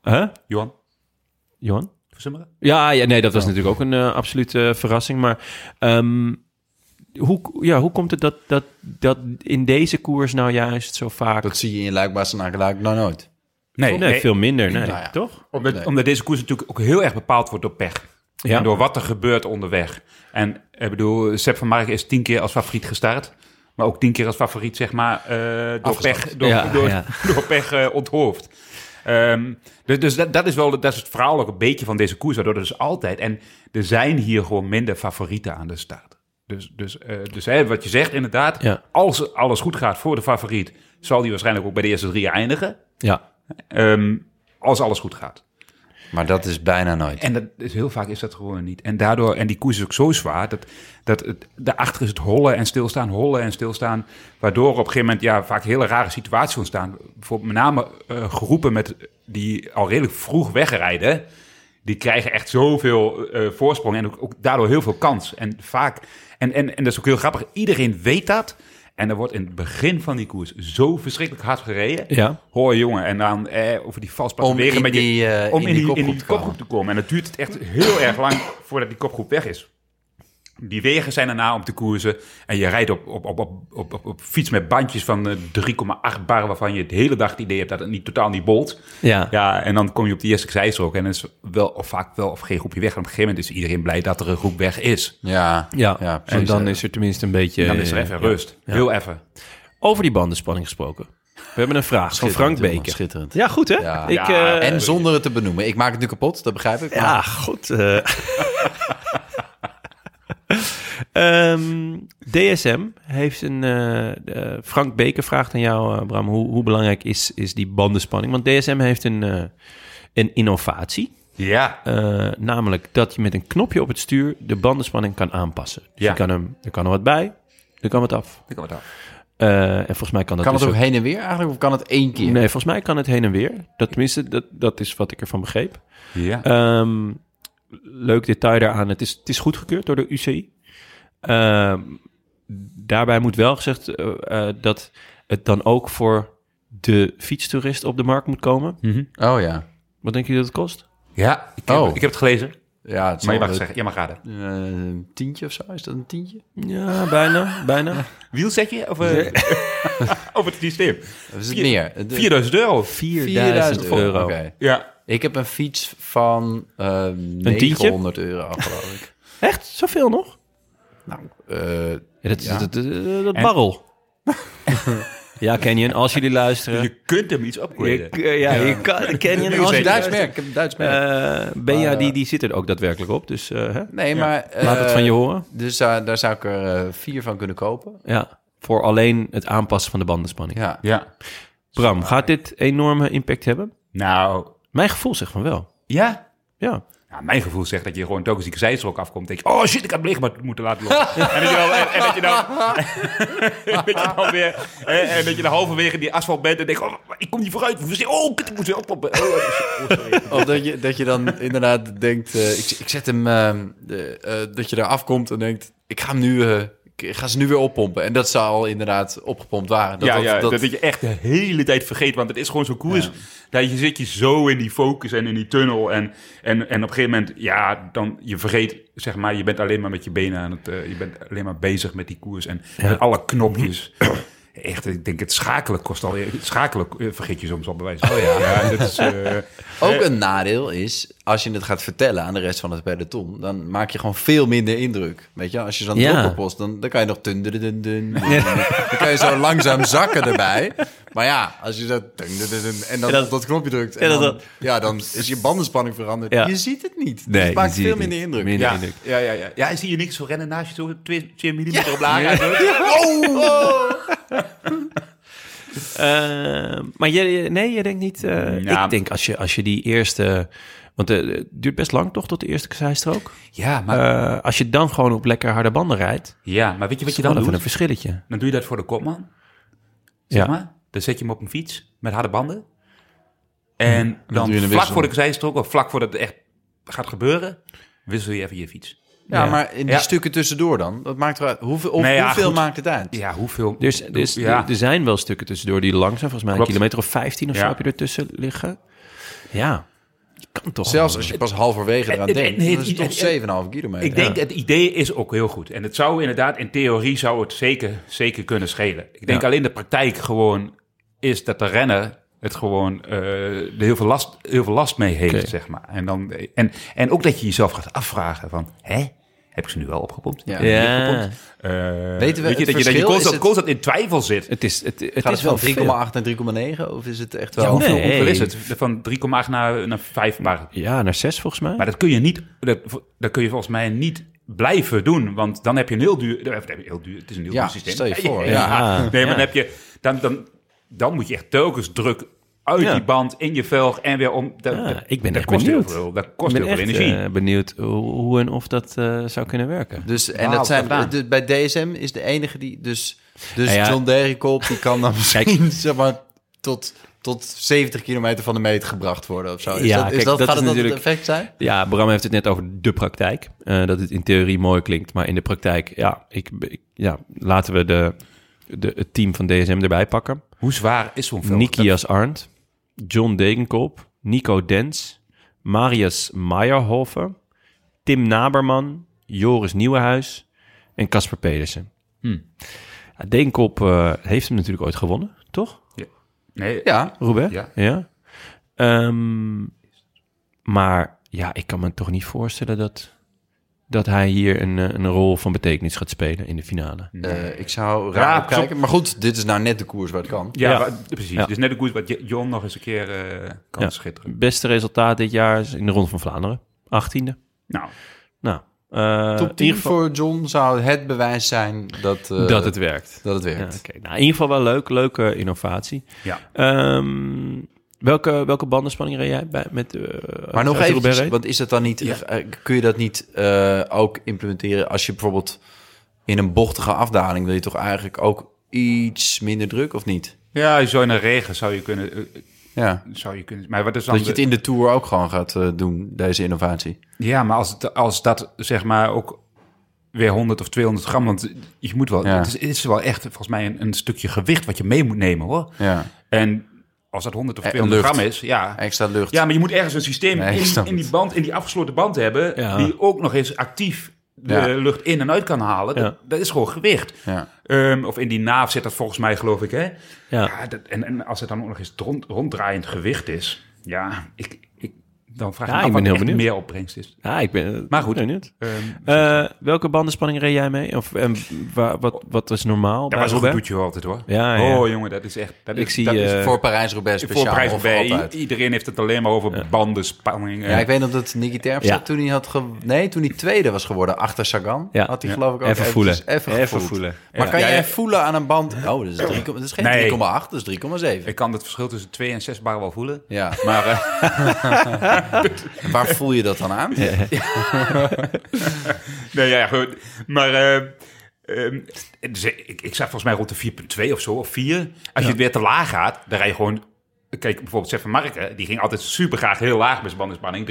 Speaker 1: Huh?
Speaker 4: Johan,
Speaker 1: Johan?
Speaker 4: versummeren?
Speaker 1: Ja, ja nee, dat was natuurlijk ook een eh, absolute verrassing. Maar ehm, hoe, ja, hoe komt het dat, dat, dat in deze koers nou juist zo vaak...
Speaker 2: Dat zie je in Luikbaas en Akeluik nou nooit.
Speaker 4: Nee,
Speaker 1: nee, veel minder, nee.
Speaker 2: Nou ja.
Speaker 1: Toch?
Speaker 4: Omdat, omdat deze koers natuurlijk ook heel erg bepaald wordt door pech.
Speaker 1: Ja.
Speaker 4: En door wat er gebeurt onderweg. En ik bedoel, Sepp van Marken is tien keer als favoriet gestart. Maar ook tien keer als favoriet, zeg maar, eh, door, pech, door,
Speaker 1: Ja,
Speaker 4: door,
Speaker 1: ja.
Speaker 4: door pech eh, onthoofd. Ehm, dus dus dat, dat is wel dat is het verhaal ook een beetje van deze koers. Waardoor er dus altijd... En er zijn hier gewoon minder favorieten aan de start. Dus, dus, eh, dus hè, wat je zegt inderdaad,
Speaker 1: Ja.
Speaker 4: als alles goed gaat voor de favoriet... zal die waarschijnlijk ook bij de eerste drie eindigen.
Speaker 1: Ja.
Speaker 4: Ehm, als alles goed gaat.
Speaker 2: Maar dat is bijna nooit.
Speaker 4: En dat is, heel vaak is dat gewoon niet. En daardoor, en die koers is ook zo zwaar, dat, dat het, daarachter is het hollen en stilstaan, hollen en stilstaan. Waardoor op een gegeven moment ja, vaak hele rare situaties ontstaan. Voor, met name eh, groepen met, die al redelijk vroeg wegrijden, die krijgen echt zoveel eh, voorsprong en ook, ook daardoor heel veel kans. En vaak, en, en, en dat is ook heel grappig, iedereen weet dat. En er wordt in het begin van die koers zo verschrikkelijk hard gereden.
Speaker 1: Ja.
Speaker 4: Hoor jongen, en dan eh, over die valspassen
Speaker 2: Om
Speaker 4: wegen
Speaker 2: in
Speaker 4: met je-
Speaker 2: die, eh,
Speaker 4: om
Speaker 2: in
Speaker 4: in,
Speaker 2: die
Speaker 4: die,
Speaker 2: kopgroep
Speaker 4: in die
Speaker 2: te komen.
Speaker 4: kopgroep te komen. En het duurt het echt heel erg lang voordat die kopgroep weg is. Die wegen zijn erna om te koersen. En je rijdt op, op, op, op, op, op, op fiets met bandjes van eh, 3,8 bar... waarvan je de hele dag het idee hebt dat het niet, totaal niet bolt.
Speaker 1: Ja.
Speaker 4: Ja, en dan kom je op de eerste zijstrook. En dan is wel of vaak wel of geen groepje weg. En op een gegeven moment is iedereen blij dat er een groep weg is.
Speaker 2: Ja.
Speaker 1: Ja.
Speaker 2: Ja, precies.
Speaker 1: en dan is er tenminste een beetje...
Speaker 4: Dan is er even rust. Heel even.
Speaker 1: Over die bandenspanning gesproken. We hebben een vraag van Frank
Speaker 2: jongen,
Speaker 1: Beker.
Speaker 2: Schitterend.
Speaker 1: Ja, goed hè?
Speaker 2: Ja.
Speaker 1: Ik,
Speaker 4: Ja,
Speaker 1: eh,
Speaker 2: En zonder het te benoemen. Ik maak het nu kapot, dat begrijp ik.
Speaker 1: Ja, goed. eh. Ehm, DSM heeft een... eh, eh, Frank Beker vraagt aan jou, eh, Bram, hoe, hoe belangrijk is, is die bandenspanning? Want DSM heeft een, eh, een innovatie.
Speaker 4: Ja.
Speaker 1: Eh, namelijk dat je met een knopje op het stuur de bandenspanning kan aanpassen. Dus
Speaker 4: Ja.
Speaker 1: je kan hem, er kan er wat bij, er kan wat af.
Speaker 4: Ik kan het af.
Speaker 1: Eh, en volgens mij kan dat
Speaker 2: Kan
Speaker 1: dus
Speaker 2: het ook heen en weer eigenlijk? Of kan het één keer?
Speaker 1: Nee,
Speaker 2: Eh,
Speaker 1: volgens mij kan het heen en weer. Dat, tenminste, dat, dat is wat ik ervan begreep.
Speaker 4: Ja.
Speaker 1: Ehm, leuk detail daaraan. Het is, het is goedgekeurd door de UCI. Ehm, daarbij moet wel gezegd eh, eh, dat het dan ook voor de fietstoerist op de markt moet komen.
Speaker 2: Oh ja.
Speaker 1: Wat denk je dat het kost?
Speaker 4: Ja, ik heb,
Speaker 2: Oh.
Speaker 4: ik heb het gelezen.
Speaker 2: Ja, het
Speaker 4: Maar je
Speaker 2: zal
Speaker 4: mag
Speaker 2: wel-
Speaker 4: zeggen, je mag raden.
Speaker 2: eh, een tientje of zo, is dat een tientje?
Speaker 1: Ja, Ah, bijna, bijna.
Speaker 4: Wielsetje of, eh, of het systeem?
Speaker 2: Of is het meer? De-
Speaker 4: 4000 euro.
Speaker 1: 4000 euro.
Speaker 2: Oké.
Speaker 4: Ja.
Speaker 2: Ik heb een fiets van eh
Speaker 1: tientje?
Speaker 2: 900 euro, geloof ik.
Speaker 1: Echt? Zoveel nog?
Speaker 2: Eh,
Speaker 1: Ja, dat, dat, dat, dat- dat barrel. ja, Canyon, als jullie luisteren.
Speaker 4: Je kunt hem iets upgraden.
Speaker 1: Ik, eh, ja, je kan, Canyon, als
Speaker 2: een
Speaker 1: je
Speaker 2: Duits
Speaker 1: luistert.
Speaker 2: merk. Ik heb een Duits merk.
Speaker 1: Eh, Benja, die, die zit er ook daadwerkelijk op. Dus eh, hè?
Speaker 2: nee, maar... eh,
Speaker 1: laat het van je horen.
Speaker 2: Dus eh, daar zou ik er eh, vier van kunnen kopen.
Speaker 1: Ja, voor alleen het aanpassen van de bandenspanning.
Speaker 2: Ja.
Speaker 4: Ja.
Speaker 1: Bram, gaat dit enorme impact hebben?
Speaker 4: Nou,
Speaker 1: Mijn gevoel zegt van wel.
Speaker 4: ja.
Speaker 1: Ja.
Speaker 4: Nou, mijn gevoel zegt dat je gewoon telkens die zijstrook afkomt. Denk je, oh shit, ik had het licht maar moeten laten lopen. en, dat je dan, en, en dat je dan, en dat je dan weer, en, en dat je dan halverwege die asfalt bent en denkt, oh, ik kom niet vooruit. Oh, kut, ik moet weer oppoppen. Oh, shit. Oh, sorry.
Speaker 2: Of dat je, dat je dan inderdaad denkt, eh, ik, ik zet hem, eh, de- eh, dat je daar afkomt en denkt, ik ga hem nu, eh, ik- ik ga ze nu weer oppompen. En dat zou al inderdaad opgepompt waren. Dat,
Speaker 4: ja,
Speaker 2: dat-
Speaker 4: ja,
Speaker 2: dat-
Speaker 4: dat, dat je echt de hele tijd vergeet. Want het is gewoon zo'n koers. Dat je zit je zo in die focus en in die tunnel. En, en, en op een gegeven moment, ja, dan je vergeet, zeg maar, je bent alleen maar met je benen aan het... eh, je bent alleen maar bezig met die koers en met alle knopjes. Echt, ik denk, het schakelen kost alweer... Het schakelen eh, vergeet je soms al bij wijze van. Oh ja. dat is... eh,
Speaker 2: Ook een nadeel is, als je het gaat vertellen aan de rest van het peloton, dan maak je gewoon veel minder indruk. Weet je, als je zo'n
Speaker 1: Ja.
Speaker 2: ja. post, dan, dan kan je nog dun, dun, dun, dun, Dan kan je zo langzaam zakken erbij. Maar ja, als je zo dun, dun, dun, dun, en dan
Speaker 1: Ja, dat-
Speaker 2: op dat knopje drukt,
Speaker 1: ja,
Speaker 2: en
Speaker 1: dat-
Speaker 2: dan, ja, dan is je bandenspanning veranderd.
Speaker 1: Ja.
Speaker 2: Je ziet het niet.
Speaker 1: Nee,
Speaker 2: Nee, het maakt
Speaker 1: je ziet
Speaker 2: veel
Speaker 1: het
Speaker 2: minder
Speaker 1: niet.
Speaker 2: indruk.
Speaker 1: Minder
Speaker 2: ja.
Speaker 1: indruk.
Speaker 2: Ja, ja, ja.
Speaker 4: ja, en zie je niks zo rennen naast je zo 2 millimeter op Oh. laag.
Speaker 1: Eh, maar je, je- nee, je denkt niet... eh,
Speaker 4: Ja.
Speaker 1: Ik denk als je, als je die eerste... Want eh, het duurt best lang toch tot de eerste zijstrook.
Speaker 4: Ja, maar,
Speaker 1: Eh, als je dan gewoon op lekker harde banden rijdt...
Speaker 4: ja, maar weet je wat je
Speaker 1: Dan
Speaker 4: dan
Speaker 1: even
Speaker 4: doet?
Speaker 1: een verschilletje.
Speaker 4: Dan doe je dat voor de kopman. Zeg
Speaker 1: Ja.
Speaker 4: maar. Dan zet je hem op een fiets met harde banden. En dan
Speaker 2: doe je een
Speaker 4: vlak
Speaker 2: wissel.
Speaker 4: voor de zijstrook, of vlak voordat het echt gaat gebeuren, wissel je even je fiets.
Speaker 2: Ja,
Speaker 1: Ja.
Speaker 2: maar in die
Speaker 4: Ja.
Speaker 2: stukken tussendoor dan, dat maakt eruit. Hoeveel, of,
Speaker 4: Nee, ja,
Speaker 2: hoeveel
Speaker 4: goed.
Speaker 2: maakt het uit?
Speaker 4: Ja, hoeveel?
Speaker 1: Dus, dus
Speaker 4: Ja.
Speaker 1: er- er zijn wel stukken tussendoor die langzaam, volgens mij
Speaker 4: Klopt.
Speaker 1: een kilometer of 15 of zo
Speaker 4: Ja.
Speaker 1: heb je ertussen liggen. Ja, je kan toch.
Speaker 2: Zelfs als je pas halverwege eraan
Speaker 4: En- en-
Speaker 2: denkt,
Speaker 4: en-
Speaker 2: dan is
Speaker 4: en- en-
Speaker 2: het toch 7,5 kilometer.
Speaker 4: Ik denk, het idee is ook heel goed. En het zou inderdaad, in theorie zou het zeker, zeker kunnen schelen. Ik denk alleen de praktijk gewoon is dat de renner het gewoon eh, er heel, veel last, heel veel last mee heeft,
Speaker 1: Oké.
Speaker 4: zeg maar. En, dan, en, en ook dat je jezelf gaat afvragen van, hè, heb ik ze nu wel opgepompt?
Speaker 2: Ja.
Speaker 4: Heb ik ze niet
Speaker 1: Ja.
Speaker 4: opgepompt? Eh,
Speaker 2: Weten we
Speaker 4: weet je,
Speaker 2: het
Speaker 4: dat je, dat je
Speaker 2: verschil? Is
Speaker 4: constant,
Speaker 2: het-
Speaker 4: constant in twijfel zit.
Speaker 1: Het is, het, het
Speaker 2: Gaat
Speaker 1: is
Speaker 2: het wel
Speaker 1: wel
Speaker 2: 3,8
Speaker 1: veel.
Speaker 2: naar 3,9 of is het echt
Speaker 1: Ja,
Speaker 2: wel...
Speaker 1: hoeveel-
Speaker 4: Hoeveel
Speaker 1: Nee.
Speaker 4: is het? Van 3,8 naar, naar 5. Maar,
Speaker 1: Ja, naar 6 volgens mij.
Speaker 4: maar dat kun je niet, dat, dat kun je volgens mij niet blijven doen. Want dan heb je een heel duur, dan heb je een heel duur het is een heel
Speaker 2: Ja,
Speaker 4: duur systeem.
Speaker 2: stel je voor, ja.
Speaker 4: Nee, maar
Speaker 1: Ah. Ja.
Speaker 4: dan heb je, dan, dan, dan moet je echt telkens druk uit
Speaker 1: Ja.
Speaker 4: die band, in je velg en weer om. Dat,
Speaker 1: Ja,
Speaker 4: dat-
Speaker 1: ik ben
Speaker 4: dat
Speaker 1: echt
Speaker 4: kost
Speaker 1: benieuwd.
Speaker 4: Heel veel, dat
Speaker 1: ik
Speaker 4: kost heel
Speaker 1: ben
Speaker 4: veel
Speaker 1: echt
Speaker 4: energie.
Speaker 1: eh, benieuwd hoe, hoe en of dat eh, zou kunnen werken.
Speaker 2: Dus, en
Speaker 4: Wauw,
Speaker 2: dat zijn,
Speaker 4: gedaan.
Speaker 2: de- bij DSM is de enige die... Dus, dus
Speaker 1: Nou ja.
Speaker 2: John Degenkolb, die kan dan misschien zeg maar, tot, tot 70 kilometer van de meet gebracht worden of zo. Is
Speaker 1: Ja,
Speaker 2: dat, is
Speaker 1: kijk,
Speaker 2: dat,
Speaker 1: dat is
Speaker 2: gaat het dat
Speaker 1: natuurlijk-
Speaker 2: het effect zijn?
Speaker 1: Ja, Bram heeft het net over de praktijk. Eh, dat het in theorie mooi klinkt, maar in de praktijk, ja, ik, ik- ja laten we de, de, het team van DSM erbij pakken.
Speaker 4: Hoe zwaar is zo'n velg?
Speaker 1: Nikias Arndt, John Degenkolb, Nico Dens, Marius Meyerhoven, Tim Naberman, Joris Nieuwenhuis en Casper Pedersen.
Speaker 4: Hm.
Speaker 1: Ja, Degenkolb eh, heeft hem natuurlijk ooit gewonnen, toch?
Speaker 4: Nee,
Speaker 2: Ja.
Speaker 1: Robert?
Speaker 4: Ja.
Speaker 1: Ehm, maar ja, ik kan me toch niet voorstellen dat, dat hij hier een, eh, een rol van betekenis gaat spelen in de finale.
Speaker 2: Eh, ik zou raar
Speaker 4: Ja,
Speaker 2: opkijken. Maar goed, dit is nou net de koers waar het kan.
Speaker 4: Ja,
Speaker 1: Ja.
Speaker 4: wa- precies.
Speaker 1: Ja.
Speaker 4: Dus net de koers wat J- John nog eens een keer eh, kan
Speaker 1: Ja.
Speaker 4: schitteren.
Speaker 1: Beste resultaat dit jaar is in de Ronde van Vlaanderen, 18e.
Speaker 4: Nou,
Speaker 1: Nou, eh, in
Speaker 2: Top
Speaker 1: ieder
Speaker 2: 10
Speaker 1: geval-
Speaker 2: voor John zou het bewijs zijn dat, eh,
Speaker 1: dat het werkt.
Speaker 2: dat het
Speaker 1: Ja,
Speaker 2: werkt.
Speaker 1: oké. nou, in ieder geval wel leuk. Leuke innovatie.
Speaker 4: ja.
Speaker 1: Ehm, welke, welke bandenspanning reed jij bij, met... eh,
Speaker 2: Maar nog
Speaker 1: als je Roubaix
Speaker 2: even,
Speaker 1: reed?
Speaker 2: want is dat dan niet, eh, kun je dat niet eh, ook implementeren als je bijvoorbeeld in een bochtige afdaling wil je toch eigenlijk ook iets minder druk of niet?
Speaker 4: ja, zo in de regen zou je kunnen... eh,
Speaker 2: Ja.
Speaker 4: Zou je kunnen, maar wat is dan
Speaker 2: Dat je
Speaker 4: de-
Speaker 2: het in de tour ook gewoon gaat eh, doen, deze innovatie.
Speaker 4: Ja, maar als, het, als dat zeg maar ook weer 100 of 200 gram, want je moet wel,
Speaker 2: Ja.
Speaker 4: het, is, het is wel echt volgens mij een, een stukje gewicht wat je mee moet nemen hoor.
Speaker 2: Ja.
Speaker 4: En als dat 100 of
Speaker 2: En
Speaker 4: 200
Speaker 2: lucht.
Speaker 4: gram is, ja.
Speaker 2: Extra lucht.
Speaker 4: Ja, maar je moet ergens een systeem
Speaker 2: Nee, ik
Speaker 4: in,
Speaker 2: snap
Speaker 4: in die
Speaker 2: het.
Speaker 4: band, in die afgesloten band hebben,
Speaker 1: Ja.
Speaker 4: die ook nog eens actief de
Speaker 2: Ja.
Speaker 4: lucht in en uit kan halen. Dat,
Speaker 1: Ja.
Speaker 4: dat is gewoon gewicht.
Speaker 2: Ja.
Speaker 4: Ehm, of in die naaf zit dat volgens mij, geloof ik, hè?
Speaker 1: Ja.
Speaker 4: Ja, dat, en, en als het dan ook nog eens rond, ronddraaiend gewicht is, ja, ik, ik, dan vraag ik
Speaker 1: Ja,
Speaker 4: me af
Speaker 1: ik ben
Speaker 4: wat
Speaker 1: heel
Speaker 4: echt
Speaker 1: benieuwd.
Speaker 4: meer opbrengst is.
Speaker 1: ja, Ah, ik ben...
Speaker 4: Maar goed.
Speaker 1: ben benieuwd.
Speaker 4: Ehm,
Speaker 1: Eh, welke bandenspanning reed jij mee? Of en wa- wat, wat is normaal
Speaker 4: Dat
Speaker 1: bij
Speaker 4: was een goed
Speaker 1: Robert?
Speaker 4: doetje altijd hoor.
Speaker 1: Ja, ja.
Speaker 4: Oh jongen, dat is echt. Dat
Speaker 1: Ik
Speaker 4: is,
Speaker 1: zie,
Speaker 4: dat is
Speaker 1: eh,
Speaker 2: Voor Parijs-Roubaix
Speaker 4: voor
Speaker 2: speciaal.
Speaker 4: prijs
Speaker 2: of
Speaker 4: bij.
Speaker 2: altijd.
Speaker 4: I- Iedereen heeft het alleen maar over banden, spanning. eh.
Speaker 2: Ja, ik weet nog dat Nicky Terpstra
Speaker 1: Ja.
Speaker 2: toen hij had ge- nee, toen hij tweede was geworden achter Sagan,
Speaker 1: Ja.
Speaker 2: had hij
Speaker 1: Ja.
Speaker 2: geloof ik ook
Speaker 1: Even voelen.
Speaker 2: eventjes Even,
Speaker 1: Even
Speaker 2: gevoeld.
Speaker 1: voelen.
Speaker 2: Maar
Speaker 1: Ja.
Speaker 2: kan
Speaker 4: Ja,
Speaker 2: jij
Speaker 4: ja.
Speaker 2: voelen aan een band? Oh, dat is, 3, dat is geen
Speaker 4: Nee.
Speaker 2: 3,8, dat is 3,7.
Speaker 4: Ik kan het verschil tussen 2 en 6 bar wel voelen.
Speaker 2: Ja, maar eh, waar voel je dat dan aan?
Speaker 4: Nee, ja, goed. Maar eh, ehm, dus ik, ik zag volgens mij rond de 4,2 of zo, of 4. Als je het weer te laag gaat, dan rij je gewoon... Kijk, bijvoorbeeld Seven Marken, die ging altijd super graag heel laag met zijn bandenspanning.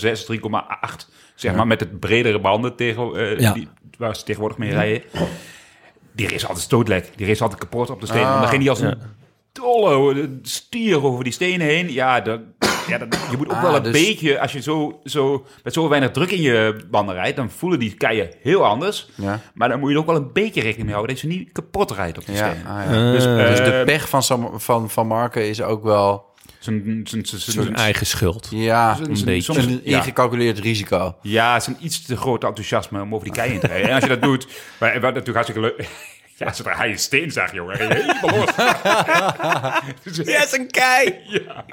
Speaker 4: 3,6, 3,8, zeg maar, met het bredere banden tegen, eh,
Speaker 1: Ja.
Speaker 4: die, waar ze tegenwoordig mee rijden. Die race altijd stootlek, die race altijd kapot op de stenen.
Speaker 2: Ah.
Speaker 4: dan ging die als een dolle stier over die stenen heen. Ja, dat, ja dat, je moet ook
Speaker 2: Ah,
Speaker 4: wel een
Speaker 2: dus-
Speaker 4: beetje, eh, als je zo, zo, met zo weinig druk in je banden rijdt, dan voelen die keien heel anders.
Speaker 2: Ja.
Speaker 4: Maar dan moet je er ook wel een beetje rekening mee houden dat je niet kapot rijdt op de
Speaker 2: Ja,
Speaker 4: steen.
Speaker 2: ah, ja.
Speaker 4: Dus, eh,
Speaker 2: Dus de pech van, Sam- van, van Marken is ook wel
Speaker 4: zijn- zijn- zijn- zijn-
Speaker 1: Eigen schuld.
Speaker 2: ja,
Speaker 4: zijn- zijn-
Speaker 1: beetje.
Speaker 4: soms-
Speaker 2: een
Speaker 4: ja.
Speaker 2: ingecalculeerd risico.
Speaker 4: Ja, het is een iets te groot enthousiasme om over die keien te rijden. En als je dat doet, wa- wat natuurlijk hartstikke leuk... Ja, zodra hij een steen zag, jongen. ging je helemaal los. Ja, is een kei! Dus- Ja,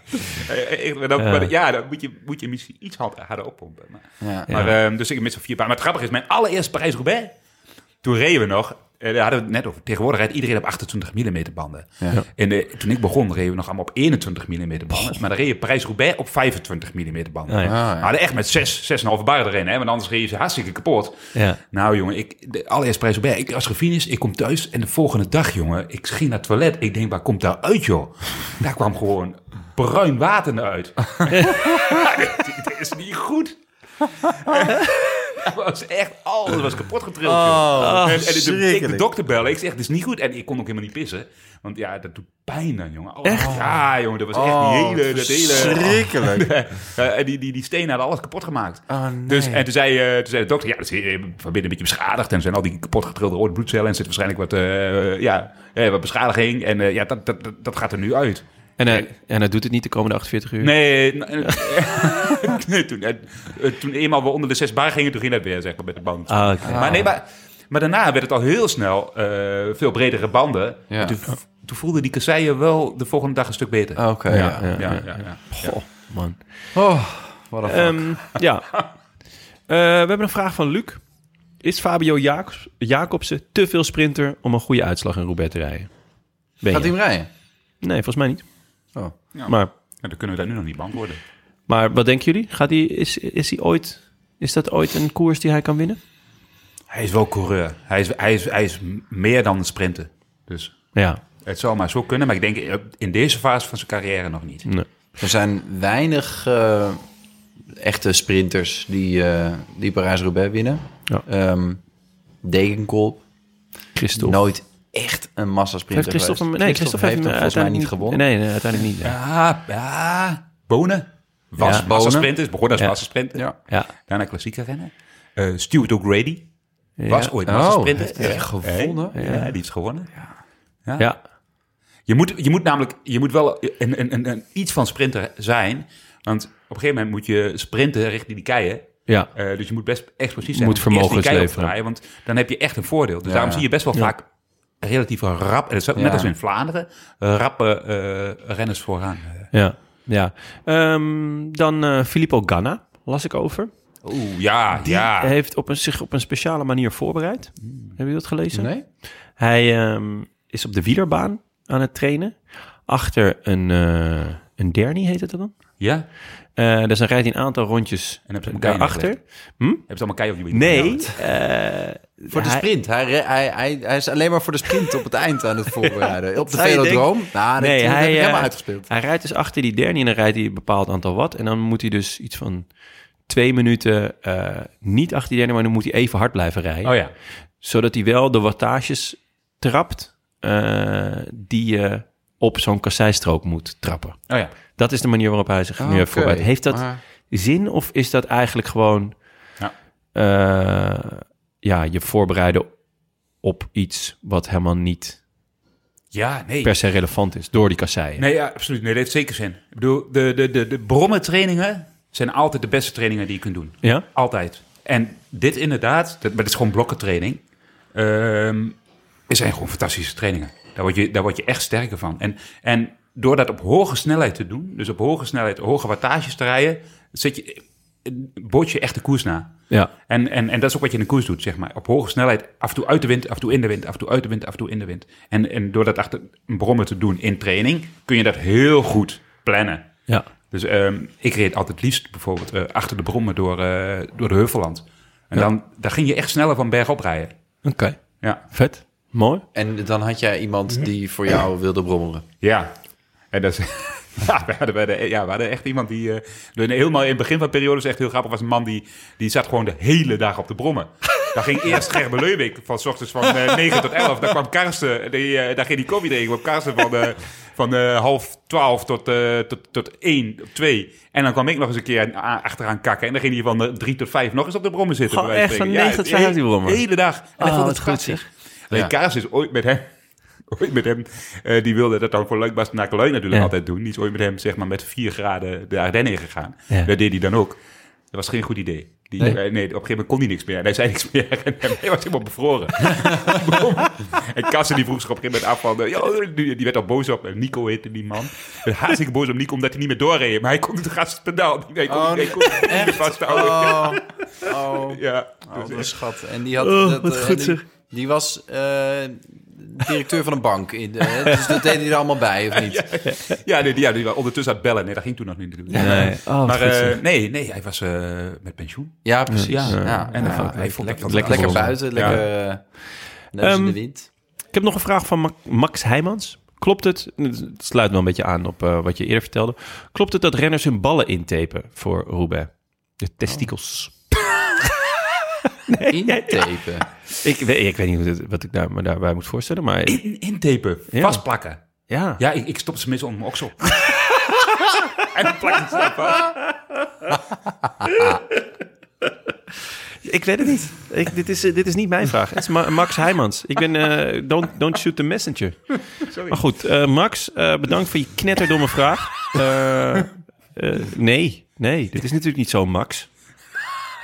Speaker 4: Eh, eh, dan, maar ja dan moet je, moet je misschien iets hard- harder oppompen. Maar,
Speaker 2: Ja.
Speaker 4: maar, ehm, dus ik mis zo'n vier baan. Maar het grappige is, mijn allereerste Parijs-Roubaix... Toen reden we nog... eh, daar hadden we het net over. Tegenwoordig rijdt iedereen op 28 mm banden. En eh, toen ik begon, reden we nog allemaal op 21 mm banden. Maar dan reed je Parijs-Roubaix op 25 mm banden.
Speaker 1: Ah, ja.
Speaker 2: Ah, ja.
Speaker 4: Maar echt met 6, 6,5 bar erin, hè? want anders reed je ze hartstikke kapot.
Speaker 1: Ja.
Speaker 4: Nou jongen, ik, de allereerst prijs op Ik was gefinished, ik kom thuis en de volgende dag jongen, ik ging naar het toilet. Ik denk, waar komt daar uit joh? Daar kwam gewoon bruin water naar uit. dit, dit is niet goed. Dat was echt, alles was kapot getrild joh. en en ik de, ik de dokter bellen, ik zeg, dit is niet goed. En ik kon ook helemaal niet pissen. Want ja, dat doet pijn dan jongen. Oh, Ja jongen, dat was
Speaker 1: Oh,
Speaker 4: echt
Speaker 2: Oh,
Speaker 4: die hele, dat hele...
Speaker 2: Schrikkelijk.
Speaker 4: Eh, en die, die, die stenen hadden alles kapot gemaakt. dus, en toen zei, eh, toen zei de dokter, ja, dat is eh, van binnen een beetje beschadigd. En er zijn al die kapot getrilde rode bloedcellen. En er zit waarschijnlijk wat, eh, ja, eh, wat beschadiging. En eh, ja, dat, dat, dat, dat gaat er nu uit.
Speaker 1: En, hij, en hij doet het niet de komende 48 uur?
Speaker 4: Nee, n- eh, nee, toen, eh, eh, toen eenmaal we onder de zes bar gingen, toen ging dat weer, zeg maar, met de band.
Speaker 1: Ah, oké.
Speaker 4: Maar, nee, maar, maar daarna werd het al heel snel eh, veel bredere banden.
Speaker 2: Ja.
Speaker 4: En Toen, toen voelden die kasseien wel de volgende dag een stuk beter.
Speaker 2: Oké, ja. Oh,
Speaker 4: ja, ja, ja, ja.
Speaker 1: Goh, man.
Speaker 2: Wat een fuck.
Speaker 1: Ehm, ja. Eh, we hebben een vraag van Luc. Is Fabio Jacobs, Jacobsen te veel sprinter om een goede uitslag in Roubaix te rijden? Ben
Speaker 2: Gaat
Speaker 1: je?
Speaker 2: hij hem rijden?
Speaker 1: Nee, volgens mij niet.
Speaker 2: Oh.
Speaker 4: Ja.
Speaker 1: Maar,
Speaker 4: Ja, dan kunnen we daar nu nog niet bang worden.
Speaker 1: maar wat denken jullie? Gaat hij, is, is, hij ooit, is dat ooit een koers die hij kan winnen?
Speaker 4: Hij is wel coureur. Hij is, hij is, hij is m- meer dan een sprinter. Dus
Speaker 1: Ja.
Speaker 4: het zou maar zo kunnen. Maar ik denk eh, in deze fase van zijn carrière nog niet.
Speaker 2: Er zijn weinig eh, echte sprinters die, eh, die Parijs-Roubaix winnen.
Speaker 1: Ja.
Speaker 2: Ehm, Degenkolb,
Speaker 1: Christophe.
Speaker 2: nooit echt een massasprinter
Speaker 1: heeft Christophe hem,
Speaker 2: geweest.
Speaker 1: nee, Christophe heeft hem eh,
Speaker 2: volgens mij
Speaker 1: uiteindelijk
Speaker 2: niet gewonnen.
Speaker 1: Nee, nee, uiteindelijk niet. Ja.
Speaker 4: Ja, ja. Bonen. Was
Speaker 1: Ja.
Speaker 4: massasprinter. Is begonnen als
Speaker 1: Ja.
Speaker 4: massasprinter.
Speaker 1: Ja.
Speaker 4: Daarna klassieke rennen. Eh, Stuart O'Grady. Was ooit
Speaker 2: Oh,
Speaker 4: massasprinter.
Speaker 2: heeft hij echt gewonnen?
Speaker 4: Hey. Ja, die heeft gewonnen.
Speaker 1: Ja.
Speaker 4: Je moet, je moet namelijk je moet wel een, een, een, een iets van sprinter zijn. Want op een gegeven moment moet je sprinten richting die keien.
Speaker 1: Ja.
Speaker 4: Eh, dus je moet best explosief zijn.
Speaker 1: Moet
Speaker 4: Om eerst die
Speaker 1: vermogens
Speaker 4: kei op te
Speaker 1: leveren.
Speaker 4: draaien, want dan heb je echt een voordeel. Dus
Speaker 2: Ja.
Speaker 4: daarom zie je best wel vaak relatief rap, en dat is ook net
Speaker 2: Ja.
Speaker 4: als in Vlaanderen, rappe eh, renners vooraan.
Speaker 1: Ja, ja. Ehm, dan eh, Filippo Ganna las ik over.
Speaker 4: Oeh, ja, ja.
Speaker 1: Hij heeft op een, zich op een speciale manier voorbereid. Heb je dat gelezen?
Speaker 2: Nee?
Speaker 1: Hij ehm, is op de wielerbaan aan het trainen. Achter een, eh, een derny heet het dan.
Speaker 4: ja?
Speaker 1: Eh dus dan rijdt hij een aantal rondjes
Speaker 4: En hebben ze elkaar
Speaker 1: daarachter.
Speaker 4: Hebben ze allemaal keien op je
Speaker 1: Nee,
Speaker 4: Ja.
Speaker 1: eh,
Speaker 2: Voor de
Speaker 1: Hij-
Speaker 2: sprint. Hij, re- hij, hij, hij is alleen maar voor de sprint op het eind aan het voorbereiden. op de
Speaker 1: zou je
Speaker 2: velodroom. Nou, nee,
Speaker 1: Nee,
Speaker 2: dat hij,
Speaker 1: hij,
Speaker 2: heb ik
Speaker 1: eh,
Speaker 2: helemaal uitgespeeld.
Speaker 1: Hij rijdt dus achter die derde en dan rijdt hij een bepaald aantal watt. En dan moet hij dus iets van twee minuten eh, niet achter die derde, maar dan moet hij even hard blijven rijden.
Speaker 4: Oh ja.
Speaker 1: Zodat hij wel de wattages trapt eh, die je op zo'n kasseistrook moet trappen.
Speaker 4: Oh ja.
Speaker 1: Dat is de manier waarop hij zich nu heeft
Speaker 2: Oké,
Speaker 1: voorbereid. Heeft dat
Speaker 2: maar-
Speaker 1: zin of is dat eigenlijk gewoon
Speaker 4: Ja.
Speaker 1: eh, ja, je voorbereiden op iets wat helemaal niet
Speaker 4: Ja, nee.
Speaker 1: per se relevant is door die kasseien?
Speaker 4: Nee, ja, absoluut. Nee, dat heeft zeker zin. Ik bedoel, de, de, de, de brommentrainingen zijn altijd de beste trainingen die je kunt doen.
Speaker 1: Ja?
Speaker 4: Altijd. En dit inderdaad, dat, maar dit is gewoon blokkentraining. Ehm het zijn gewoon fantastische trainingen. Daar word je, daar word je echt sterker van. En, en door dat op hoge snelheid te doen, dus op hoge snelheid, hoge wattages te rijden, zit je, bood je echt de koers na.
Speaker 1: Ja.
Speaker 4: En, en, en dat is ook wat je in de koers doet, zeg maar. Op hoge snelheid, af en toe uit de wind, af en toe in de wind, af en toe uit de wind, af en toe in de wind. En, en door dat achter een brommer te doen in training, kun je dat heel goed plannen.
Speaker 1: Ja.
Speaker 4: Dus ehm, ik reed altijd liefst bijvoorbeeld eh, achter de brommen door, eh, door de Heuvelland. En dan daar ging je echt sneller van berg op rijden.
Speaker 1: Oké.
Speaker 4: Ja.
Speaker 1: Vet. Mooi.
Speaker 2: En dan had jij
Speaker 1: Mhm.
Speaker 2: iemand die voor jou wilde brommelen.
Speaker 4: Ja. En dat is, ja, we hadden, bij de- ja, we hadden echt iemand die... eh, door- helemaal in het begin van de periode is echt heel grappig. was een man die, die zat gewoon de hele dag op de brommen. Daar ging eerst Gerben Leuwik van s ochtends van eh, 9 tot 11. Daar kwam Karsten, die, eh, daar ging die koffie drinken. Kwam Karsten van, eh, van eh, half 12 tot, eh, tot, tot 1, 2. En dan kwam ik nog eens een keer a- achteraan kakken. En dan ging hij van eh, 3 tot 5 nog eens op de brommen zitten.
Speaker 1: Gewoon
Speaker 4: bij wijze
Speaker 1: echt van
Speaker 4: spreken.
Speaker 1: 9 tot
Speaker 4: Ja, de
Speaker 1: 5 die brommen.
Speaker 4: hele dag. En hij
Speaker 1: Oh,
Speaker 4: vond
Speaker 1: wat
Speaker 4: het
Speaker 1: goed,
Speaker 4: fantastisch.
Speaker 1: zeg.
Speaker 4: Nee,
Speaker 2: Ja.
Speaker 4: Kaas is ooit met hem. Ooit met hem. eh, die wilde dat dan voor Leukbas naar Kalui natuurlijk
Speaker 1: Ja.
Speaker 4: altijd doen. Die is ooit met hem, zeg maar, met 4 graden de Ardennen ingegaan.
Speaker 1: Ja.
Speaker 4: Dat deed hij dan ook. Dat was geen goed idee. Die, eh, nee. op een gegeven moment kon hij niks meer. En hij zei niks meer. En hij was helemaal bevroren. Boom. en Kassen die vroeg zich op een gegeven moment af van... eh, "Yo," die die werd al boos op. eh, Nico heette die man. En hartstikke boos op Nico omdat hij niet meer doorreed. Maar hij kon het gaspedaal niet. Hij kon,
Speaker 2: Oh,
Speaker 4: hij kon het niet meer vasthouden.
Speaker 2: Oh, oh,
Speaker 4: Ja. Dus,
Speaker 2: oh,
Speaker 4: eh,
Speaker 2: wat een schat. En die had... dat, eh,
Speaker 1: Oh, goed,
Speaker 2: die,
Speaker 1: zeg.
Speaker 2: die was eh, directeur van een bank. In, eh, dus dat deed hij er allemaal bij, of niet?
Speaker 4: Ja, nee, die, ja, die was ondertussen aan het bellen. Nee, dat ging toen nog niet. natuurlijk.
Speaker 1: Nee. Oh, wat
Speaker 4: maar
Speaker 1: goed,
Speaker 4: eh,
Speaker 1: zeg.
Speaker 4: nee, nee, hij was eh, met pensioen.
Speaker 2: Ja, precies.
Speaker 4: Ja.
Speaker 2: Ja,
Speaker 4: En
Speaker 2: ja.
Speaker 4: hij vond- hij vond het
Speaker 1: lekker
Speaker 4: fantastisch.
Speaker 2: Lekker
Speaker 1: Volgens mij.
Speaker 2: buiten, lekker eh, neus in de
Speaker 1: Ehm,
Speaker 2: wind.
Speaker 1: Ik heb nog een vraag van Ma- Max Heijmans. Klopt het, het sluit wel een beetje aan op eh, wat je eerder vertelde. Klopt het dat renners hun ballen intapen voor Roubaix? De testikels.
Speaker 2: Intepen.
Speaker 1: Ik, weet, ik weet niet hoe dit- wat ik daar, me daarbij moet voorstellen, maar
Speaker 4: In, intapen,
Speaker 1: Ja.
Speaker 4: vastplakken.
Speaker 1: ja.
Speaker 4: Ja, ik, ik stop ze mis onder mijn oksel. en dan plak ik ze daar vast.
Speaker 1: Ik weet het niet. Ik, dit, is, eh, dit is niet mijn vraag. Het is Ma- Max Heijmans. Ik ben eh, don't, don't shoot the messenger. Maar goed, eh, Max, eh, bedankt voor je knetterdomme vraag. Eh, eh, nee, nee, dit is natuurlijk niet zo, Max.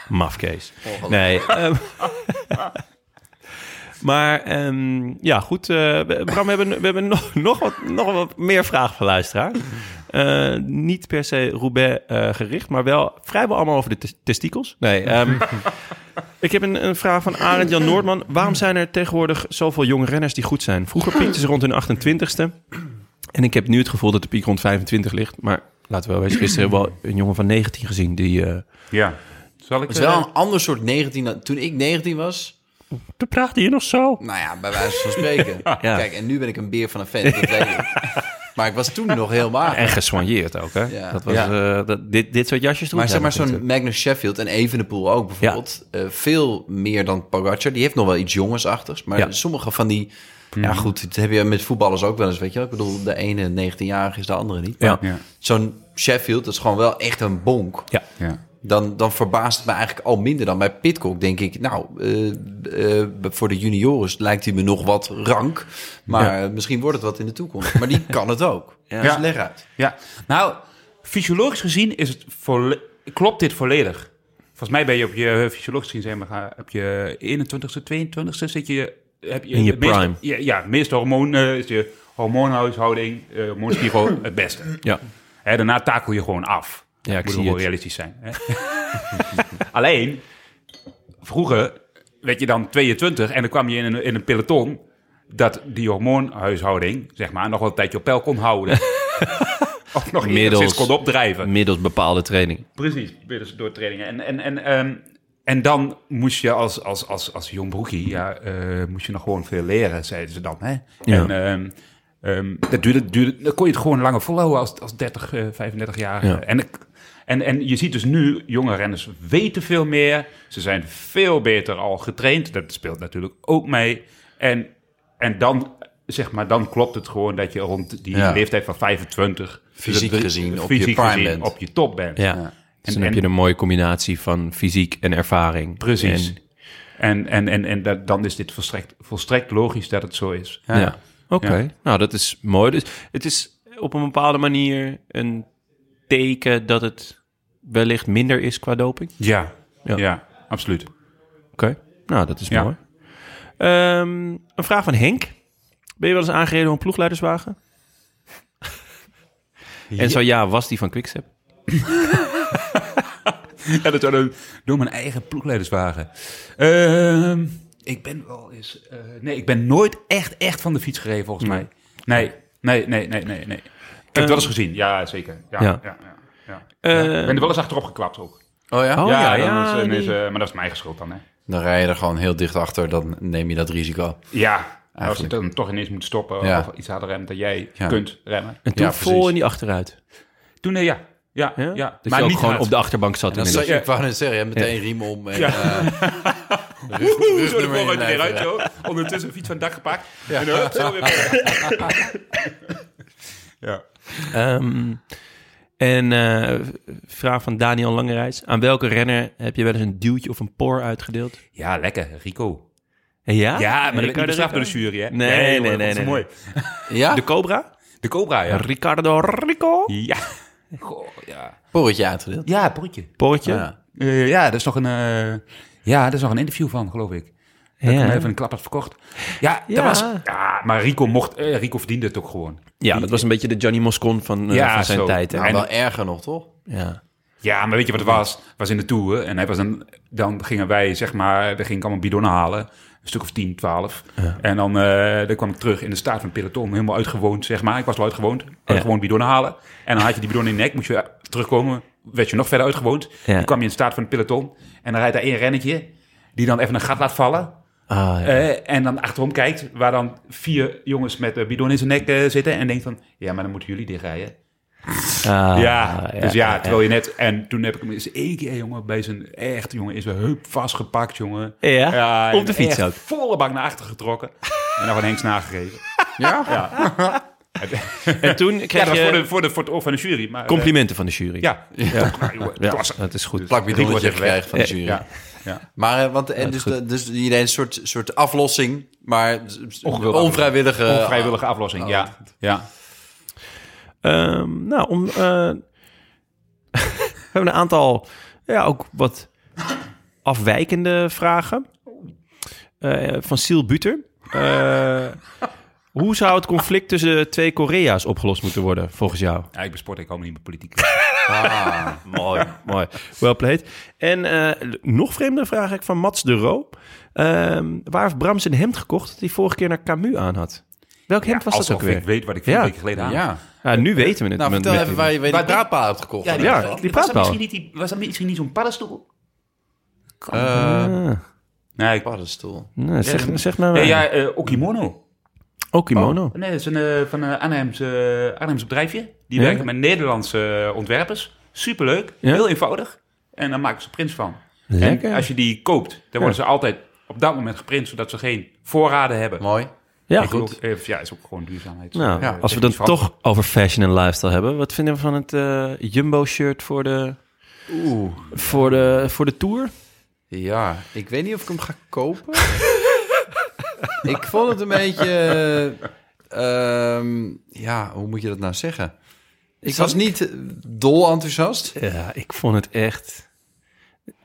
Speaker 1: Mafkees. Nee. ehm, maar ehm, ja, goed. eh, we- Bram, we hebben, we hebben nog, nog, wat, nog wat meer vragen van luisteraar. Eh, niet per se Roubaix eh, gericht, maar wel vrijwel allemaal over de tes- testikels. Nee, ehm, ik heb een, een vraag van Arend Jan Noordman. Waarom zijn er tegenwoordig zoveel jonge renners die goed zijn? Vroeger piekten ze rond hun 28ste. En ik heb nu het gevoel dat de piek rond 25 ligt. Maar laten we wel wezen, gisteren hebben we wel een jongen van 19 gezien. Die, eh,
Speaker 4: Ja. Zal ik... eh,
Speaker 2: Het is wel een ander soort 19 dan... Toen ik 19 was...
Speaker 1: Toen praatte je nog zo.
Speaker 2: Nou ja, bij wijze van spreken.
Speaker 1: Ja.
Speaker 2: Kijk, en nu ben ik een beer van een fan. Dat weet ik. Maar ik was toen nog heel mager.
Speaker 1: En gesoigneerd ook, hè?
Speaker 2: Ja.
Speaker 1: Dat was, eh, dat, dit, dit soort jasjes doen.
Speaker 2: Maar
Speaker 1: zij
Speaker 2: zeg maar
Speaker 1: nog
Speaker 2: zo'n
Speaker 1: niet.
Speaker 2: Magnus Sheffield en Evenepoel ook bijvoorbeeld. eh, veel meer dan Pogacar. Die heeft nog wel iets jongensachtigs. Maar
Speaker 1: Ja. Hmm.
Speaker 2: sommige van die... Ja goed, dat heb je met voetballers ook wel eens, weet je wel. Ik bedoel, de ene 19-jarige is de andere niet.
Speaker 1: Ja.
Speaker 4: Ja.
Speaker 2: Zo'n Sheffield, dat is gewoon wel echt een bonk.
Speaker 1: Ja.
Speaker 4: Ja.
Speaker 2: Dan, dan verbaast het me eigenlijk al minder dan bij Pitcock. Denk ik, nou, eh, eh, voor de juniors lijkt hij me nog wat rank. Maar misschien wordt het wat in de toekomst. Maar die kan het ook. Dus
Speaker 4: Ja.
Speaker 2: leg uit.
Speaker 4: Ja, nou, fysiologisch gezien is het volle- klopt dit volledig. Volgens mij ben je op je eh, fysiologisch gezien, zeg maar, eh, op je 21ste, 22ste zit je... Heb je
Speaker 1: In je
Speaker 4: het meeste-
Speaker 1: prime.
Speaker 4: Ja, ja, het meeste hormoon eh, is je hormoonhuishouding, eh hormoonspiegel het beste.
Speaker 1: Ja.
Speaker 4: Hè, daarna takel je gewoon af.
Speaker 1: Ja, ik
Speaker 4: Moet
Speaker 1: zie
Speaker 4: wel
Speaker 1: het.
Speaker 4: realistisch zijn. Hè? Alleen, vroeger werd je dan 22 en dan kwam je in een, in een peloton... dat die hormoonhuishouding, zeg maar, nog wel een tijdje op peil kon houden. of nog
Speaker 1: Middels-
Speaker 4: enigszins kon opdrijven.
Speaker 1: Middels bepaalde training.
Speaker 4: Precies, weer dus door trainingen. En, en, en ehm, En dan moest je als, als, als, als jong broekie, ja, eh, moest je nog gewoon veel leren, zeiden ze dan. Hè? En ehm, ehm, dat duurde, duurde, dan kon je het gewoon langer volhouden als, als 30, eh 35 jaar. En, ik- en, en je ziet dus nu, jonge renners weten veel meer. Ze zijn veel beter al getraind. Dat speelt natuurlijk ook mee. En, en dan, zeg maar, dan klopt het gewoon dat je rond die
Speaker 2: Ja.
Speaker 4: leeftijd van 25...
Speaker 2: Fysiek
Speaker 4: dus het-
Speaker 2: gezien op je prime bent.
Speaker 4: op je top bent.
Speaker 1: Ja. Dus dan heb je een mooie combinatie van fysiek en ervaring.
Speaker 4: Precies.
Speaker 1: En-
Speaker 4: En, en, en, en dat, dan is dit volstrekt, volstrekt logisch dat het zo is.
Speaker 1: ja. Oké. Nou, dat is mooi. Dus het is op een bepaalde manier een teken dat het wellicht minder is qua doping.
Speaker 4: Ja,
Speaker 1: Ja.
Speaker 4: ja. absoluut.
Speaker 1: Oké, nou dat is
Speaker 4: Ja.
Speaker 1: mooi. Ehm, een vraag van Henk. Ben je wel eens aangereden door een ploegleiderswagen? En zo ja, was die van Quickstep?
Speaker 4: Ja, dat zou dan door mijn eigen ploegleiderswagen. Ehm, ik ben wel eens... eh, nee, ik ben nooit echt, echt van de fiets gereden volgens mij. Nee, nee, nee, nee, nee, nee. Ik heb het wel eens gezien. Ja, zeker. Ja,
Speaker 1: Ja.
Speaker 4: ja. ja, ja,
Speaker 1: Eh,
Speaker 4: Ik ben er wel eens achterop geklapt ook.
Speaker 2: Oh ja?
Speaker 1: Oh ja, ja,
Speaker 4: dan is- dan is,
Speaker 1: die-
Speaker 4: eh, maar dat is mijn eigen schuld dan, hè.
Speaker 2: Dan rij je er gewoon heel dicht achter, dan neem je dat risico.
Speaker 4: Ja, als je
Speaker 2: Eigenlijk.
Speaker 4: dan toch ineens moet stoppen
Speaker 2: Ja.
Speaker 4: of iets harder remmen dat jij
Speaker 2: Ja.
Speaker 4: kunt remmen.
Speaker 1: En toen
Speaker 2: Ja, precies.
Speaker 1: vol in die achteruit.
Speaker 4: Toen, nee, ja. Ja,
Speaker 1: Ja?
Speaker 4: ja. dus
Speaker 1: Dat je ook gewoon
Speaker 4: hard.
Speaker 1: op de achterbank zat.
Speaker 2: Dan
Speaker 1: inmiddels.
Speaker 2: zat je, ik wou net zeggen, je hebt meteen riem om en eh rug,
Speaker 4: Zo de
Speaker 2: rugnummer in
Speaker 4: vooruit
Speaker 2: lijf,
Speaker 4: weer uit,
Speaker 2: ja.
Speaker 4: joh. Ondertussen een fiets van het dak gepakt. En hup, zo weer ja.
Speaker 1: Ehm, en eh, vraag van Daniel Langerijs. Aan welke renner heb je wel eens een duwtje of een por uitgedeeld?
Speaker 4: ja, lekker. Rico.
Speaker 1: Ja?
Speaker 4: Ja, maar dat
Speaker 1: Ricardo
Speaker 4: niet bestraft door de
Speaker 1: Rico?
Speaker 4: jury, hè?
Speaker 1: Nee, nee, nee,
Speaker 4: hoor, dat is
Speaker 1: nee,
Speaker 4: mooi.
Speaker 2: Ja?
Speaker 1: De Cobra?
Speaker 4: De Cobra, ja.
Speaker 1: Ricardo Rico?
Speaker 4: Ja. Goh, ja.
Speaker 2: Porretje uitgedeeld.
Speaker 4: Ja, broertje.
Speaker 1: Porretje?
Speaker 2: Ja.
Speaker 4: Eh, ja, dat is nog een... eh, ja, dat is nog een interview van, geloof ik.
Speaker 1: Ja.
Speaker 4: Dat ik hem even een klap had verkocht. Ja,
Speaker 1: Ja.
Speaker 4: dat was... Ja, maar Rico mocht... eh, Rico verdiende het ook gewoon.
Speaker 1: Ja, dat was een beetje de Johnny Moscon van, eh,
Speaker 4: Ja,
Speaker 1: van zijn
Speaker 4: zo.
Speaker 1: tijd. hè?
Speaker 2: Nou, wel erger nog, toch?
Speaker 1: Ja.
Speaker 4: Ja, maar weet je wat het was? was in de Tour en hij was een, dan gingen wij, zeg maar, we gingen allemaal bidonnen halen. Een stuk of 10, 12. En dan, eh, dan kwam ik terug in de staat van het peloton, helemaal uitgewoond, zeg maar. Ik was al uitgewoond. Gewoon bidonnen halen. En dan had je die bidon in je nek, moest je terugkomen, werd je nog verder uitgewoond.
Speaker 1: Ja.
Speaker 4: Dan kwam je in de staat van het peloton en dan rijdt daar één rennetje die dan even een gat laat vallen.
Speaker 1: Ah, ja.
Speaker 4: Eh, en dan achterom kijkt, waar dan vier jongens met eh, bidon in zijn nek eh, zitten. En denkt van, ja, maar dan moeten jullie dichtrijden.
Speaker 1: Ah,
Speaker 4: Ja, dus ja, terwijl je net... En toen heb ik hem eens één keer, jongen, bij zijn echt, jongen, is zijn heup vastgepakt, jongen.
Speaker 1: Ja? Ah, Op
Speaker 4: en
Speaker 1: de fiets
Speaker 4: echt
Speaker 1: ook.
Speaker 4: volle bak naar achter getrokken. en dan van Henks nagegeven.
Speaker 2: Nou,
Speaker 1: En toen
Speaker 4: Ja, dat
Speaker 1: kreeg
Speaker 4: was voor,
Speaker 1: je
Speaker 4: de, voor, de, voor het oor van de jury. Maar, eh,
Speaker 1: complimenten van de jury.
Speaker 4: ja. Ja, nou, jongen,
Speaker 1: Ja,
Speaker 4: klasse.
Speaker 1: dat is goed.
Speaker 2: Plak
Speaker 4: Rico
Speaker 2: bidonnetje
Speaker 4: zegt weg.
Speaker 2: gekregen van de jury.
Speaker 4: Ja, ja.
Speaker 2: Maar, eh, want, en dus, de, dus je deed een soort, soort aflossing, maar s- s-
Speaker 4: Ongewillige.
Speaker 2: onvrijwillige...
Speaker 4: Vrijwillige aflossing,
Speaker 2: Oh.
Speaker 4: ja. ja.
Speaker 1: Ehm, nou, om, eh, we hebben een aantal, ja, ook wat afwijkende vragen. Eh, van Siel Buter. Eh, hoe zou het conflict tussen de twee Korea's opgelost moeten worden, volgens jou?
Speaker 4: Ja, ik ben sport, ik hou me niet met politiek.
Speaker 2: Ah.
Speaker 1: Mooi, mooi. Well played. En eh, nog vreemder vraag ik van Mats de Roo. Ehm, waar heeft Bram zijn hemd gekocht dat hij vorige keer naar Camus aan had? Welk hemd was dat
Speaker 4: Alsof
Speaker 1: ook weer?
Speaker 4: ik weet wat ik vier
Speaker 1: Ja.
Speaker 4: weken geleden aan.
Speaker 2: Ja.
Speaker 1: Ja, nu weten we het.
Speaker 2: Nou,
Speaker 1: Met-
Speaker 2: vertel
Speaker 1: met-
Speaker 2: even waar je weet
Speaker 4: Maar
Speaker 2: die
Speaker 4: dit-
Speaker 2: braadpaal hebt gekocht.
Speaker 4: Ja, die-
Speaker 1: Ja,
Speaker 2: Eh,
Speaker 1: die
Speaker 4: was, dat
Speaker 1: praat wel.
Speaker 4: misschien niet die, was dat misschien niet zo'n paddenstoel?
Speaker 2: Eh,
Speaker 1: Ah,
Speaker 4: Nee, ik,
Speaker 2: Paddenstoel.
Speaker 1: nou, zeg, zeg Oh, nou.
Speaker 4: nee,
Speaker 1: eh,
Speaker 4: ja, eh, Okimono.
Speaker 1: Okimono.
Speaker 4: Nee, dat is een, eh, van een Arnhems, eh, Arnhems bedrijfje. Die
Speaker 1: Ja?
Speaker 4: werken met Nederlandse eh, ontwerpers. Superleuk,
Speaker 1: Ja?
Speaker 4: heel eenvoudig. En dan maken ze prints van.
Speaker 1: Lekker.
Speaker 4: En als je die koopt, dan worden ze altijd op dat moment geprint... zodat ze geen voorraden hebben.
Speaker 2: Mooi.
Speaker 1: ja,
Speaker 4: Ik
Speaker 1: goed.
Speaker 4: bedoel, eh, ja, is ook gewoon duurzaamheid.
Speaker 1: Nou,
Speaker 4: Eh,
Speaker 1: als we dan
Speaker 4: technisch verantwoord.
Speaker 1: toch over fashion en lifestyle hebben, wat vinden we van het eh, Jumbo-shirt voor de, voor, de, voor de tour?
Speaker 2: Ja, ik weet niet of ik hem ga kopen. ik vond het een beetje... eh, ehm, ja, hoe moet je dat nou zeggen? Ik was niet eh, dol enthousiast.
Speaker 1: Ja, ik vond het echt.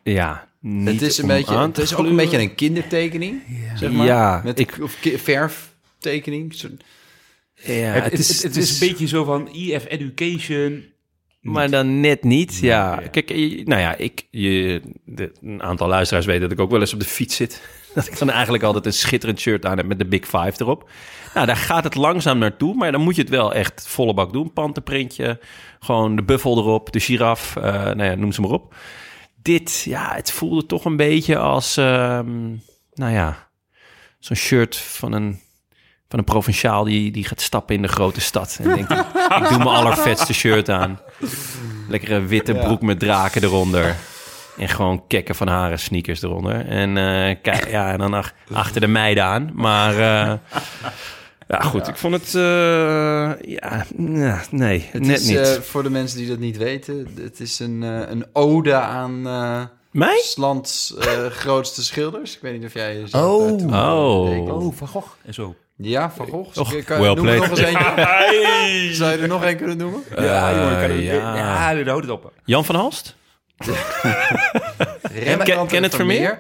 Speaker 1: Ja, niet
Speaker 2: Het is, een
Speaker 1: om
Speaker 2: beetje,
Speaker 1: aan
Speaker 2: het
Speaker 1: te
Speaker 2: is ook een
Speaker 1: gluren.
Speaker 2: beetje een kindertekening. Zeg maar.
Speaker 1: Ja,
Speaker 2: Met
Speaker 1: ik-
Speaker 2: ik, of ki- verftekening. Zo-
Speaker 1: Ja,
Speaker 4: Het, het, het, is een beetje zo van EF Education.
Speaker 1: Maar dan net niet, ja. Kijk, je- nou ja, ik, je, de- een aantal luisteraars weten dat ik ook wel eens op de fiets zit. Dat ik dan eigenlijk altijd een schitterend shirt aan heb met de Big Five erop. Nou, daar gaat het langzaam naartoe, maar dan moet je het wel echt volle bak doen. Pantenprintje, gewoon de buffel erop, de giraf, eh, nou ja, noem ze maar op. dit, ja, het voelde toch een beetje als, ehm, nou ja, zo'n shirt van een, van een provinciaal die, die gaat stappen in de grote stad. En denkt, ik doe mijn allervetste shirt aan. Lekkere witte broek met draken eronder. En gewoon kekken van haren sneakers eronder. En, eh, kijk, ja, en dan ach- achter de meiden aan. Maar eh, ja, goed, ik vond het... eh, ja, nou, nee,
Speaker 2: Het
Speaker 1: net
Speaker 2: is,
Speaker 1: niet.
Speaker 2: eh, voor de mensen die dat niet weten, het is een, eh, een ode aan eh
Speaker 1: Mij?
Speaker 2: s lands eh, grootste schilders. Ik weet niet of jij... je zat
Speaker 4: Oh.
Speaker 2: daartoe.
Speaker 1: Oh.
Speaker 2: Nee, ik niet.
Speaker 4: Van Gogh en zo.
Speaker 2: Ja, Van Gogh.
Speaker 1: Och,
Speaker 2: Kan- kan-
Speaker 1: well
Speaker 2: noem er nog
Speaker 1: played.
Speaker 2: eens eentje. Zou je er nog één kunnen noemen?
Speaker 1: Eh,
Speaker 4: ja,
Speaker 1: ja.
Speaker 4: ja houdt het op.
Speaker 1: Jan van Halst? Ken-
Speaker 2: Rembrandt en
Speaker 1: Kenneth Vermeer?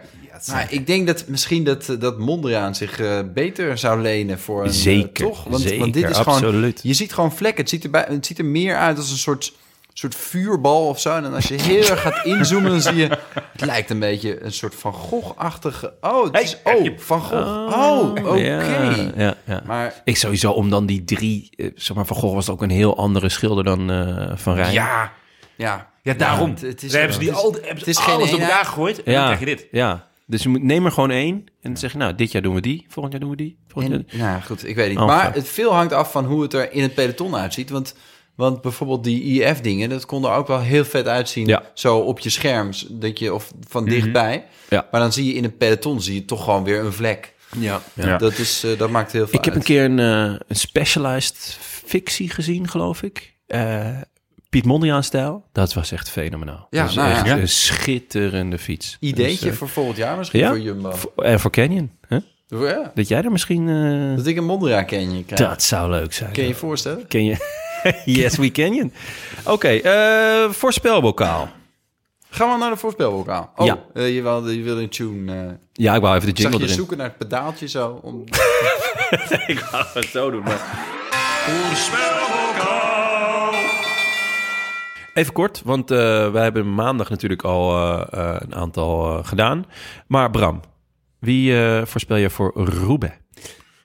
Speaker 2: Maar ik denk dat misschien dat, eh, dat Mondriaan zich eh, beter zou lenen voor een... eh,
Speaker 1: Zeker,
Speaker 2: toch? Want,
Speaker 1: zeker,
Speaker 2: want dit is gewoon...
Speaker 1: absoluut.
Speaker 2: Je ziet gewoon vlekken. Het ziet er, bij- het ziet er meer uit als een soort, soort vuurbal of zo. En dan als je heel erg gaat inzoomen, dan zie je... Het lijkt een beetje een soort Van Gogh-achtige... Oh, het is, oh Van Gogh. Oh, oké.
Speaker 1: Ja, ja, ja.
Speaker 2: Maar
Speaker 1: Ik sowieso om dan die drie, eh, zeg maar, Van Gogh was ook een heel andere schilder dan eh, Van Rijn.
Speaker 4: Ja,
Speaker 2: ja...
Speaker 4: ja daarom.
Speaker 2: het- het is-
Speaker 4: Daar hebben ze die
Speaker 2: het is-
Speaker 4: al, hebben
Speaker 2: het
Speaker 4: ze
Speaker 2: is geen
Speaker 4: alles op
Speaker 2: eenheid.
Speaker 4: elkaar gegooid en dan
Speaker 1: ja,
Speaker 4: krijg je dit.
Speaker 1: ja. Dus je moet, neem er gewoon één en dan zeg je, nou, dit jaar doen we die, volgend jaar doen we die. Volgend
Speaker 2: En,
Speaker 1: jaar...
Speaker 2: nou goed, ik weet niet.
Speaker 1: Oh,
Speaker 2: maar
Speaker 1: fuck.
Speaker 2: het veel hangt af van hoe het er in het peloton uitziet. Want, want bijvoorbeeld die IF-dingen, dat kon er ook wel heel vet uitzien.
Speaker 1: Ja. Mhm.
Speaker 2: Zo op je scherm, dat je, of van dichtbij.
Speaker 1: Ja.
Speaker 2: Maar dan zie je in het peloton zie je toch gewoon weer een vlek.
Speaker 1: Ja.
Speaker 2: Dat, is, eh, dat maakt heel veel
Speaker 1: Ik heb een
Speaker 2: uit.
Speaker 1: keer een, eh, een specialized fictie gezien, geloof ik. Eh, Piet Mondriaan-stijl. Dat was echt fenomenaal.
Speaker 2: Ja,
Speaker 1: Dat is
Speaker 2: nou ja.
Speaker 1: echt
Speaker 2: Ja.
Speaker 1: een schitterende fiets.
Speaker 2: Ideetje
Speaker 1: Dus, eh,
Speaker 2: voor volgend jaar misschien
Speaker 1: ja?
Speaker 2: voor Jumbo.
Speaker 1: voor- En voor Canyon. Hè?
Speaker 2: Ja,
Speaker 1: Dat jij er misschien... eh,
Speaker 2: dat ik een Mondriaan ken je krijg.
Speaker 1: Dat zou leuk zijn.
Speaker 2: Kun je je voorstellen?
Speaker 1: Ken je? yes, we Canyon. Oké, eh, voorspelbokaal.
Speaker 2: Gaan we naar de voorspelbokaal. Oh,
Speaker 1: Ja.
Speaker 2: eh, je, wilde, je wilde een tune. eh.
Speaker 1: Ja, ik wou even de
Speaker 2: zag
Speaker 1: jingle
Speaker 2: je
Speaker 1: erin.
Speaker 2: zoeken naar het pedaaltje zo? Om...
Speaker 1: Ik ga het zo doen, maar... Even kort, want eh, wij hebben maandag natuurlijk al eh, eh, een aantal eh, gedaan. Maar Bram, wie eh, voorspel je voor Roubaix?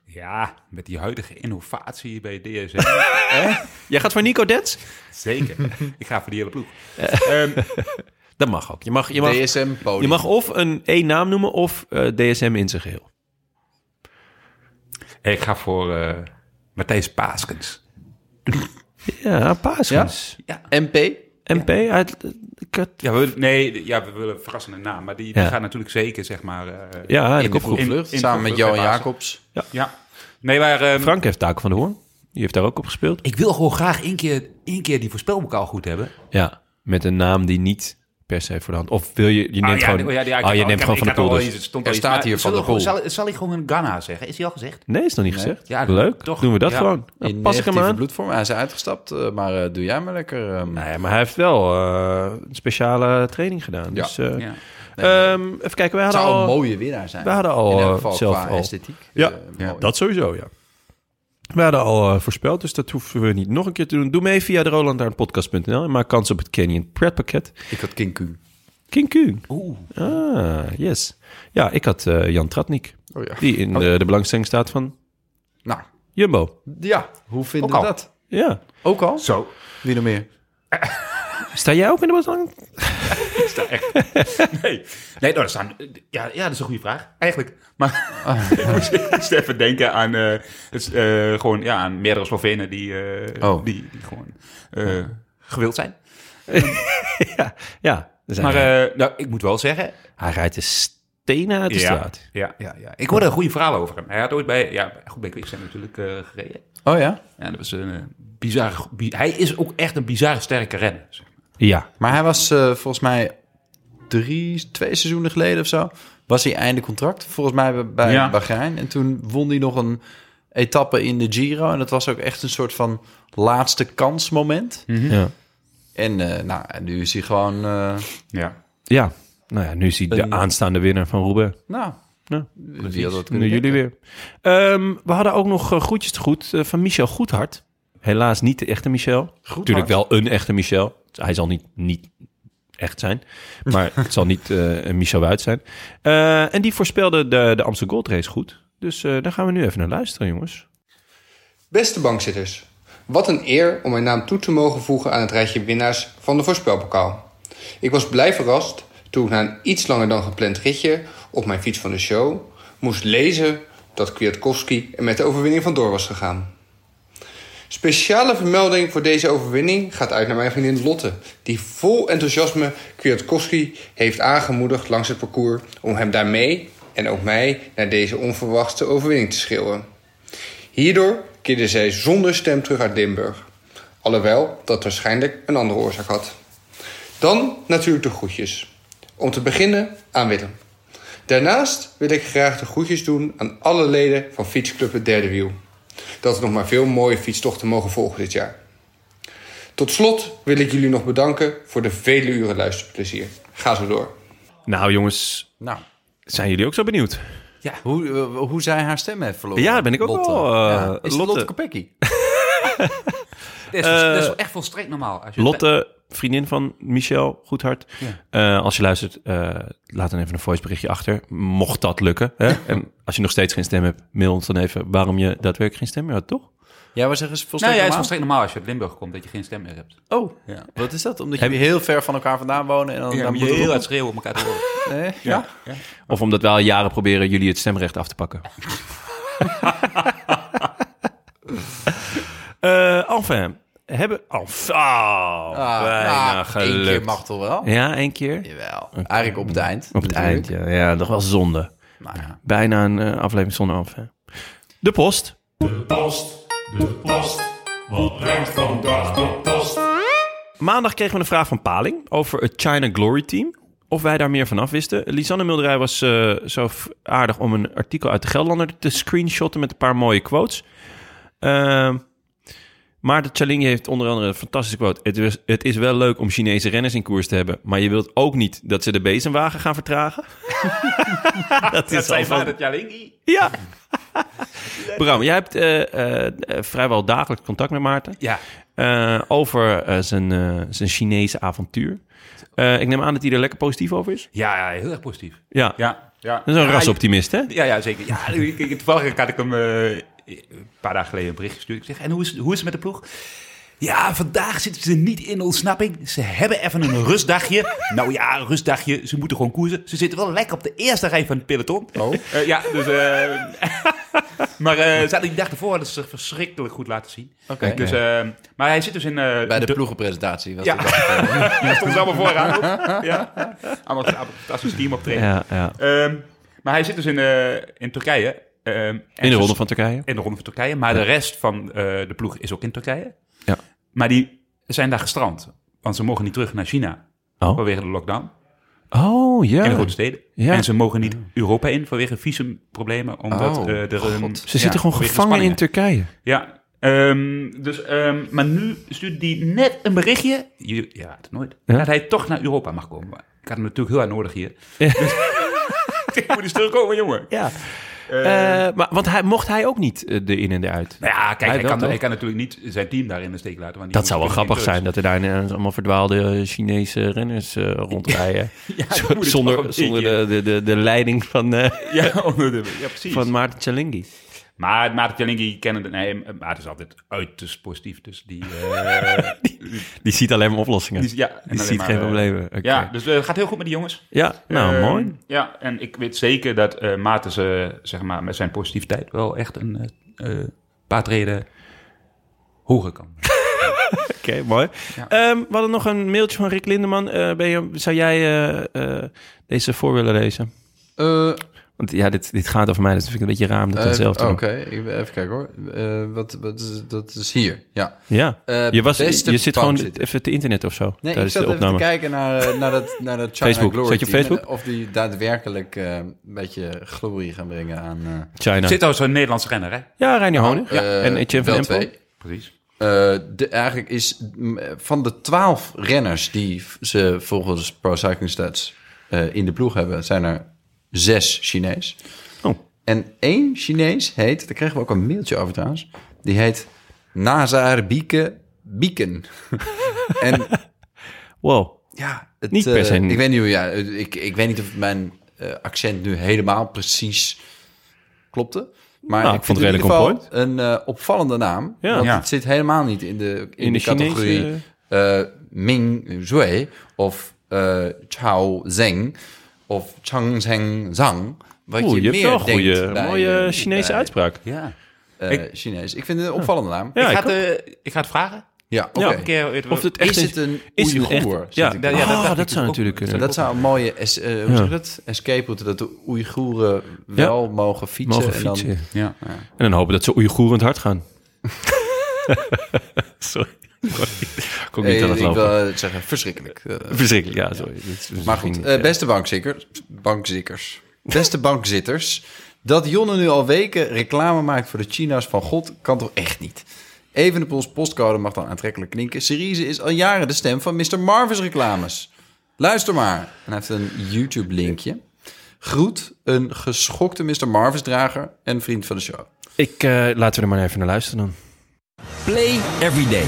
Speaker 4: Ja, met die huidige innovatie bij DSM.
Speaker 1: Jij gaat voor Nico Dets?
Speaker 4: Zeker. ik ga voor die hele ploeg. Ehm,
Speaker 1: Dat mag ook. Je mag, je mag,
Speaker 2: DSM-podium.
Speaker 1: je mag of een één naam noemen of eh, DSM in zijn geheel.
Speaker 4: ik ga voor eh, Matthijs Paaskens.
Speaker 1: Ja, Paaskens.
Speaker 2: MP?
Speaker 1: MP uit... eh,
Speaker 4: Ja, we, nee, ja, we willen een verrassende naam, maar die, die
Speaker 1: Ja.
Speaker 4: gaat natuurlijk zeker, zeg maar... eh,
Speaker 1: Ja,
Speaker 2: In de vroege
Speaker 4: in-
Speaker 2: vlucht,
Speaker 4: in de
Speaker 2: samen met
Speaker 4: vroege vlucht
Speaker 2: Johan
Speaker 4: bij Pasen.
Speaker 2: Jacobs.
Speaker 4: Ja. Nee, maar... ehm,
Speaker 1: Frank heeft Taco van de Hoorn. Die heeft daar ook op gespeeld.
Speaker 4: Ik wil gewoon graag één keer, één keer die voorspelbokaal goed hebben.
Speaker 1: Ja, met een naam die niet per se voor de hand... Of wil je... Je neemt
Speaker 4: Ah, ja,
Speaker 1: gewoon,
Speaker 4: oh, ja, ja, ik
Speaker 1: oh, je
Speaker 4: heb-
Speaker 1: neemt
Speaker 4: ik
Speaker 1: gewoon van
Speaker 4: heb-
Speaker 1: de
Speaker 4: ik had
Speaker 1: poel
Speaker 4: al
Speaker 1: dus.
Speaker 4: iets- er stond
Speaker 2: Er
Speaker 4: al iets,
Speaker 2: staat
Speaker 4: maar
Speaker 2: hier Van
Speaker 4: zullen
Speaker 2: de
Speaker 4: we gewoon-
Speaker 2: Poel.
Speaker 4: Zal, zal ik gewoon een Ghana zeggen? Is die al gezegd?
Speaker 1: Nee, is nog niet gezegd.
Speaker 4: Ja,
Speaker 1: Leuk,
Speaker 4: toch.
Speaker 1: doen we dat
Speaker 4: Ja.
Speaker 1: gewoon. Dan
Speaker 2: In
Speaker 1: pas ik hem
Speaker 2: negatieve
Speaker 1: aan.
Speaker 2: bloedvorm. Hij is uitgestapt, eh, maar eh, doe jij maar lekker. ehm.
Speaker 1: Nee, maar hij heeft wel eh, een speciale training gedaan.
Speaker 2: Ja.
Speaker 1: Dus, eh,
Speaker 4: Ja.
Speaker 1: ehm, even kijken, wij
Speaker 2: het
Speaker 1: hadden
Speaker 2: zou
Speaker 1: al...
Speaker 2: een mooie winnaar zijn.
Speaker 1: we hadden al,
Speaker 2: In elk
Speaker 1: eh,
Speaker 2: geval
Speaker 1: zelf
Speaker 2: qua
Speaker 1: al.
Speaker 2: esthetiek.
Speaker 1: Ja,
Speaker 2: eh,
Speaker 4: ja,
Speaker 2: mooi.
Speaker 1: Dat sowieso, ja. We hadden al eh, voorspeld, dus dat hoeven we niet nog een keer te doen. Doe mee via de rolandaarnpodcast.nl en maak kans op het Canyon pretpakket.
Speaker 2: Ik had King Q.
Speaker 1: King Kuhn.
Speaker 4: Oeh.
Speaker 1: Ah, yes. Ja, ik had eh, Jan Tratnik.
Speaker 2: Oh ja.
Speaker 1: Die in de, de belangstelling staat van
Speaker 2: Nou,
Speaker 1: Jumbo.
Speaker 2: ja. Hoe vinden
Speaker 4: Ook
Speaker 2: we
Speaker 4: al.
Speaker 2: dat?
Speaker 1: Ja.
Speaker 2: Ook al?
Speaker 4: Zo.
Speaker 2: Wie nog meer?
Speaker 1: Sta jij ook in de belangstelling?
Speaker 4: Nee, nee nou, er staan, ja, ja, dat is een goede vraag. Eigenlijk. Maar ik moest even denken aan, eh, het, eh, gewoon, ja, aan meerdere Slovenen die, eh,
Speaker 2: Oh.
Speaker 4: die, die gewoon eh, gewild zijn.
Speaker 1: Ja. er zijn-
Speaker 4: Maar eh, nou, ik moet wel zeggen,
Speaker 1: hij rijdt de stenen uit de straat.
Speaker 4: Ja, ja, ja. Ik hoorde een goede verhaal over hem. Hij had ooit bij, ja, goed bij Quickstep natuurlijk eh, gereden.
Speaker 2: Oh ja.
Speaker 4: Ja, dat was een eh, bizar. bi- hij is ook echt een bizar sterke renner. zeg maar.
Speaker 1: Ja.
Speaker 2: Maar hij was eh, volgens mij drie, twee seizoenen geleden of zo. Was hij einde contract? Volgens mij bij- bij
Speaker 4: Ja.
Speaker 2: Bahrein. En toen won hij nog een etappe in de Giro. En dat was ook echt een soort van laatste kansmoment.
Speaker 4: Mhm.
Speaker 1: Ja.
Speaker 2: En eh, nou, en nu is hij gewoon. eh,
Speaker 4: Ja.
Speaker 1: ja. Nou ja, nu is hij de
Speaker 2: Een-
Speaker 1: aanstaande winnaar van Roubaix.
Speaker 2: nou,
Speaker 1: Ja,
Speaker 2: wie had dat
Speaker 1: Nu
Speaker 2: kunnen
Speaker 1: jullie
Speaker 2: denken?
Speaker 1: weer. Ehm, we hadden ook nog eh, groetjes te goed eh, van Michel Goedhart. Helaas niet de echte Michel. Natuurlijk wel een echte Michel. Hij zal niet, niet echt zijn. Maar het zal niet eh, een Michel Wuit zijn. Eh, en die voorspelde de, de Amsterdam Gold Race goed. Dus eh, daar gaan we nu even naar luisteren, jongens.
Speaker 7: Beste bankzitters, wat een eer om mijn naam toe te mogen voegen aan het rijtje winnaars van de voorspelbokaal. Ik was blij verrast toen toen ik na een iets langer dan gepland ritje op mijn fiets van de show moest lezen dat Kwiatkowski er met de overwinning vandoor was gegaan. Speciale vermelding voor deze overwinning gaat uit naar mijn vriendin Lotte, die vol enthousiasme Kwiatkowski heeft aangemoedigd langs het parcours om hem daarmee en ook mij naar deze onverwachte overwinning te schreeuwen. Hierdoor keerde zij zonder stem terug uit Limburg, alhoewel dat waarschijnlijk een andere oorzaak had. Dan natuurlijk de groetjes. Om te beginnen aan Willem. Daarnaast wil ik graag de groetjes doen aan alle leden van Fietsclub Het Derde Wiel. Dat we nog maar veel mooie fietstochten mogen volgen dit jaar. Tot slot wil ik jullie nog bedanken voor de vele uren luisterplezier. Ga zo door.
Speaker 1: Nou jongens,
Speaker 2: Nou,
Speaker 1: zijn jullie ook zo benieuwd?
Speaker 2: hoe, eh, hoe zij haar stem heeft verloren.
Speaker 1: Ja, dat ben ik ook
Speaker 2: Lotte.
Speaker 1: wel, eh,
Speaker 2: Ja. Is het
Speaker 1: Lotte.
Speaker 2: Lotte Kopecky?
Speaker 4: Dat is, dat is wel echt volstrekt normaal. Als je
Speaker 1: Lotte, vriendin van Michel Goedhart. Eh, als je luistert, eh, laat dan even een voiceberichtje achter. Mocht dat lukken. Hè? en als je nog steeds geen stem hebt, mail ons dan even waarom je daadwerkelijk geen stem meer had, toch?
Speaker 2: Ja, we zeggen volstrekt
Speaker 4: Nou ja, het is
Speaker 2: normaal.
Speaker 4: volstrekt normaal als je uit Limburg komt dat je geen stem meer hebt.
Speaker 2: Oh,
Speaker 4: Ja.
Speaker 2: wat is dat? Omdat jullie heel ver van elkaar vandaan wonen en dan,
Speaker 4: Ja,
Speaker 2: dan
Speaker 4: dan moet je
Speaker 2: moeten we
Speaker 4: heel
Speaker 2: roepen.
Speaker 4: hard schreeuwen om elkaar te horen.
Speaker 2: Nee?
Speaker 1: Of omdat we al jaren proberen jullie het stemrecht af te pakken. Eh enfin, hebben... Enfin,
Speaker 2: Ah,
Speaker 1: bijna
Speaker 2: nou, één
Speaker 1: gelukt.
Speaker 2: keer mag toch wel?
Speaker 1: Ja, één keer.
Speaker 2: Jawel. Eigenlijk op het eind.
Speaker 1: Op het
Speaker 2: natuurlijk.
Speaker 1: eind, ja. Ja, toch wel zonde.
Speaker 2: Nou ja.
Speaker 1: Bijna een eh, aflevering zonder af. hè. De post.
Speaker 5: De post, de post. Wat brengt vandaag de post?
Speaker 1: Maandag kregen we een vraag van Paling over het China Glory Team. Of wij daar meer van af wisten. Lisanne Mulderij was eh, zo f- aardig om een artikel uit de Gelderlander te screenshotten met een paar mooie quotes. Ehm Maarten Chalingi heeft onder andere een fantastische quote. Het is, het is wel leuk om Chinese renners in koers te hebben, maar je wilt ook niet dat ze de bezemwagen gaan vertragen. dat is al van... Ja. Bram, jij hebt eh, eh, eh, vrijwel dagelijks contact met Maarten.
Speaker 4: Ja.
Speaker 1: Eh, over eh, zijn, eh, zijn Chinese avontuur. Eh, ik neem aan dat hij er lekker positief over is.
Speaker 4: Ja, ja, heel erg positief.
Speaker 1: Ja,
Speaker 4: Ja. ja.
Speaker 1: dat is een
Speaker 4: Ja,
Speaker 1: rasoptimist, hè?
Speaker 4: Ja, ja, zeker. Ja, ik- ik- toevallig had ik hem eh, een paar dagen geleden een bericht gestuurd. Ik zeg, en hoe is, hoe is het met de ploeg? Ja, vandaag zitten ze niet in ontsnapping. Ze hebben even een rustdagje. Nou ja, een rustdagje. Ze moeten gewoon koersen. Ze zitten wel lekker op de eerste rij van het peloton. Oh. ja, dus... eh, maar eh, ze hadden die dag ervoor hadden ze zich verschrikkelijk goed laten zien.
Speaker 2: Oké.
Speaker 4: Dus, eh, maar hij zit dus in... eh,
Speaker 2: Bij de ploegenpresentatie was
Speaker 4: Ja.
Speaker 2: dit al.
Speaker 4: Daar stond ze allemaal vooraan. ook. Ja. Allemaal fantastisch team optreden.
Speaker 1: Ja, ja.
Speaker 4: Ehm, maar hij zit dus in, eh, in Turkije. ehm, en
Speaker 1: In de
Speaker 4: ze-
Speaker 1: ronde van Turkije.
Speaker 4: in de Ronde van Turkije. Maar de rest van eh, de ploeg is ook in Turkije.
Speaker 1: Ja.
Speaker 4: Maar die zijn daar gestrand. Want ze mogen niet terug naar China.
Speaker 1: Oh.
Speaker 4: Vanwege de lockdown.
Speaker 1: Oh,
Speaker 4: In de
Speaker 1: ja.
Speaker 4: grote steden.
Speaker 1: Ja.
Speaker 4: En ze mogen niet Europa in vanwege visumproblemen. Omdat
Speaker 2: Oh,
Speaker 4: eh, er, ehm,
Speaker 1: Ze
Speaker 4: ja,
Speaker 1: zitten gewoon
Speaker 4: vanwege
Speaker 1: gevangen in
Speaker 4: spanningen.
Speaker 1: Turkije.
Speaker 4: Ja. Ehm, dus, ehm, maar nu stuurt hij net een berichtje. Je, ja, het nooit.
Speaker 1: Ja.
Speaker 4: Dat hij toch naar Europa mag komen. Maar Ik had hem natuurlijk heel hard nodig hier. Dus, ik moet eens terugkomen, jongen.
Speaker 1: Ja. Eh, maar, want hij, mocht hij ook niet eh, de in en de uit?
Speaker 4: Eh, Nou ja, kijk,
Speaker 1: Hij
Speaker 4: hij,
Speaker 1: wel,
Speaker 4: kan,
Speaker 1: toch?
Speaker 4: hij kan natuurlijk niet zijn team daar in de steek laten. Want die
Speaker 1: Dat zou wel
Speaker 4: moeten
Speaker 1: grappig zijn,
Speaker 4: natuurlijk
Speaker 1: dat er daar ineens allemaal verdwaalde eh, Chinese renners eh, rondrijden.
Speaker 4: in thuis. Ja,
Speaker 1: Z-
Speaker 4: die moeten toch
Speaker 1: zonder
Speaker 4: een
Speaker 1: zonder
Speaker 4: beetje-
Speaker 1: de, de, de, de leiding van, eh,
Speaker 4: Ja, onder de- ja, precies.
Speaker 1: van Maarten Chalingi.
Speaker 4: Maar Maarten Jalinki kennen de... Nee, Maarten is altijd uiterst positief. Dus die... eh,
Speaker 1: Die ziet alleen maar oplossingen.
Speaker 4: die
Speaker 1: Die,
Speaker 4: ja, en alleen
Speaker 1: ziet
Speaker 4: maar,
Speaker 1: geen
Speaker 4: eh,
Speaker 1: problemen. Oké.
Speaker 4: Ja, dus eh, het gaat heel goed met die jongens.
Speaker 1: ja, nou
Speaker 4: Eh,
Speaker 1: mooi.
Speaker 4: Ja, en ik weet zeker dat eh Maarten ze, zeg maar, met zijn positiviteit wel echt een eh, eh, paar treden hoger kan.
Speaker 1: Oké, mooi. Ehm, we hadden nog een mailtje van Rick Lindeman. Eh, ben je, zou jij eh, eh, deze voor willen lezen?
Speaker 2: Eh,
Speaker 1: Want ja, dit, dit gaat over mij, dus dat vind ik een beetje raar om dat dan
Speaker 2: eh,
Speaker 1: zelf te
Speaker 2: Oké,
Speaker 1: doen.
Speaker 2: ik- even kijken hoor. Eh, wat, wat is, dat is hier. Ja.
Speaker 1: Ja,
Speaker 2: Eh,
Speaker 1: je, was,
Speaker 2: beste
Speaker 1: je zit gewoon
Speaker 2: bankzitter.
Speaker 1: even te internet of zo
Speaker 2: Nee, ik
Speaker 1: tijdens
Speaker 2: zat
Speaker 1: de
Speaker 2: even te
Speaker 1: opname.
Speaker 2: kijken naar, eh, naar dat, naar dat China
Speaker 1: Facebook.
Speaker 2: Glory
Speaker 1: Zet je op
Speaker 2: team.
Speaker 1: Facebook?
Speaker 2: En Of die daadwerkelijk eh, een beetje glorie gaan brengen aan... eh,
Speaker 1: China.
Speaker 4: Zit al zo'n Nederlandse renner, hè?
Speaker 1: Ja, Reinier Honen.
Speaker 2: eh,
Speaker 1: en H&M Etienne van
Speaker 2: wel
Speaker 1: Empel.
Speaker 2: twee.
Speaker 4: Precies.
Speaker 2: Eh, de, eigenlijk is mm, eh, van de twaalf renners die v- ze volgens Pro Cycling Stats eh, in de ploeg hebben, zijn er zes Chinees.
Speaker 1: Oh.
Speaker 2: En één Chinees heet, daar kregen we ook een mailtje over trouwens, die heet Nazar Bieke Bieken. en
Speaker 1: Wow.
Speaker 2: ja, het,
Speaker 1: Niet per se
Speaker 2: eh,
Speaker 1: een-
Speaker 2: ik weet niet hoe, ja, eh, ik, ik weet niet of mijn eh, accent nu helemaal precies klopte. Maar
Speaker 1: Nou,
Speaker 2: ik
Speaker 1: ik
Speaker 2: vind
Speaker 1: vond het
Speaker 2: het in
Speaker 1: redelijk
Speaker 2: ieder geval een eh, opvallende naam.
Speaker 1: Ja.
Speaker 2: Want
Speaker 4: Ja.
Speaker 2: het zit helemaal niet in de, in
Speaker 1: de Chinese-
Speaker 2: de, categorie eh, Ming Zhui of eh Chao Zeng of Chang Zeng Zang. Wat
Speaker 1: Oeh,
Speaker 2: je,
Speaker 1: je hebt
Speaker 2: meer
Speaker 1: wel een
Speaker 2: denkt
Speaker 1: goede,
Speaker 2: bij,
Speaker 1: mooie
Speaker 2: eh,
Speaker 1: Chinese
Speaker 2: bij,
Speaker 1: uitspraak.
Speaker 4: Ja.
Speaker 2: eh, Chinees. Ik vind het een opvallende naam.
Speaker 1: Ja,
Speaker 4: ik, ga
Speaker 1: ik
Speaker 4: het, eh, ik ga het vragen.
Speaker 2: Ja, oké.
Speaker 1: Ja.
Speaker 4: Een keer, weet je
Speaker 1: Of
Speaker 4: wel.
Speaker 1: het echt
Speaker 2: eh, is het een
Speaker 1: is het echt-
Speaker 2: Oeigoer?
Speaker 1: Ja,
Speaker 2: Zit ik
Speaker 1: ja,
Speaker 2: daar-
Speaker 4: Ja, dat
Speaker 1: dat,
Speaker 4: dacht ik
Speaker 1: zou
Speaker 4: ook.
Speaker 1: natuurlijk kunnen.
Speaker 2: Dat zou een mooie es- eh, hoe zeg je
Speaker 1: Ja.
Speaker 2: dat? escape route dat de Oeigoeren wel mogen fietsen.
Speaker 1: Mogen
Speaker 2: En
Speaker 1: fietsen.
Speaker 2: dan,
Speaker 4: Ja.
Speaker 1: En dan hopen dat ze Oeigoeren het hard gaan. sorry. Ik kon- Ik kon niet
Speaker 2: Eh,
Speaker 1: aan het
Speaker 2: ik
Speaker 1: lopen.
Speaker 2: wil het zeggen, verschrikkelijk. Eh,
Speaker 1: Verschrikkelijk, ja, sorry. Dit is-
Speaker 2: Maar goed, eh, beste bankzikkers, bankzikkers, beste bankzitters, dat Jonne nu al weken reclame maakt voor de China's van God, kan toch echt niet? Evenepoels postcode mag dan aantrekkelijk klinken. Cerise is al jaren de stem van Mr. Marvis reclames. Luister maar. En hij heeft een YouTube-linkje. Groet een geschokte Mr. Marvis-drager en vriend van de show.
Speaker 1: Ik, eh, laten we er maar even naar luisteren dan.
Speaker 8: Play every day.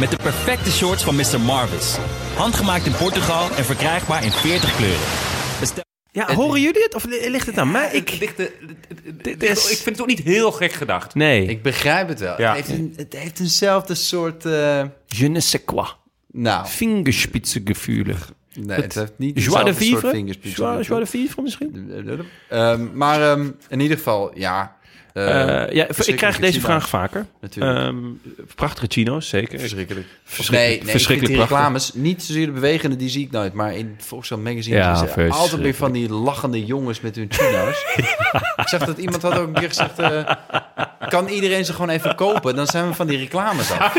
Speaker 8: Met de perfecte shorts van Mr. Marvis. Handgemaakt in Portugal en verkrijgbaar in 40 kleuren.
Speaker 1: Ja, horen jullie het? Of ligt het aan mij? Ik,
Speaker 4: Dichte- dit- dit-
Speaker 1: is-
Speaker 4: Ik vind het ook niet heel gek gedacht.
Speaker 1: nee.
Speaker 2: Ik begrijp het wel.
Speaker 4: Ja.
Speaker 2: Het, heeft een, het heeft eenzelfde soort... eh,
Speaker 1: je ne sais quoi.
Speaker 2: nou,
Speaker 1: Fingerspitzengevoel.
Speaker 2: nee, het, heeft niet
Speaker 1: Joie de
Speaker 2: eenzelfde soort
Speaker 1: vivre?
Speaker 2: vingerspitsen.
Speaker 1: Joie joie de vivre misschien?
Speaker 2: Ehm, maar ehm, in ieder geval, ja. Eh,
Speaker 1: Eh, ja, ik krijg
Speaker 2: verschrikkelijke
Speaker 1: deze
Speaker 2: China.
Speaker 1: vraag vaker.
Speaker 2: Natuurlijk.
Speaker 1: Ehm, prachtige chino's, zeker.
Speaker 2: Verschrikkelijk.
Speaker 1: Verschrikkelijk-
Speaker 2: nee, nee,
Speaker 1: eh, verschrikkelijk
Speaker 2: ik vind die
Speaker 1: prachtig.
Speaker 2: reclames niet zozeer de bewegende, die zie ik nooit. Maar in Volkswagen Magazine
Speaker 1: Ja,
Speaker 2: is er altijd weer
Speaker 1: verschrikkelijk.
Speaker 2: van die lachende jongens met hun chino's. Ik zag dat iemand had ook een keer gezegd... eh, kan iedereen ze gewoon even kopen? Dan zijn we van die reclames af.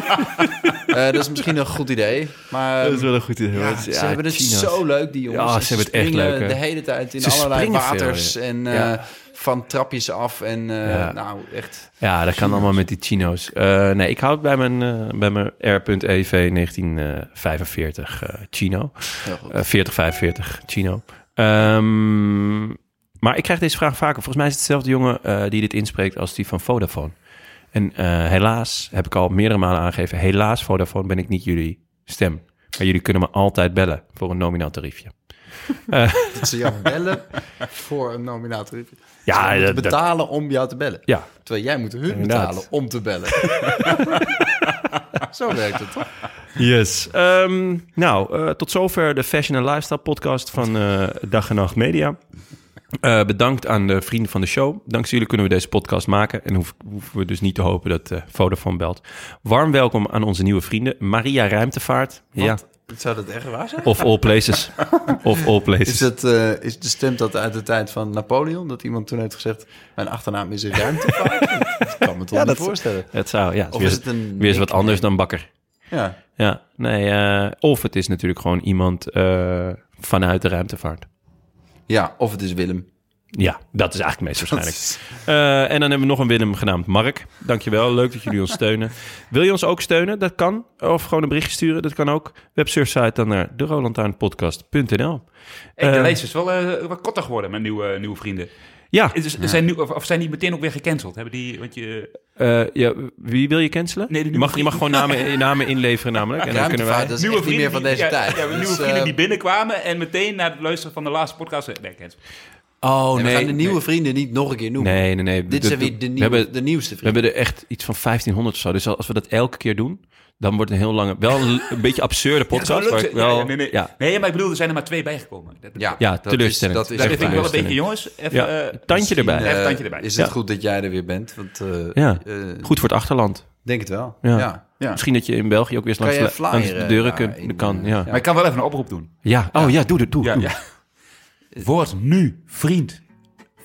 Speaker 2: Eh, dat is misschien een goed idee. Maar ehm,
Speaker 1: een goed idee.
Speaker 2: ja, ze hebben het zo leuk, die jongens.
Speaker 1: Ja, ze hebben het echt
Speaker 2: springen
Speaker 1: leuk, hè?
Speaker 2: de hele tijd in
Speaker 1: Ze
Speaker 2: allerlei
Speaker 1: springen veel,
Speaker 2: waters en eh,
Speaker 1: Ja.
Speaker 2: van trapjes af. En eh,
Speaker 1: Ja.
Speaker 2: nou, echt...
Speaker 1: Ja, dat kan allemaal met die chino's. Eh, nee, ik houd bij mijn, eh, bij mijn R.EV 1945 eh, chino.
Speaker 2: Heel goed.
Speaker 1: Eh, 4045 chino. Ehm, maar ik krijg deze vraag vaker. Volgens mij is het dezelfde jongen eh, die dit inspreekt als die van Vodafone. En eh, helaas, heb ik al meerdere malen aangegeven... helaas, Vodafone, ben ik niet jullie stem. Maar jullie kunnen me altijd bellen voor een nominaal tariefje.
Speaker 2: dat ze jou bellen voor een nominator.
Speaker 1: Ja,
Speaker 2: Ja, ze moeten
Speaker 1: dat- dat-
Speaker 2: betalen om jou te bellen.
Speaker 1: Ja,
Speaker 2: Terwijl jij moet hun
Speaker 1: Inderdaad.
Speaker 2: betalen om te bellen. Zo werkt het toch?
Speaker 1: Yes. Ehm, nou, eh, tot zover de Fashion and Lifestyle podcast van eh, Dag en Nacht Media. Eh, bedankt aan de vrienden van de show. Dankzij jullie kunnen we deze podcast maken. En hoef- hoeven we dus niet te hopen dat eh Vodafone belt. Warm welkom aan onze nieuwe vrienden. Maria Ruimtevaart. Ja.
Speaker 2: Zou dat echt waar zijn?
Speaker 1: Of All Places. of All Places.
Speaker 2: Is, dat, eh, is de stem dat uit de tijd van Napoleon? Dat iemand toen heeft gezegd, mijn achternaam is een ruimtevaart? dat kan me toch niet voorstellen.
Speaker 1: Het zou, ja. het is
Speaker 2: Of
Speaker 1: weer,
Speaker 2: is het een
Speaker 1: weer eens wat
Speaker 2: nickname?
Speaker 1: anders dan bakker.
Speaker 2: Ja.
Speaker 1: Ja, nee. eh, of het is natuurlijk gewoon iemand eh, vanuit de ruimtevaart.
Speaker 2: ja, of het is Willem.
Speaker 1: Ja, dat is eigenlijk het meest waarschijnlijk. Eh, en dan hebben we nog een Willem genaamd Mark. Dankjewel, leuk dat jullie ons steunen. Wil je ons ook steunen? Dat kan. Of gewoon een berichtje sturen, dat kan ook. Websurfsite dan naar derolantaarnpodcast.nl.
Speaker 4: Hey, de
Speaker 1: Eh,
Speaker 4: lijst is wel eh, wat korter geworden met nieuwe, eh, nieuwe vrienden.
Speaker 1: Ja,
Speaker 4: Is- is- Zijn nu, of, of zijn die meteen ook weer gecanceld? Hebben die, want je,
Speaker 1: eh, ja, wie wil je cancelen?
Speaker 4: Nee, die
Speaker 1: je, mag, je mag gewoon namen, namen inleveren namelijk. En dan kunnen wij...
Speaker 2: Ruimtevaart, dat is echt niet meer van
Speaker 4: die-
Speaker 2: deze
Speaker 4: ja,
Speaker 2: tijd.
Speaker 4: Ja, nieuwe
Speaker 2: Dus,
Speaker 4: vrienden
Speaker 2: eh,
Speaker 4: die binnenkwamen en meteen na het luisteren van de laatste podcast... eh, Nee, cancel.
Speaker 1: Oh,
Speaker 2: en we gaan de
Speaker 1: nee.
Speaker 2: nieuwe vrienden niet nog een keer noemen.
Speaker 1: Nee, nee, nee.
Speaker 2: Dit
Speaker 1: Dat-
Speaker 2: zijn weer de,
Speaker 1: we
Speaker 2: nieuwe,
Speaker 1: hebben-
Speaker 2: de nieuwste
Speaker 1: We
Speaker 2: vrienden.
Speaker 1: hebben er echt iets van 1500 of zo. Dus als we dat elke keer doen, dan wordt het een heel lange... Wel een, een beetje absurde podcast, maar
Speaker 4: Ja,
Speaker 1: wel...
Speaker 4: ja, nee, nee.
Speaker 1: ja.
Speaker 4: nee, maar ik bedoel, er zijn er maar twee bijgekomen. Dat,
Speaker 2: Ja,
Speaker 1: Ja,
Speaker 2: dat is-
Speaker 1: teleurstellend.
Speaker 2: Dat is,
Speaker 4: dat
Speaker 2: echt
Speaker 4: vind ik wel een
Speaker 1: teleurstelling.
Speaker 4: beetje, jongens. Even,
Speaker 1: Ja,
Speaker 4: eh,
Speaker 1: tandje erbij.
Speaker 4: Even een tandje
Speaker 2: Eh,
Speaker 4: erbij.
Speaker 2: Is het
Speaker 1: Ja.
Speaker 2: goed dat jij er weer bent? Want, eh,
Speaker 1: Ja.
Speaker 2: eh,
Speaker 1: Goed voor het achterland.
Speaker 2: denk het wel.
Speaker 1: Ja.
Speaker 2: Ja. Ja.
Speaker 1: Misschien dat je in België ook weer
Speaker 2: Kan
Speaker 1: eens langs,
Speaker 2: jij
Speaker 1: langs de
Speaker 2: flyeren
Speaker 1: deuren
Speaker 2: daar
Speaker 1: kunt-
Speaker 2: in,
Speaker 1: kan.
Speaker 2: eh,
Speaker 1: Ja.
Speaker 4: Maar ik kan wel even een oproep doen.
Speaker 1: ja. Oh ja, doe het, doe
Speaker 4: Ja,
Speaker 1: doe.
Speaker 4: ja. Word nu vriend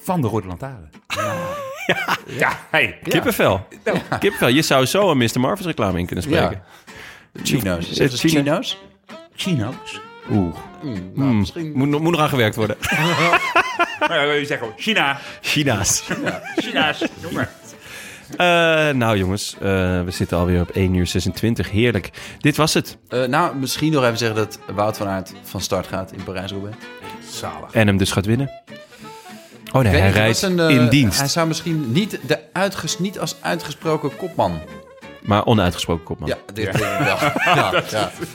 Speaker 4: van de Rode Lantaarn. Ja, ja hey.
Speaker 1: Kippenvel. Kippenvel. Je zou zo een Mr. Marvis reclame in kunnen spreken.
Speaker 2: Chino's.
Speaker 1: Eh,
Speaker 2: Zeg eens
Speaker 1: Chino-
Speaker 2: Chino's?
Speaker 4: Chino's.
Speaker 1: Oeh. Hmm. Moet, nog- moet nog aan gewerkt worden.
Speaker 4: Nou, je zegt gewoon China.
Speaker 1: China's.
Speaker 4: China's. Jongen.
Speaker 1: Eh, nou jongens, eh, we zitten alweer op 1 uur 26. Heerlijk. Dit was het.
Speaker 2: Eh, nou, misschien nog even zeggen dat Wout van Aert van start gaat in Parijs-Roubaix.
Speaker 4: Zalig.
Speaker 1: En hem dus gaat winnen. Oh nee,
Speaker 2: Ik weet
Speaker 1: hij
Speaker 2: niet,
Speaker 1: rijdt
Speaker 2: dat is een, eh,
Speaker 1: in dienst.
Speaker 2: Hij zou misschien niet, de uitges, niet als uitgesproken kopman.
Speaker 1: Oh. Maar onuitgesproken kopman.
Speaker 2: Ja, dit denk ik wel. Ja,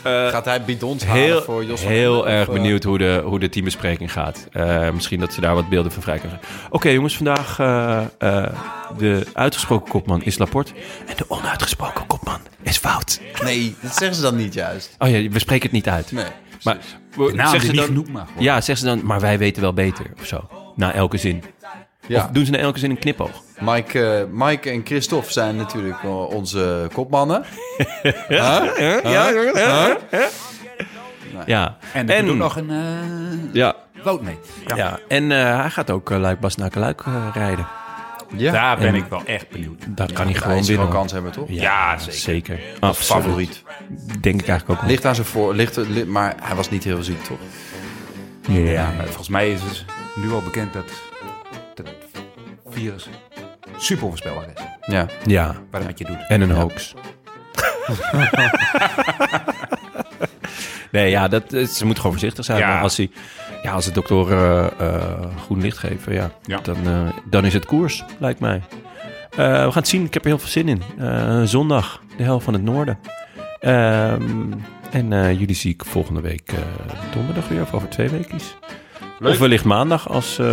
Speaker 2: ja. gaat hij bidons halen
Speaker 1: Eh, Heel,
Speaker 2: voor Jos van
Speaker 1: heel
Speaker 2: Emden of,
Speaker 1: erg
Speaker 2: eh,
Speaker 1: benieuwd hoe de, hoe de teambespreking gaat. Eh, misschien dat ze daar wat beelden van vrij kunnen krijgen. Oké jongens, vandaag eh, eh, de uitgesproken kopman is Laporte. En de onuitgesproken kopman is Wout.
Speaker 2: Nee, dat zeggen ze dan niet juist.
Speaker 1: Oh ja, we spreken het niet uit.
Speaker 2: Nee.
Speaker 1: Maar
Speaker 4: De naam
Speaker 1: zeg
Speaker 4: die
Speaker 1: ze
Speaker 4: niet
Speaker 1: dan,
Speaker 4: genoemd mag worden.
Speaker 1: Ja, zeg ze dan, maar wij weten wel beter of zo. Na elke zin.
Speaker 2: Ja.
Speaker 1: Of doen ze na elke zin een knipoog?
Speaker 2: Mike, eh, Mike en Christophe zijn natuurlijk eh, onze kopmannen.
Speaker 1: Ja, ja, ja. Ja.
Speaker 4: En er doet nog een eh
Speaker 1: Ja.
Speaker 4: boot mee.
Speaker 1: Ja. en eh, hij gaat ook eh, Luik Bas naar Luik eh, rijden.
Speaker 2: Ja.
Speaker 4: Daar ben
Speaker 1: En-
Speaker 4: ik wel echt benieuwd.
Speaker 1: Dat kan hij
Speaker 2: Hij
Speaker 1: gewoon
Speaker 2: is wel
Speaker 1: winnen.
Speaker 2: kans hebben, toch?
Speaker 1: Ja,
Speaker 4: Ja,
Speaker 1: zeker.
Speaker 4: zeker.
Speaker 1: Absoluut.
Speaker 2: Favoriet.
Speaker 1: Denk ik eigenlijk ook wel.
Speaker 2: Ligt aan zijn voor, ligt, li- maar hij was niet heel ziek, toch?
Speaker 4: Ja, maar volgens mij is het nu al bekend dat dat virus super onvoorspelbaar is.
Speaker 2: Ja.
Speaker 1: Ja.
Speaker 4: Wat het met je doet.
Speaker 1: En een hoax. nee, ja, dat, eh, ze moet gewoon voorzichtig zijn.
Speaker 4: Ja.
Speaker 1: Maar als, hij, ja, als de dokter eh, eh, groen licht geven, ja,
Speaker 4: Ja.
Speaker 1: Dan, eh, dan is het koers, lijkt mij. Eh, we gaan het zien. Ik heb er heel veel zin in. Eh, zondag, de hel van het noorden. Ehm, en eh, jullie zie ik volgende week eh, donderdag weer, of over twee weekjes. Of wellicht maandag, als eh,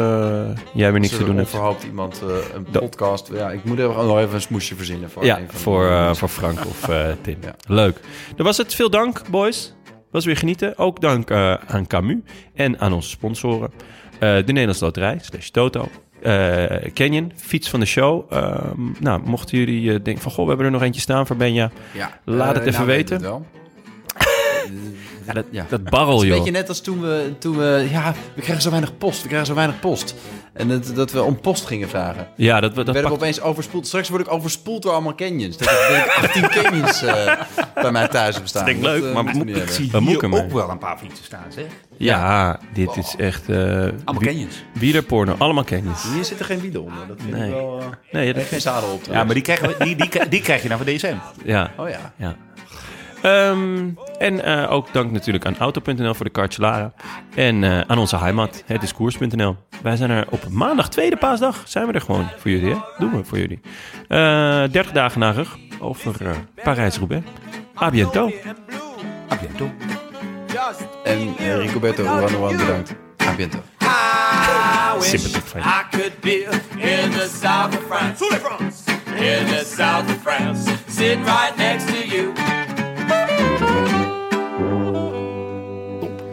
Speaker 1: jij weer niks te doen hebt.
Speaker 2: Verhoopt iemand eh, een
Speaker 1: Dat-
Speaker 2: podcast. Ja, ik moet er nog even een smoesje verzinnen voor.
Speaker 1: Ja,
Speaker 2: een van de-
Speaker 1: voor, eh, voor Frank of eh, Tim.
Speaker 2: Ja.
Speaker 1: Leuk. Dat was het. Veel dank, boys. Was weer genieten. Ook dank eh, aan Camus en aan onze sponsoren. Eh, de Nederlandse Loterij, slash Toto. Eh Canyon, fiets van de show. Ehm, nou, mochten jullie eh, denken van... Goh, we hebben er nog eentje staan voor Benja.
Speaker 2: Ja.
Speaker 1: Laat het
Speaker 2: Eh,
Speaker 1: even
Speaker 2: nou,
Speaker 1: weten.
Speaker 2: weet het wel.
Speaker 1: dat,
Speaker 2: ja.
Speaker 1: dat barrel,
Speaker 2: Het is een
Speaker 1: joh.
Speaker 2: beetje net als toen we, toen we... Ja, we krijgen zo weinig post. We krijgen zo weinig post. En dat, dat we om post gingen vragen.
Speaker 1: Ja, dat, dat
Speaker 2: werden
Speaker 1: pakt-
Speaker 2: we opeens overspoeld. Straks word ik overspoeld door allemaal canyons. Dat er denk ik 18 canyons eh, bij mij thuis bestaan.
Speaker 1: Dat vind ik leuk,
Speaker 2: eh,
Speaker 1: maar
Speaker 2: moeten we
Speaker 1: moet- ik
Speaker 2: niet hebben.
Speaker 1: Een
Speaker 4: Hier
Speaker 1: moeker, man.
Speaker 4: ook wel een paar fietsen staan, zeg.
Speaker 1: Ja, dit is echt... eh
Speaker 4: Allemaal
Speaker 1: wie-
Speaker 4: canyons.
Speaker 1: Wielerporno, allemaal
Speaker 4: Hm.
Speaker 1: Canyons.
Speaker 2: Hier zitten geen wielen onder. Dat vind
Speaker 1: Nee.
Speaker 2: ik wel... eh,
Speaker 1: Nee, ja,
Speaker 2: er is
Speaker 1: dat,
Speaker 2: geen zadel op.
Speaker 4: Ja, maar die, krijgen we, die, die, die krijg je dan van DSM.
Speaker 1: ja.
Speaker 2: Oh ja.
Speaker 1: Ja. Ehm, en eh, ook dank natuurlijk aan Auto.nl voor de kartjelaren. En eh, aan onze heimat, het is koers.nl. Wij zijn er op maandag, tweede paasdag, zijn we er gewoon voor jullie. Hè? Doen we voor jullie. Eh 30 dagen na rug over eh, Parijs-Roubaix. A bientôt.
Speaker 2: En eh, Ricoberto Uranoan bedankt. A bientôt.
Speaker 3: I
Speaker 1: Sympathiek
Speaker 3: wish
Speaker 1: van je.
Speaker 3: I could be in the south of France. In the south of France. Sitting right next to you.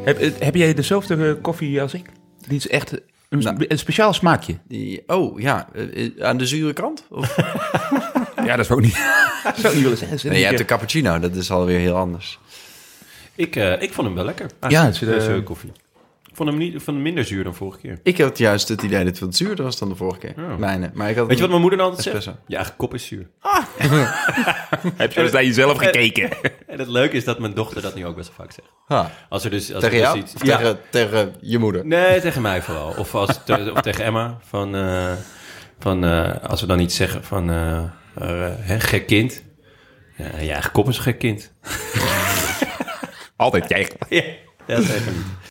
Speaker 4: Heb, eh, heb jij dezelfde eh, koffie als ik? Die is echt een, een speciaal smaakje.
Speaker 2: Die- Oh ja, eh, eh, aan de zure kant? Of?
Speaker 4: Ja, dat zou ik niet, zou ik niet willen zeggen.
Speaker 2: Nee, je hebt de cappuccino. Dat is alweer heel anders.
Speaker 1: Ik, eh, ik vond hem wel lekker.
Speaker 2: Ja, het zit, eh,
Speaker 1: Deze koffie. Ik vond hem, niet, ik vond hem minder zuur dan vorige keer.
Speaker 2: Ik had juist het idee dat het wat zuurder was dan de vorige keer. Mijne. Maar ik had
Speaker 1: Weet je wat mijn moeder dan altijd zegt?
Speaker 2: Espresso.
Speaker 1: Je eigen kop is zuur.
Speaker 4: heb je eens naar jezelf gekeken?
Speaker 1: En het leuke is dat mijn dochter dat nu ook best wel vaak zegt.
Speaker 2: Ha,
Speaker 1: Als er dus, als
Speaker 2: tegen
Speaker 1: er dus
Speaker 2: jou?
Speaker 1: iets-
Speaker 2: Of
Speaker 1: Ja.
Speaker 2: tegen, tegen je moeder?
Speaker 1: Nee, tegen mij vooral. Of, als, te- of tegen Emma. Van, eh, van, eh, als we dan iets zeggen van... eh, eh, hè, gek kind. Ja, je eigen kop is een gek kind.
Speaker 4: Altijd jij.
Speaker 1: ja, dat is even niet.